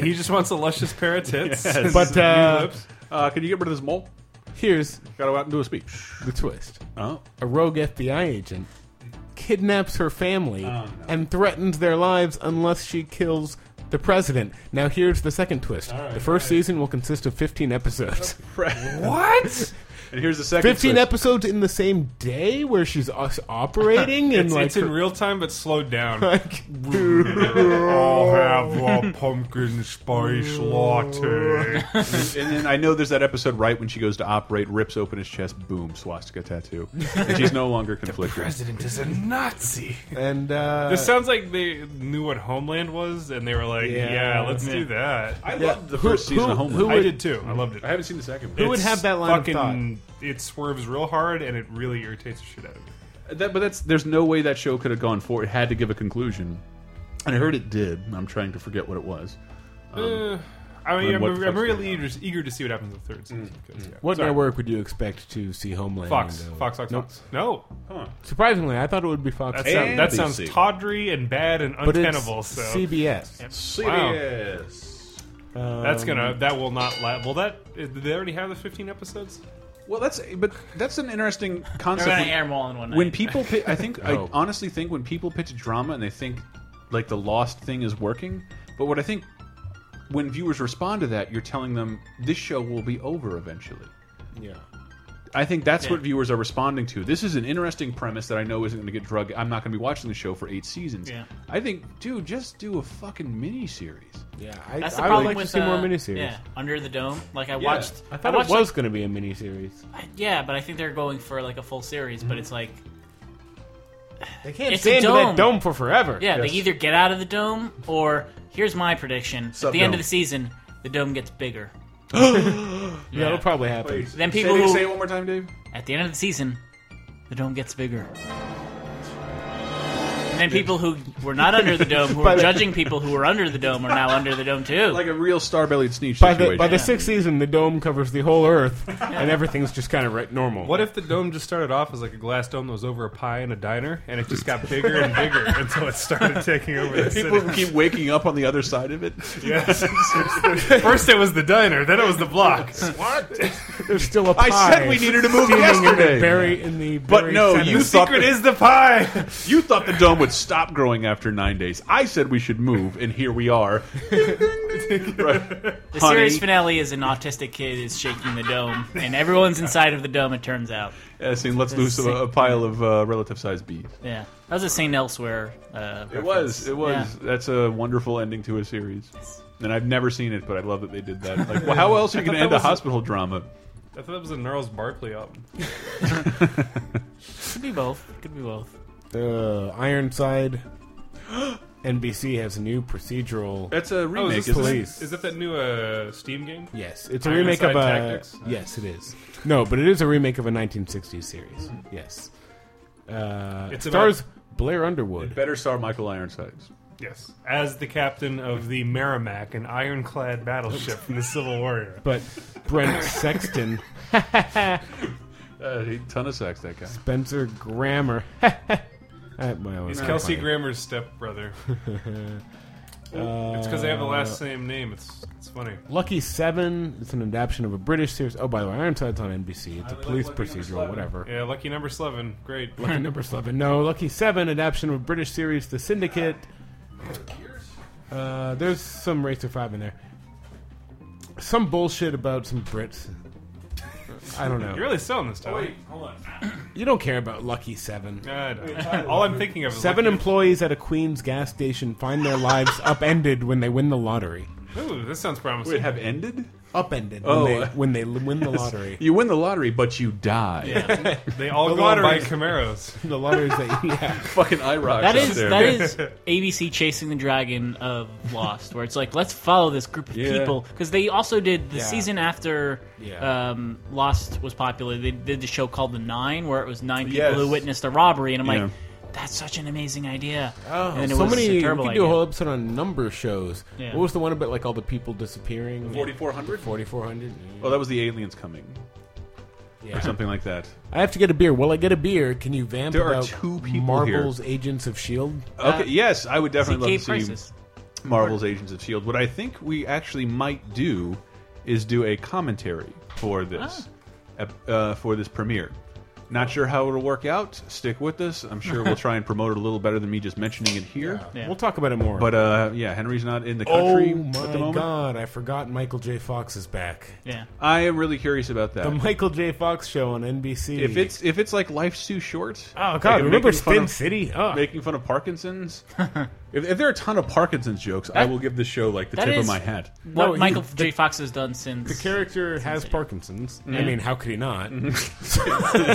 [SPEAKER 11] He, he just wants a luscious pair of tits.
[SPEAKER 8] Yes.
[SPEAKER 9] But, uh,
[SPEAKER 8] Uh, can you get rid of this mole?
[SPEAKER 9] Here's
[SPEAKER 8] Got to go out and do a speech.
[SPEAKER 9] the twist.
[SPEAKER 8] Oh.
[SPEAKER 9] A rogue FBI agent kidnaps her family
[SPEAKER 11] Oh,
[SPEAKER 9] and threatens their lives unless she kills the president. Now here's the second twist. the first season will consist of 15 episodes.
[SPEAKER 8] Pre-
[SPEAKER 11] what?
[SPEAKER 8] And here's the second.
[SPEAKER 9] Fifteen
[SPEAKER 8] switch.
[SPEAKER 9] episodes in the same day where she's us operating and
[SPEAKER 11] it's,
[SPEAKER 9] like
[SPEAKER 11] it's in real time but slowed down.
[SPEAKER 9] I'll
[SPEAKER 11] have a pumpkin spice latte.
[SPEAKER 8] and then I know there's that episode right when she goes to operate, rips open his chest, boom, swastika tattoo, and she's no longer conflicted.
[SPEAKER 11] President is a Nazi.
[SPEAKER 9] And uh,
[SPEAKER 11] this sounds like they knew what Homeland was, and they were like, "Yeah,
[SPEAKER 9] Yeah.
[SPEAKER 11] let's
[SPEAKER 9] Yeah.
[SPEAKER 11] do that."
[SPEAKER 8] I loved the first season of Homeland.
[SPEAKER 11] I
[SPEAKER 8] would-
[SPEAKER 11] did too. I loved it.
[SPEAKER 8] I haven't seen the second. one.
[SPEAKER 9] Who would
[SPEAKER 11] It's
[SPEAKER 9] have that line of
[SPEAKER 11] fucking- It swerves real hard, and it really irritates the shit out of me.
[SPEAKER 8] That, but that's there's no way that show could have gone forward. It had to give a conclusion, and I heard it did. I'm trying to forget what it was.
[SPEAKER 11] Uh, I mean,
[SPEAKER 8] and
[SPEAKER 11] I'm,
[SPEAKER 8] what
[SPEAKER 11] I'm
[SPEAKER 8] the fuck's Mm.
[SPEAKER 11] really eager, eager to see what happens in the third season. because, yeah.
[SPEAKER 9] What
[SPEAKER 11] Sorry.
[SPEAKER 9] network would you expect to see Homeland?
[SPEAKER 11] Fox,
[SPEAKER 9] on, though?
[SPEAKER 11] Fox, Fox,
[SPEAKER 9] Nope.
[SPEAKER 11] Fox. No,
[SPEAKER 9] Surprisingly, I thought it would be Fox.
[SPEAKER 11] that, sound, that sounds tawdry and bad and
[SPEAKER 9] But it's
[SPEAKER 11] untenable. so
[SPEAKER 9] CBS.
[SPEAKER 11] Wow.
[SPEAKER 9] Um,
[SPEAKER 11] That's gonna. That will not. La- will that? Did they already have the 15 episodes?
[SPEAKER 8] Well, that's but that's an interesting
[SPEAKER 10] They're
[SPEAKER 8] concept.
[SPEAKER 10] gonna
[SPEAKER 8] when-
[SPEAKER 10] air them all in one night.
[SPEAKER 8] When people, pi I think, I
[SPEAKER 10] Oh.
[SPEAKER 8] honestly think when people pitch a drama and they think like the Lost thing is working, but what I think when viewers respond to that, you're telling them this show will be over eventually.
[SPEAKER 9] Yeah.
[SPEAKER 8] I think that's
[SPEAKER 9] Yeah.
[SPEAKER 8] what viewers are responding to. This is an interesting premise that I know isn't going to get drug. I'm not going to be watching the show for eight seasons.
[SPEAKER 10] Yeah.
[SPEAKER 8] I think, dude, just do a fucking miniseries.
[SPEAKER 9] Yeah,
[SPEAKER 10] That's the problem with
[SPEAKER 9] see
[SPEAKER 10] uh,
[SPEAKER 9] more miniseries.
[SPEAKER 10] Yeah, Under the Dome. Like I
[SPEAKER 9] Yeah.
[SPEAKER 10] watched.
[SPEAKER 9] I thought
[SPEAKER 10] watched,
[SPEAKER 9] it was going to be a miniseries.
[SPEAKER 10] like- yeah, but I think they're going for like a full series.
[SPEAKER 8] Mm-hmm.
[SPEAKER 10] But it's like
[SPEAKER 9] They can't
[SPEAKER 10] it's
[SPEAKER 9] stay
[SPEAKER 10] a
[SPEAKER 9] into
[SPEAKER 10] dome.
[SPEAKER 9] that dome for forever.
[SPEAKER 10] Yeah,
[SPEAKER 9] Yes.
[SPEAKER 10] they either get out of the dome or here's my prediction: at the end
[SPEAKER 9] Sub-dome.
[SPEAKER 10] of the season, the dome gets bigger.
[SPEAKER 9] yeah, it'll probably happen.
[SPEAKER 10] Then people
[SPEAKER 8] say,
[SPEAKER 10] who-
[SPEAKER 8] say it one more time, Dave.
[SPEAKER 10] At the end of the season, the dome gets bigger. And then people who were not under the dome, who
[SPEAKER 9] By
[SPEAKER 10] were
[SPEAKER 9] the-
[SPEAKER 10] judging people who were under the dome, are now under the dome too.
[SPEAKER 8] Like a real star-bellied sneeze
[SPEAKER 9] By the, by the
[SPEAKER 10] Yeah.
[SPEAKER 9] sixth season, the dome covers the whole Earth, and everything's just kind of right normal.
[SPEAKER 11] What if the dome just started off as like a glass dome that was over a pie in a diner, and it just got bigger and bigger until it started taking over the
[SPEAKER 8] People
[SPEAKER 11] city?
[SPEAKER 8] keep waking up on the other side of it.
[SPEAKER 11] Yes. First it was the diner, then it was the block.
[SPEAKER 8] What?
[SPEAKER 9] There's still a pie.
[SPEAKER 8] I said we needed to move
[SPEAKER 9] steaming In
[SPEAKER 8] yesterday.
[SPEAKER 9] the berry in the
[SPEAKER 8] But
[SPEAKER 9] berry
[SPEAKER 8] no,
[SPEAKER 9] center.
[SPEAKER 8] you thought that- you thought the dome would stop growing after nine days. I said we should move, and here we are.
[SPEAKER 10] The
[SPEAKER 8] Honey.
[SPEAKER 10] series finale is an autistic kid is shaking the dome, and everyone's inside of the dome. It turns out.
[SPEAKER 8] Yeah, Uh, see, let's
[SPEAKER 10] This
[SPEAKER 8] lose
[SPEAKER 10] is
[SPEAKER 8] a, a pile of uh, relative size bees.
[SPEAKER 10] Yeah, that was a Saint Elsewhere. Uh,
[SPEAKER 8] It
[SPEAKER 10] reference.
[SPEAKER 8] was. It was. That's a wonderful ending to a series. And I've never seen it, but I love that they did that. Like, well, how else are you going
[SPEAKER 11] I
[SPEAKER 8] to end
[SPEAKER 11] thought
[SPEAKER 8] a
[SPEAKER 11] that was-
[SPEAKER 8] hospital drama?
[SPEAKER 11] I thought that was a Gnarls Barkley album.
[SPEAKER 10] Yeah. Could be both. Could be both.
[SPEAKER 9] Uh, Ironside. NBC has a new procedural.
[SPEAKER 8] That's a remake,
[SPEAKER 11] Oh, is,
[SPEAKER 9] Police.
[SPEAKER 11] this, is, that, is that that new uh, Steam game?
[SPEAKER 9] Yes, it's a
[SPEAKER 11] Ironside
[SPEAKER 9] remake of a.
[SPEAKER 11] Tactics?
[SPEAKER 9] Yes, it is. No, but it is a remake of a 1960s series. Yes. Uh,
[SPEAKER 11] It's
[SPEAKER 9] it stars
[SPEAKER 11] about-
[SPEAKER 9] Blair Underwood.
[SPEAKER 8] Better star Michael Ironsides.
[SPEAKER 11] Yes, as the captain of the Merrimack, an ironclad battleship from the Civil War era.
[SPEAKER 9] But Brent Sexton,
[SPEAKER 8] Uh, he ton of sex, that guy.
[SPEAKER 9] Spencer Grammer. At my own
[SPEAKER 11] He's
[SPEAKER 9] funny.
[SPEAKER 11] Kelsey Grammer's stepbrother. it's because they have the last same name. It's it's funny.
[SPEAKER 9] Lucky Seven. It's an adaptation of a British series. Oh, by the way, Ironside's on NBC. It's a police procedural, whatever.
[SPEAKER 11] Yeah, lucky number eleven. Great.
[SPEAKER 9] Lucky number seven. No, Lucky Seven, adaptation of a British series, The Syndicate. Uh, there's some Racer Five in there. Some bullshit about some Brits. I don't know.
[SPEAKER 11] You're really selling this, Tyler. wait, hold on.
[SPEAKER 9] You don't care about Lucky Seven.
[SPEAKER 11] I don't. All I'm thinking of is
[SPEAKER 9] Seven
[SPEAKER 11] Lucky-
[SPEAKER 9] employees at a Queens gas station find their lives upended when they win the lottery.
[SPEAKER 11] Ooh, this sounds promising.
[SPEAKER 8] Wait, have ended?
[SPEAKER 9] Upended
[SPEAKER 8] Oh.
[SPEAKER 9] when, they, when they l- win the lottery.
[SPEAKER 8] You win the lottery, but you die.
[SPEAKER 11] They all
[SPEAKER 9] The
[SPEAKER 11] go and buy
[SPEAKER 9] lotteries-
[SPEAKER 11] Camaros.
[SPEAKER 9] the lotteries that yeah.
[SPEAKER 8] Fucking IROC.
[SPEAKER 10] That is that is ABC chasing the dragon of Lost, where it's like let's follow this group of
[SPEAKER 8] Yeah.
[SPEAKER 10] people because they also did the
[SPEAKER 8] Yeah.
[SPEAKER 10] season after
[SPEAKER 8] Yeah.
[SPEAKER 10] um, Lost was popular. They did the show called The Nine, where it was nine people
[SPEAKER 9] Yes.
[SPEAKER 10] who witnessed a robbery, and I'm like,
[SPEAKER 9] Yeah.
[SPEAKER 10] that's such an amazing idea.
[SPEAKER 9] Oh,
[SPEAKER 10] and it
[SPEAKER 9] so
[SPEAKER 10] was
[SPEAKER 9] many.
[SPEAKER 10] a
[SPEAKER 9] You
[SPEAKER 10] terrible
[SPEAKER 9] could do a
[SPEAKER 10] idea.
[SPEAKER 9] whole episode on number shows.
[SPEAKER 10] Yeah.
[SPEAKER 9] What was the one about like all the people disappearing?
[SPEAKER 8] 4400?
[SPEAKER 9] 4400.
[SPEAKER 8] Oh, that was the aliens coming.
[SPEAKER 9] Yeah.
[SPEAKER 8] Or something like that.
[SPEAKER 9] I have to get a beer. Will I get a beer? Can you vamp
[SPEAKER 8] There are
[SPEAKER 9] about
[SPEAKER 8] two people
[SPEAKER 9] Marvel's Agents of Shield?
[SPEAKER 10] Uh,
[SPEAKER 8] Okay, yes, I would definitely love
[SPEAKER 10] CK
[SPEAKER 8] to see
[SPEAKER 10] Crisis.
[SPEAKER 8] Marvel's Agents of S.H.I.E.L.D. What I think we actually might
[SPEAKER 10] Ah.
[SPEAKER 8] do is do a commentary for this, ep- uh, for this premiere. Not sure how it'll work out. Stick with us. I'm sure we'll try and promote it a little better than me just mentioning it here.
[SPEAKER 9] Yeah. Yeah. We'll talk about it more.
[SPEAKER 8] But uh, yeah, Henry's not in the country
[SPEAKER 9] oh my
[SPEAKER 8] at the moment.
[SPEAKER 9] god! I forgot Michael J. Fox is back.
[SPEAKER 10] Yeah,
[SPEAKER 8] I am really curious about that.
[SPEAKER 9] the Michael J. Fox show on NBC.
[SPEAKER 8] if it's if it's like life's too short.
[SPEAKER 9] Oh, God,
[SPEAKER 8] like,
[SPEAKER 9] remember
[SPEAKER 8] making fun
[SPEAKER 9] Spin
[SPEAKER 8] of-
[SPEAKER 9] City? Ah,
[SPEAKER 8] Making fun of Parkinson's. if, if there are a ton of Parkinson's jokes, I
[SPEAKER 10] That-
[SPEAKER 8] will give this show like the
[SPEAKER 10] That
[SPEAKER 8] tip of
[SPEAKER 10] is
[SPEAKER 8] my hat.
[SPEAKER 10] What Michael J. Fox has done since
[SPEAKER 9] the character has Parkinson's. I
[SPEAKER 8] Mm-hmm.
[SPEAKER 9] mean, how could he not?
[SPEAKER 8] Wow,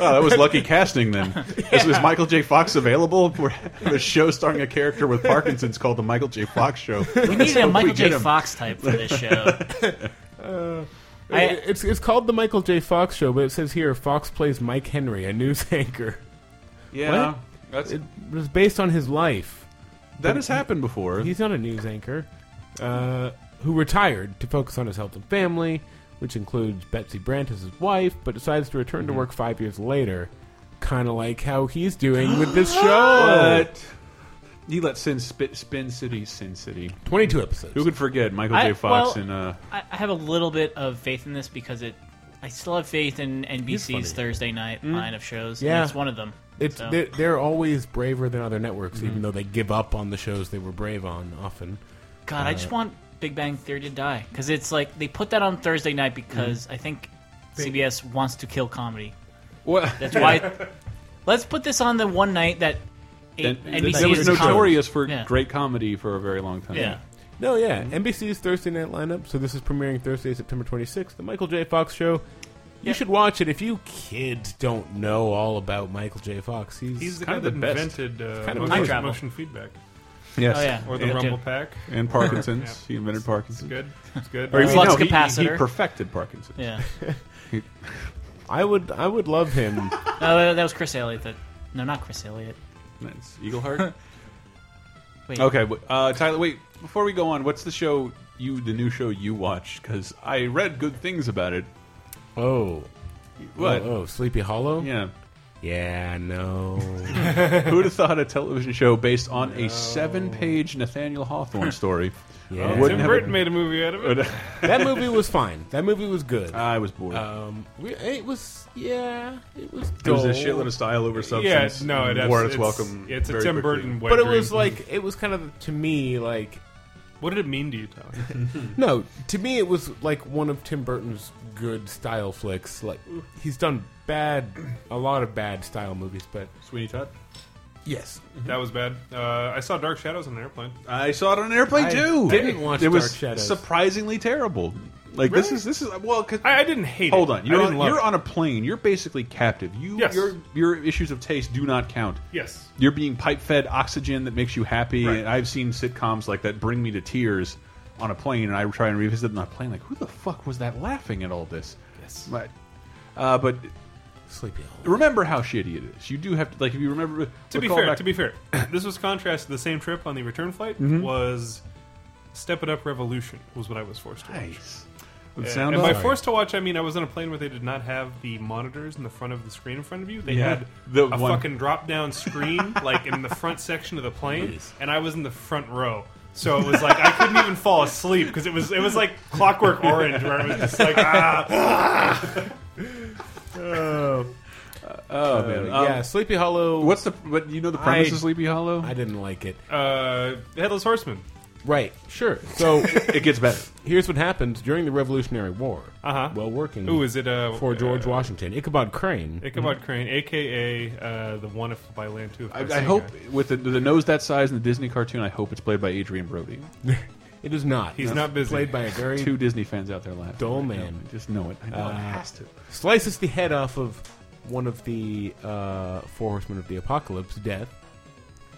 [SPEAKER 8] Oh, that was lucky casting then. Is, is Michael J. Fox available? We're having a show starring a character with Parkinson's called the Michael J. Fox Show.
[SPEAKER 10] We need a Michael J. Fox
[SPEAKER 9] type
[SPEAKER 10] for this show.
[SPEAKER 9] Uh,
[SPEAKER 10] I-
[SPEAKER 9] it's it's called the Michael J. Fox show, but it says here Fox plays Mike Henry, a news anchor.
[SPEAKER 8] Yeah,
[SPEAKER 9] What?
[SPEAKER 8] that's-
[SPEAKER 9] it was based on his life.
[SPEAKER 8] That
[SPEAKER 9] But
[SPEAKER 8] has
[SPEAKER 9] he-
[SPEAKER 8] happened before.
[SPEAKER 9] He's not a news anchor, uh, who retired to focus on his health and family, which includes Betsy Brandt as his wife, but decides to return to work five years later, kind of like how he's doing with this show.
[SPEAKER 8] What? He let Sin Spin, Spin City, Sin City.
[SPEAKER 9] 22 episodes.
[SPEAKER 8] Who could forget Michael
[SPEAKER 10] I-
[SPEAKER 8] J. Fox
[SPEAKER 10] well,
[SPEAKER 8] and uh,
[SPEAKER 10] I, I have a little bit of faith in this because it. I still have faith in NBC's Thursday night line of shows. and
[SPEAKER 9] Yeah,
[SPEAKER 10] it's one of them.
[SPEAKER 9] It's
[SPEAKER 10] So-
[SPEAKER 9] they're, they're always braver than other networks, even
[SPEAKER 10] Mhm.
[SPEAKER 9] though they give up on the shows they were brave on often.
[SPEAKER 10] God, I
[SPEAKER 8] Uh.
[SPEAKER 10] just want Big Bang Theory to die because it's like they put that on Thursday night because I think CBS wants to kill comedy.
[SPEAKER 8] What?
[SPEAKER 10] That's why. let's put this on the one night that
[SPEAKER 8] and,
[SPEAKER 10] NBC
[SPEAKER 8] that was
[SPEAKER 10] is
[SPEAKER 8] notorious
[SPEAKER 10] comedy.
[SPEAKER 8] for
[SPEAKER 10] Yeah.
[SPEAKER 8] great comedy for a very long time.
[SPEAKER 9] No, yeah. NBC's Thursday night lineup. So this is premiering Thursday, September 26th. The Michael J. Fox show. You should watch it if you kids don't know all about Michael J. Fox. He's,
[SPEAKER 11] He's the
[SPEAKER 9] kind
[SPEAKER 11] guy
[SPEAKER 9] of
[SPEAKER 11] that
[SPEAKER 9] the best.
[SPEAKER 11] invented uh,
[SPEAKER 9] He's kind of
[SPEAKER 11] motion,
[SPEAKER 9] amazing.
[SPEAKER 11] motion feedback.
[SPEAKER 8] Yes.
[SPEAKER 10] Oh,
[SPEAKER 11] Or the
[SPEAKER 8] And-
[SPEAKER 11] Rumble Pack.
[SPEAKER 8] And Parkinson's. He invented Parkinson's.
[SPEAKER 11] It's good. It's good. Uh,
[SPEAKER 8] Or he-
[SPEAKER 10] Flux
[SPEAKER 8] no, he- he- He,
[SPEAKER 10] capacitor.
[SPEAKER 8] perfected Parkinson's.
[SPEAKER 10] Yeah.
[SPEAKER 9] I would, I would love him.
[SPEAKER 10] No, that- that was Chris Elliott. That no, not Chris Elliott.
[SPEAKER 8] Nice. Eagle Heart.
[SPEAKER 10] Wait.
[SPEAKER 8] Okay, but, uh, Tyler. Wait, before we go on, what's the show you, the new show you watched? Because I read good things about it.
[SPEAKER 9] Oh,
[SPEAKER 8] What?
[SPEAKER 9] Oh, oh, Sleepy Hollow.
[SPEAKER 8] Yeah.
[SPEAKER 9] Yeah. No.
[SPEAKER 8] Who'd have thought a television show based on a seven-page Nathaniel Hawthorne story?
[SPEAKER 9] Yeah.
[SPEAKER 8] wouldn't
[SPEAKER 11] Tim
[SPEAKER 8] have-
[SPEAKER 11] Burton made a movie out of it.
[SPEAKER 9] that movie was fine. That movie was good.
[SPEAKER 8] I was bored.
[SPEAKER 11] Uh,
[SPEAKER 9] Um, we- it was yeah. It was.
[SPEAKER 8] It was a
[SPEAKER 9] dull.
[SPEAKER 8] shitload of style over
[SPEAKER 11] Yeah,
[SPEAKER 8] substance.
[SPEAKER 11] no, it,
[SPEAKER 8] and wore its, welcome.
[SPEAKER 11] It's a
[SPEAKER 8] very
[SPEAKER 11] Tim
[SPEAKER 8] quickly.
[SPEAKER 11] Burton. Wet
[SPEAKER 9] but it
[SPEAKER 11] dream.
[SPEAKER 9] was like it was kind of to me like
[SPEAKER 11] What did it mean to you, Tom?
[SPEAKER 9] no to me it was like one of Tim Burton's good style flicks. Like he's done bad, a lot of bad style movies, but
[SPEAKER 8] Sweeney Todd.
[SPEAKER 9] yes,
[SPEAKER 11] that was bad. Uh, I saw Dark Shadows on an airplane.
[SPEAKER 8] I saw it on an airplane
[SPEAKER 11] I
[SPEAKER 8] too.
[SPEAKER 9] didn't watch
[SPEAKER 8] it was
[SPEAKER 9] Dark Shadows.
[SPEAKER 8] surprisingly terrible. Like this
[SPEAKER 11] Really?
[SPEAKER 8] is this is well. 'cause-
[SPEAKER 11] I, I didn't hate
[SPEAKER 8] Hold
[SPEAKER 11] it.
[SPEAKER 8] on, you're,
[SPEAKER 11] I
[SPEAKER 8] on,
[SPEAKER 11] didn't love
[SPEAKER 8] you're
[SPEAKER 11] it.
[SPEAKER 8] on a plane. You're basically captive. You
[SPEAKER 11] Yes.
[SPEAKER 8] your your issues of taste do not count.
[SPEAKER 11] Yes.
[SPEAKER 8] you're being pipe fed oxygen that makes you happy.
[SPEAKER 11] Right.
[SPEAKER 8] And I've seen sitcoms like that bring me to tears on a plane, and I try and revisit my plane. Like, who the fuck was that laughing at all this?
[SPEAKER 11] Yes.
[SPEAKER 8] But, uh, but
[SPEAKER 9] Sleepy Hollow.
[SPEAKER 8] remember how shitty it is. You do have to like if you remember.
[SPEAKER 11] To be
[SPEAKER 8] recall
[SPEAKER 11] fair,
[SPEAKER 8] back-
[SPEAKER 11] to be fair, this was contrast to the same trip on the return flight
[SPEAKER 8] Mhm.
[SPEAKER 11] was Step It Up Revolution was what I was forced to
[SPEAKER 8] Nice.
[SPEAKER 11] watch.
[SPEAKER 8] With
[SPEAKER 11] And-
[SPEAKER 8] sound
[SPEAKER 11] and by
[SPEAKER 8] off?
[SPEAKER 11] forced to watch, I mean I was on a plane where they did not have the monitors in the front of the screen in front of you. They
[SPEAKER 8] Yeah.
[SPEAKER 11] had
[SPEAKER 8] The
[SPEAKER 11] a
[SPEAKER 8] one-
[SPEAKER 11] fucking drop down screen like in the front section of the plane, and I was in the front row. So it was like I couldn't even fall asleep because it was it was like Clockwork Orange where I was just like ah.
[SPEAKER 9] Oh,
[SPEAKER 8] Oh man, Um,
[SPEAKER 9] yeah, Sleepy Hollow.
[SPEAKER 8] What's the? But you know the premise
[SPEAKER 9] I-
[SPEAKER 8] of Sleepy Hollow.
[SPEAKER 9] I didn't like it.
[SPEAKER 11] uh, Headless Horseman.
[SPEAKER 9] Right, sure. So
[SPEAKER 8] it gets better.
[SPEAKER 9] Here's what happens during the Revolutionary War.
[SPEAKER 11] Uh-huh.
[SPEAKER 9] While working,
[SPEAKER 11] Who is it, uh,
[SPEAKER 9] for George Washington? Ichabod Crane. Mm-hmm.
[SPEAKER 11] Ichabod Crane, aka uh, the one if by land two. if
[SPEAKER 8] Mm-hmm. I,
[SPEAKER 11] by
[SPEAKER 8] I
[SPEAKER 11] sea
[SPEAKER 8] hope
[SPEAKER 11] guy.
[SPEAKER 8] with the, the nose that size in the Disney cartoon, I hope it's played by Adrian Brody.
[SPEAKER 9] It is not.
[SPEAKER 11] He's
[SPEAKER 9] It's
[SPEAKER 11] not busy.
[SPEAKER 9] Played by a very
[SPEAKER 8] Two Disney fans out there laughing.
[SPEAKER 9] dull
[SPEAKER 8] I know,
[SPEAKER 9] man.
[SPEAKER 8] I just know it. I know
[SPEAKER 9] Uh,
[SPEAKER 8] it has to.
[SPEAKER 9] Slices the head off of one of the uh, four horsemen of the apocalypse, Death.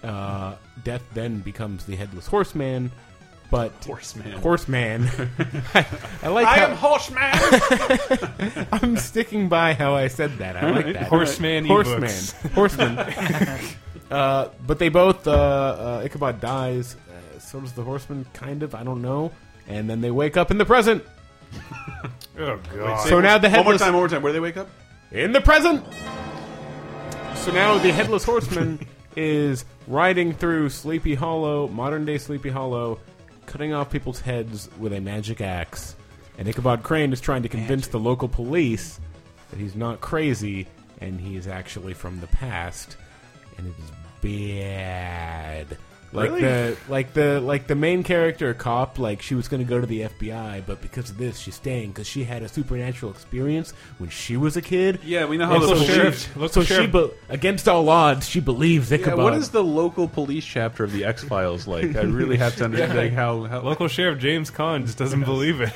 [SPEAKER 9] Uh, Death then becomes the headless horseman, but
[SPEAKER 8] Horseman.
[SPEAKER 9] Horseman. I, I like.
[SPEAKER 8] I
[SPEAKER 9] how-
[SPEAKER 8] am horseman.
[SPEAKER 9] I'm sticking by how I said that. I like
[SPEAKER 11] Alright.
[SPEAKER 9] that.
[SPEAKER 11] Horseman
[SPEAKER 9] Horseman.
[SPEAKER 11] ebooks.
[SPEAKER 9] Horseman. uh, but they both uh, uh, Ichabod dies. Uh, so does the horseman, kind of. I don't know. And then they wake up in the present.
[SPEAKER 11] Oh god!
[SPEAKER 9] So now the
[SPEAKER 8] One more
[SPEAKER 9] headless-
[SPEAKER 8] time, one more time. Where do they wake up?
[SPEAKER 9] in the present. So now the headless horseman is riding through Sleepy Hollow, modern day Sleepy Hollow, cutting off people's heads with a magic axe. And Ichabod Crane is trying to convince the local police that he's not crazy and he is actually from the past, and it is bad. Like
[SPEAKER 11] Really?
[SPEAKER 9] the like the like the main character cop like she was going to go to the FBI but because of this she's staying cuz she had a supernatural experience when she was a kid.
[SPEAKER 8] Yeah, we know how
[SPEAKER 9] And
[SPEAKER 8] local
[SPEAKER 9] so she-
[SPEAKER 8] sheriff- local
[SPEAKER 9] so she
[SPEAKER 8] sheriff-
[SPEAKER 9] be- against all odds she believes
[SPEAKER 8] Yeah,
[SPEAKER 9] Ichabod.
[SPEAKER 8] what is the local police chapter of the X Files like? I really have to understand
[SPEAKER 11] Yeah.
[SPEAKER 8] like, how, how
[SPEAKER 11] local sheriff James Conn just doesn't believe it.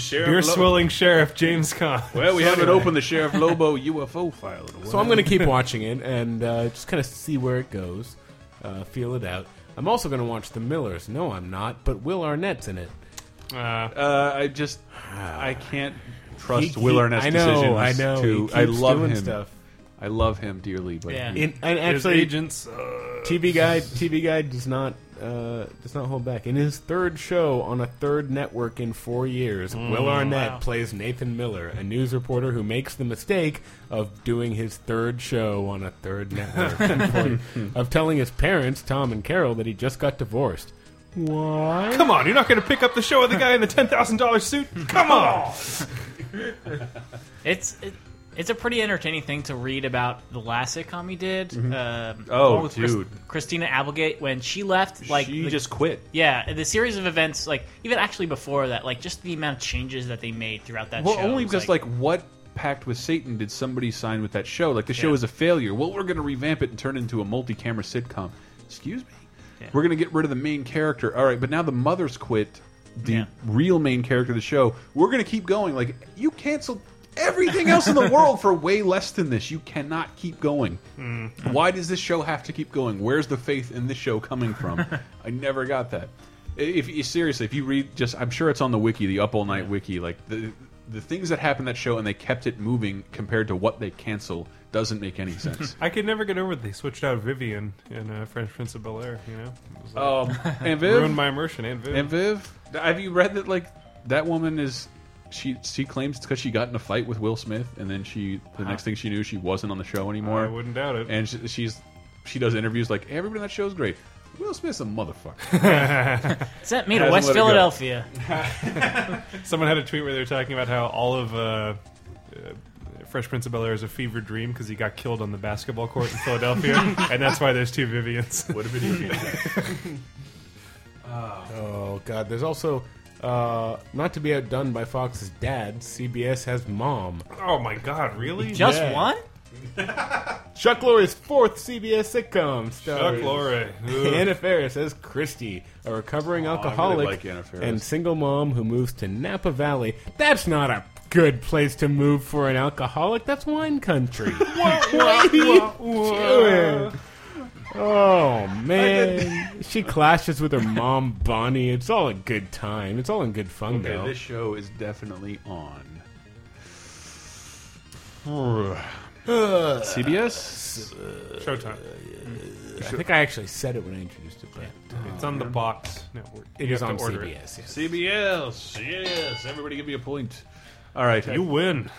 [SPEAKER 8] Sheriff
[SPEAKER 11] Beer
[SPEAKER 8] Lo-
[SPEAKER 11] swilling sheriff James Conn.
[SPEAKER 8] Well, we haven't
[SPEAKER 11] Anyway.
[SPEAKER 8] opened the Sheriff Lobo UFO file. in a
[SPEAKER 9] So
[SPEAKER 8] while.
[SPEAKER 9] I'm going to keep watching it and uh, just kind of see where it goes, uh, feel it out. I'm also going to watch The Millers. No, I'm not, but Will Arnett's in it.
[SPEAKER 11] Uh,
[SPEAKER 8] I just I can't trust
[SPEAKER 9] Ah. He- he-
[SPEAKER 8] Will Arnett's
[SPEAKER 9] I know,
[SPEAKER 8] decisions.
[SPEAKER 9] I know,
[SPEAKER 8] To,
[SPEAKER 9] he
[SPEAKER 8] I
[SPEAKER 9] keeps
[SPEAKER 8] love
[SPEAKER 9] doing
[SPEAKER 8] him.
[SPEAKER 9] stuff.
[SPEAKER 8] I love him dearly, but
[SPEAKER 9] Yeah.
[SPEAKER 8] he-
[SPEAKER 9] In- and actually,
[SPEAKER 11] uh,
[SPEAKER 9] TV Guide, TV Guide does not uh, does not hold back. In his third show on a third network in four years,
[SPEAKER 11] Mm,
[SPEAKER 9] Will Arnett
[SPEAKER 11] wow.
[SPEAKER 9] plays Nathan Miller, a news reporter who makes the mistake of doing his third show on a third network, in four- of telling his parents Tom and Carol that he just got divorced. Why?
[SPEAKER 11] Come on, you're not going to pick up the show with the guy in the ten thousand dollars suit. Come on.
[SPEAKER 10] It's it, it's a pretty entertaining thing to read about the last sitcom he did. Um,
[SPEAKER 8] Oh,
[SPEAKER 10] along with Chris-
[SPEAKER 8] dude.
[SPEAKER 10] Christina Applegate when she left, like
[SPEAKER 8] She
[SPEAKER 10] the-
[SPEAKER 8] just quit.
[SPEAKER 10] Yeah, and the series of events, like even actually before that, like just the amount of changes that they made throughout that.
[SPEAKER 8] well,
[SPEAKER 10] show,
[SPEAKER 8] only
[SPEAKER 10] it's
[SPEAKER 8] because like, what pact with Satan did somebody sign with that show? Like the show is a failure. Well, we're going to revamp it and turn it into a multi-camera sitcom. Excuse me. We're going to get rid of the main character. All right, but now the mother's quit. The real main character of the show. We're going to keep going. Like you canceled everything else in the world for way less than this. You cannot keep going.
[SPEAKER 10] Mm-hmm.
[SPEAKER 8] Why does this show have to keep going? Where's the faith in this show coming from? I never got that. If you- seriously, if you read, just I'm sure it's on the wiki, the Up All Night wiki. Like the the things that happened in that show and they kept it moving compared to what they cancel doesn't make any sense.
[SPEAKER 11] I could never get over that they switched out Vivian in uh, French Prince of Bel Air. You know, It was
[SPEAKER 8] um,
[SPEAKER 11] like-
[SPEAKER 8] and Viv
[SPEAKER 11] ruined my immersion. And Viv,
[SPEAKER 8] And Viv, have you read that? Like that woman is. She she claims it's because she got in a fight with Will Smith, and then she the
[SPEAKER 11] Wow.
[SPEAKER 8] next thing she knew she wasn't on the show anymore.
[SPEAKER 11] Uh-huh. I wouldn't doubt it.
[SPEAKER 8] And she, she's she does interviews like everybody on that show's great. Will Smith's a motherfucker.
[SPEAKER 10] Sent me to
[SPEAKER 8] Hasn't
[SPEAKER 10] West
[SPEAKER 8] let it go.
[SPEAKER 10] Philadelphia.
[SPEAKER 11] Someone had a tweet where they were talking about how all of uh, uh, Fresh Prince of Bel Air is a fevered dream because he got killed on the basketball court in Philadelphia, and that's why there's two Vivians.
[SPEAKER 8] What a
[SPEAKER 9] Oh God! There's also uh, not to be outdone by Fox's dad. CBS has Mom.
[SPEAKER 11] Oh my God! Really?
[SPEAKER 9] Just Yeah. one? Chuck Lorre's fourth CBS sitcom. Stars
[SPEAKER 11] Chuck Lorre. Ugh.
[SPEAKER 9] Anna Faris as Christy, a recovering
[SPEAKER 11] Oh, I really
[SPEAKER 9] alcoholic
[SPEAKER 11] like Anna Faris.
[SPEAKER 9] and single mom who moves to Napa Valley. That's not a good place to move for an alcoholic. That's wine country.
[SPEAKER 14] wah,
[SPEAKER 9] what are you
[SPEAKER 14] wah.
[SPEAKER 9] doing? Oh man, she clashes with her mom Bonnie. It's all a good time. It's all in good fun
[SPEAKER 8] Okay,
[SPEAKER 9] though.
[SPEAKER 8] this show is definitely on. uh, CBS?
[SPEAKER 11] Showtime.
[SPEAKER 9] I think I actually said it when I introduced it, but
[SPEAKER 11] It's on the Box Network.
[SPEAKER 9] It
[SPEAKER 11] You
[SPEAKER 9] is
[SPEAKER 11] have
[SPEAKER 9] on
[SPEAKER 11] to order
[SPEAKER 9] CBS.
[SPEAKER 11] it.
[SPEAKER 9] Yes.
[SPEAKER 8] CBS, yes. Everybody give me a point. All right.
[SPEAKER 11] You win.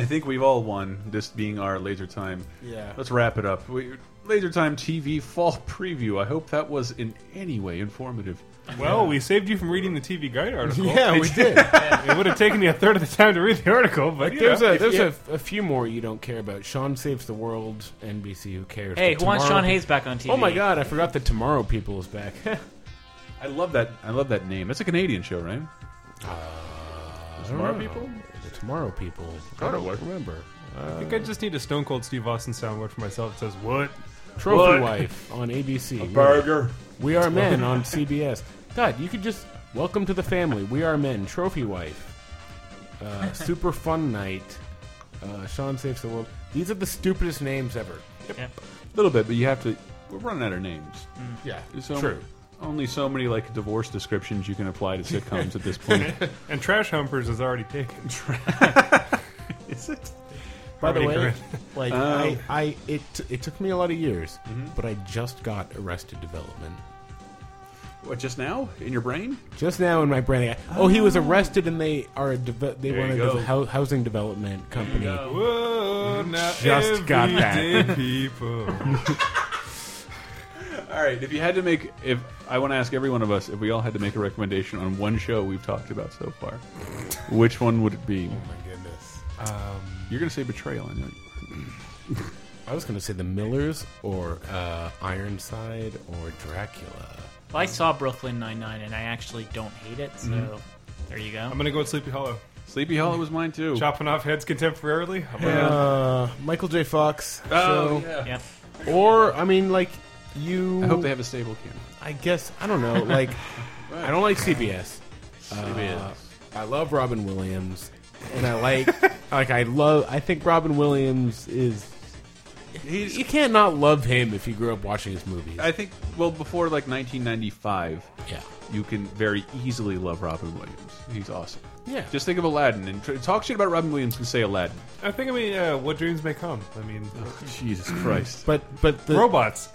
[SPEAKER 8] I think we've all won, this being our laser time.
[SPEAKER 9] Yeah.
[SPEAKER 8] Let's wrap it up. We, laser time TV fall preview. I hope that was in any way informative.
[SPEAKER 11] Well, we saved you from reading the TV Guide article.
[SPEAKER 9] Yeah, we did.
[SPEAKER 11] it would have taken you a third of the time to read the article, but
[SPEAKER 9] Like,
[SPEAKER 11] you
[SPEAKER 9] there's
[SPEAKER 11] know,
[SPEAKER 9] a
[SPEAKER 11] if
[SPEAKER 9] there's
[SPEAKER 11] you-
[SPEAKER 9] a, a few more you don't care about. Sean saves the world. NBC, who cares?
[SPEAKER 10] Hey,
[SPEAKER 9] The
[SPEAKER 10] who wants
[SPEAKER 9] Tomorrow-
[SPEAKER 10] Sean Hayes back on TV?
[SPEAKER 9] Oh my God, I forgot the Tomorrow People is back.
[SPEAKER 8] I love that. I love that name. That's a Canadian show, right? Tomorrow People?
[SPEAKER 9] The Tomorrow People. I
[SPEAKER 8] Gotta
[SPEAKER 9] don't
[SPEAKER 8] work.
[SPEAKER 9] remember.
[SPEAKER 11] I think I just need a Stone Cold Steve Austin soundboard for myself that says, What? What?"
[SPEAKER 9] Trophy Wife on ABC.
[SPEAKER 11] A burger.
[SPEAKER 9] We Are Men on CBS. God, you could just Welcome to the Family. We Are Men. Trophy Wife. Uh, Super Fun Night. Uh, Sean Saves the World. These are the stupidest names ever.
[SPEAKER 8] A little bit, but you have to. We're running out of names.
[SPEAKER 9] Yeah,
[SPEAKER 8] There's so-
[SPEAKER 9] Mm, true.
[SPEAKER 8] Only so many like divorce descriptions you can apply to sitcoms at this point.
[SPEAKER 11] and Trash Humpers is already taken.
[SPEAKER 8] is it?
[SPEAKER 9] By the
[SPEAKER 11] Harmony
[SPEAKER 9] way,
[SPEAKER 11] Korine.
[SPEAKER 9] like
[SPEAKER 11] Um,
[SPEAKER 9] I, I, it it took me a lot of years,
[SPEAKER 8] Mm-hmm.
[SPEAKER 9] but I just got Arrested Development
[SPEAKER 8] What just now in your brain?
[SPEAKER 9] just now in my brain. I, oh, he was arrested, and they are a deve- they
[SPEAKER 8] There
[SPEAKER 9] wanted
[SPEAKER 8] you
[SPEAKER 9] a
[SPEAKER 8] go.
[SPEAKER 9] de- hou- housing development company.
[SPEAKER 11] Whoa, now
[SPEAKER 9] Just got
[SPEAKER 11] everyday
[SPEAKER 9] that.
[SPEAKER 11] people.
[SPEAKER 8] All right. If you had to make, if I want to ask every one of us, if we all had to make a recommendation on one show we've talked about so far, which one would it be?
[SPEAKER 9] Oh my goodness! Um,
[SPEAKER 8] You're going to say betrayal, I know.
[SPEAKER 9] I was going to say the Millers or uh, Ironside or Dracula.
[SPEAKER 10] Well, I saw Brooklyn Nine Nine, and I actually don't hate it. So
[SPEAKER 11] Mhm.
[SPEAKER 8] Mm-hmm.
[SPEAKER 10] there you go.
[SPEAKER 11] I'm gonna go with Sleepy Hollow.
[SPEAKER 8] Sleepy Hollow was mine too.
[SPEAKER 11] Chopping off heads contemporarily. I'm gonna-
[SPEAKER 9] Uh, Michael J. Fox.
[SPEAKER 11] Oh,
[SPEAKER 9] show.
[SPEAKER 11] yeah.
[SPEAKER 9] Or I mean, like you.
[SPEAKER 8] I hope they have a stable camera.
[SPEAKER 9] I guess I don't know. Like I don't like CBS. Uh,
[SPEAKER 8] CBS.
[SPEAKER 9] I love Robin Williams, and I like like I love. I think Robin Williams is. you can't not love him if you grew up watching his movies.
[SPEAKER 8] I think well before like 1995.
[SPEAKER 9] Yeah.
[SPEAKER 8] You can very easily love Robin Williams. He's awesome.
[SPEAKER 11] Yeah.
[SPEAKER 8] Just think of Aladdin and tr- talk shit about Robin Williams and say Aladdin.
[SPEAKER 11] I think I mean, uh, what dreams may come. I mean,
[SPEAKER 8] Jesus Christ.
[SPEAKER 9] But but the
[SPEAKER 11] robots.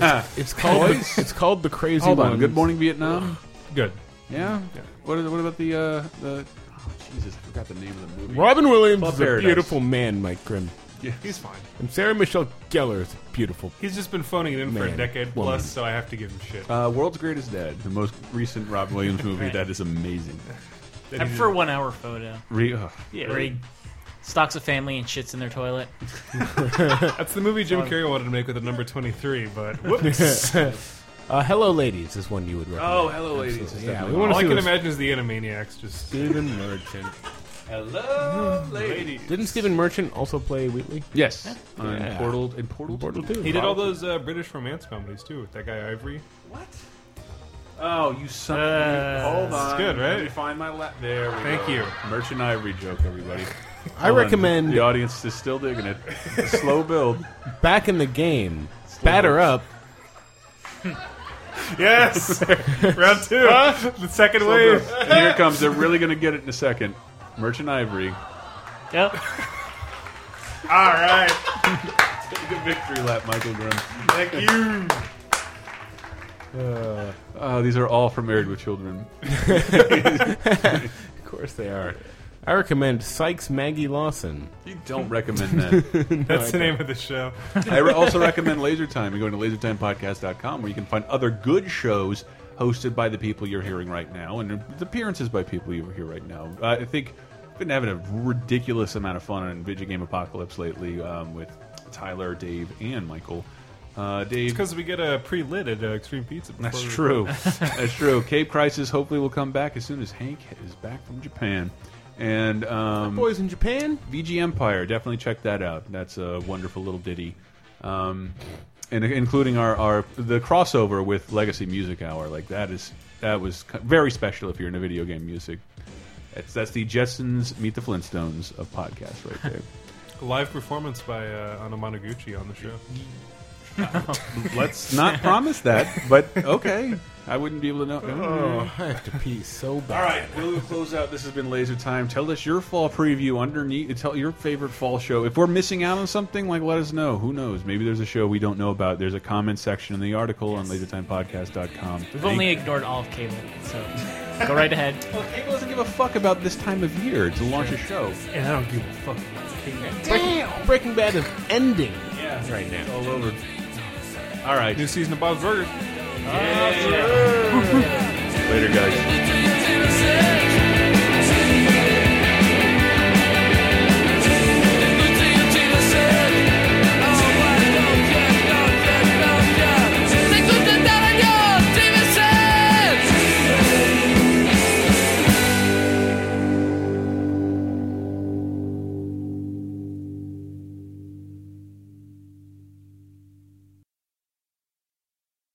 [SPEAKER 8] Ah.
[SPEAKER 9] It's called the, it's called the crazy
[SPEAKER 8] Hold on.
[SPEAKER 9] Ones.
[SPEAKER 8] Good morning Vietnam.
[SPEAKER 11] Good.
[SPEAKER 8] Yeah. What is, what about the uh, the oh, Jesus, I forgot the name of the movie.
[SPEAKER 9] Robin Williams
[SPEAKER 8] Club
[SPEAKER 9] is a
[SPEAKER 8] Paradise.
[SPEAKER 9] beautiful man, Mike Grimm.
[SPEAKER 11] Yeah, he's fine.
[SPEAKER 9] And Sarah Michelle Gellar is a beautiful.
[SPEAKER 11] He's just been phoning it in for a
[SPEAKER 9] Man,
[SPEAKER 11] decade
[SPEAKER 9] woman.
[SPEAKER 11] plus, so I have to give him shit.
[SPEAKER 8] Uh, World's Greatest Dad, the most recent Robin Williams movie. That is amazing.
[SPEAKER 10] I prefer one hour photo.
[SPEAKER 8] Re-
[SPEAKER 11] uh,
[SPEAKER 8] ugh.
[SPEAKER 10] yeah, where he stalks a family and shits in their toilet.
[SPEAKER 11] That's the movie Jim Carrey wanted to make with the number 23, but whoops.
[SPEAKER 9] uh, Hello, ladies is one you would recommend.
[SPEAKER 11] Oh, Hello Ladies is
[SPEAKER 9] Absolutely. Yeah,
[SPEAKER 11] definitely
[SPEAKER 9] we
[SPEAKER 11] one.
[SPEAKER 9] want to
[SPEAKER 11] All I
[SPEAKER 9] see
[SPEAKER 11] can
[SPEAKER 9] what's-
[SPEAKER 11] imagine is the Animaniacs just-
[SPEAKER 9] Stephen Merchant.
[SPEAKER 8] Hello,
[SPEAKER 11] ladies.
[SPEAKER 9] Didn't Stephen Merchant also play Wheatley?
[SPEAKER 8] Yes, on Portal- in Portal two.
[SPEAKER 9] Two.
[SPEAKER 11] He did all those uh, British romance comedies too with that guy Ivory. What?
[SPEAKER 8] Oh, you son. Hold on.
[SPEAKER 11] It's good,
[SPEAKER 8] Let me
[SPEAKER 11] right?
[SPEAKER 8] find my lap. There. We
[SPEAKER 11] Thank
[SPEAKER 8] go.
[SPEAKER 11] you.
[SPEAKER 8] Merchant Ivory joke, everybody.
[SPEAKER 9] I
[SPEAKER 8] Hold on.
[SPEAKER 9] recommend-
[SPEAKER 8] the audience is still digging it. Slow build.
[SPEAKER 9] Back in the game, batter up.
[SPEAKER 11] Yes. Round two. The second
[SPEAKER 8] Slow
[SPEAKER 11] wave.
[SPEAKER 8] build. And here it comes. They're really going to get it in a second. Merchant Ivory.
[SPEAKER 10] Yep.
[SPEAKER 11] All right.
[SPEAKER 8] Take a victory lap, Michael Grimm.
[SPEAKER 11] Thank you.
[SPEAKER 9] Uh,
[SPEAKER 8] Uh, these are all from Married with Children.
[SPEAKER 9] of course they are. I recommend Sykes Maggie Lawson.
[SPEAKER 8] You don't recommend that.
[SPEAKER 9] No,
[SPEAKER 11] That's
[SPEAKER 9] I
[SPEAKER 11] the
[SPEAKER 9] don't.
[SPEAKER 11] name of the show.
[SPEAKER 8] I re- also recommend Laser Time. You go to lasertimepodcast.com where you can find other good shows hosted by the people you're hearing right now and the appearances by people you hear right now. Uh, I think I've been having a ridiculous amount of fun on Video Game Apocalypse lately um, with Tyler, Dave, and Michael. Uh, Dave,
[SPEAKER 11] because we get a pre-lit at uh, Extreme Pizza. before
[SPEAKER 8] that's
[SPEAKER 11] we-
[SPEAKER 8] true. That's true. Cape Crisis hopefully will come back as soon as Hank is back from Japan. And um,
[SPEAKER 9] Boys in Japan.
[SPEAKER 8] VG Empire, definitely check that out. That's a wonderful little ditty, um, and including our, our the crossover with Legacy Music Hour. Like that is that was c- very special if you're into video game music. That's that's the Jetsons meet the Flintstones of podcasts right there.
[SPEAKER 11] Live performance by uh, Anamanaguchi on the show.
[SPEAKER 8] Let's not promise that, but okay. I wouldn't be able to know.
[SPEAKER 9] Oh, I have to pee so bad.
[SPEAKER 8] All right, we'll close out. This has been Laser Time. Tell us your fall preview underneath. Tell your favorite fall show. If we're missing out on something, like let us know. Who knows? Maybe there's a show we don't know about. There's a comment section in the article on lasertimepodcast.com.
[SPEAKER 10] We've only ignored all of cable, so go right ahead.
[SPEAKER 8] Well, cable doesn't give a fuck about this time of year to launch a show.
[SPEAKER 11] And I don't give a fuck.
[SPEAKER 9] Breaking, Breaking Bad is ending right now.
[SPEAKER 8] all over. All right.
[SPEAKER 11] New season of Bob's Burgers.
[SPEAKER 8] Later, guys.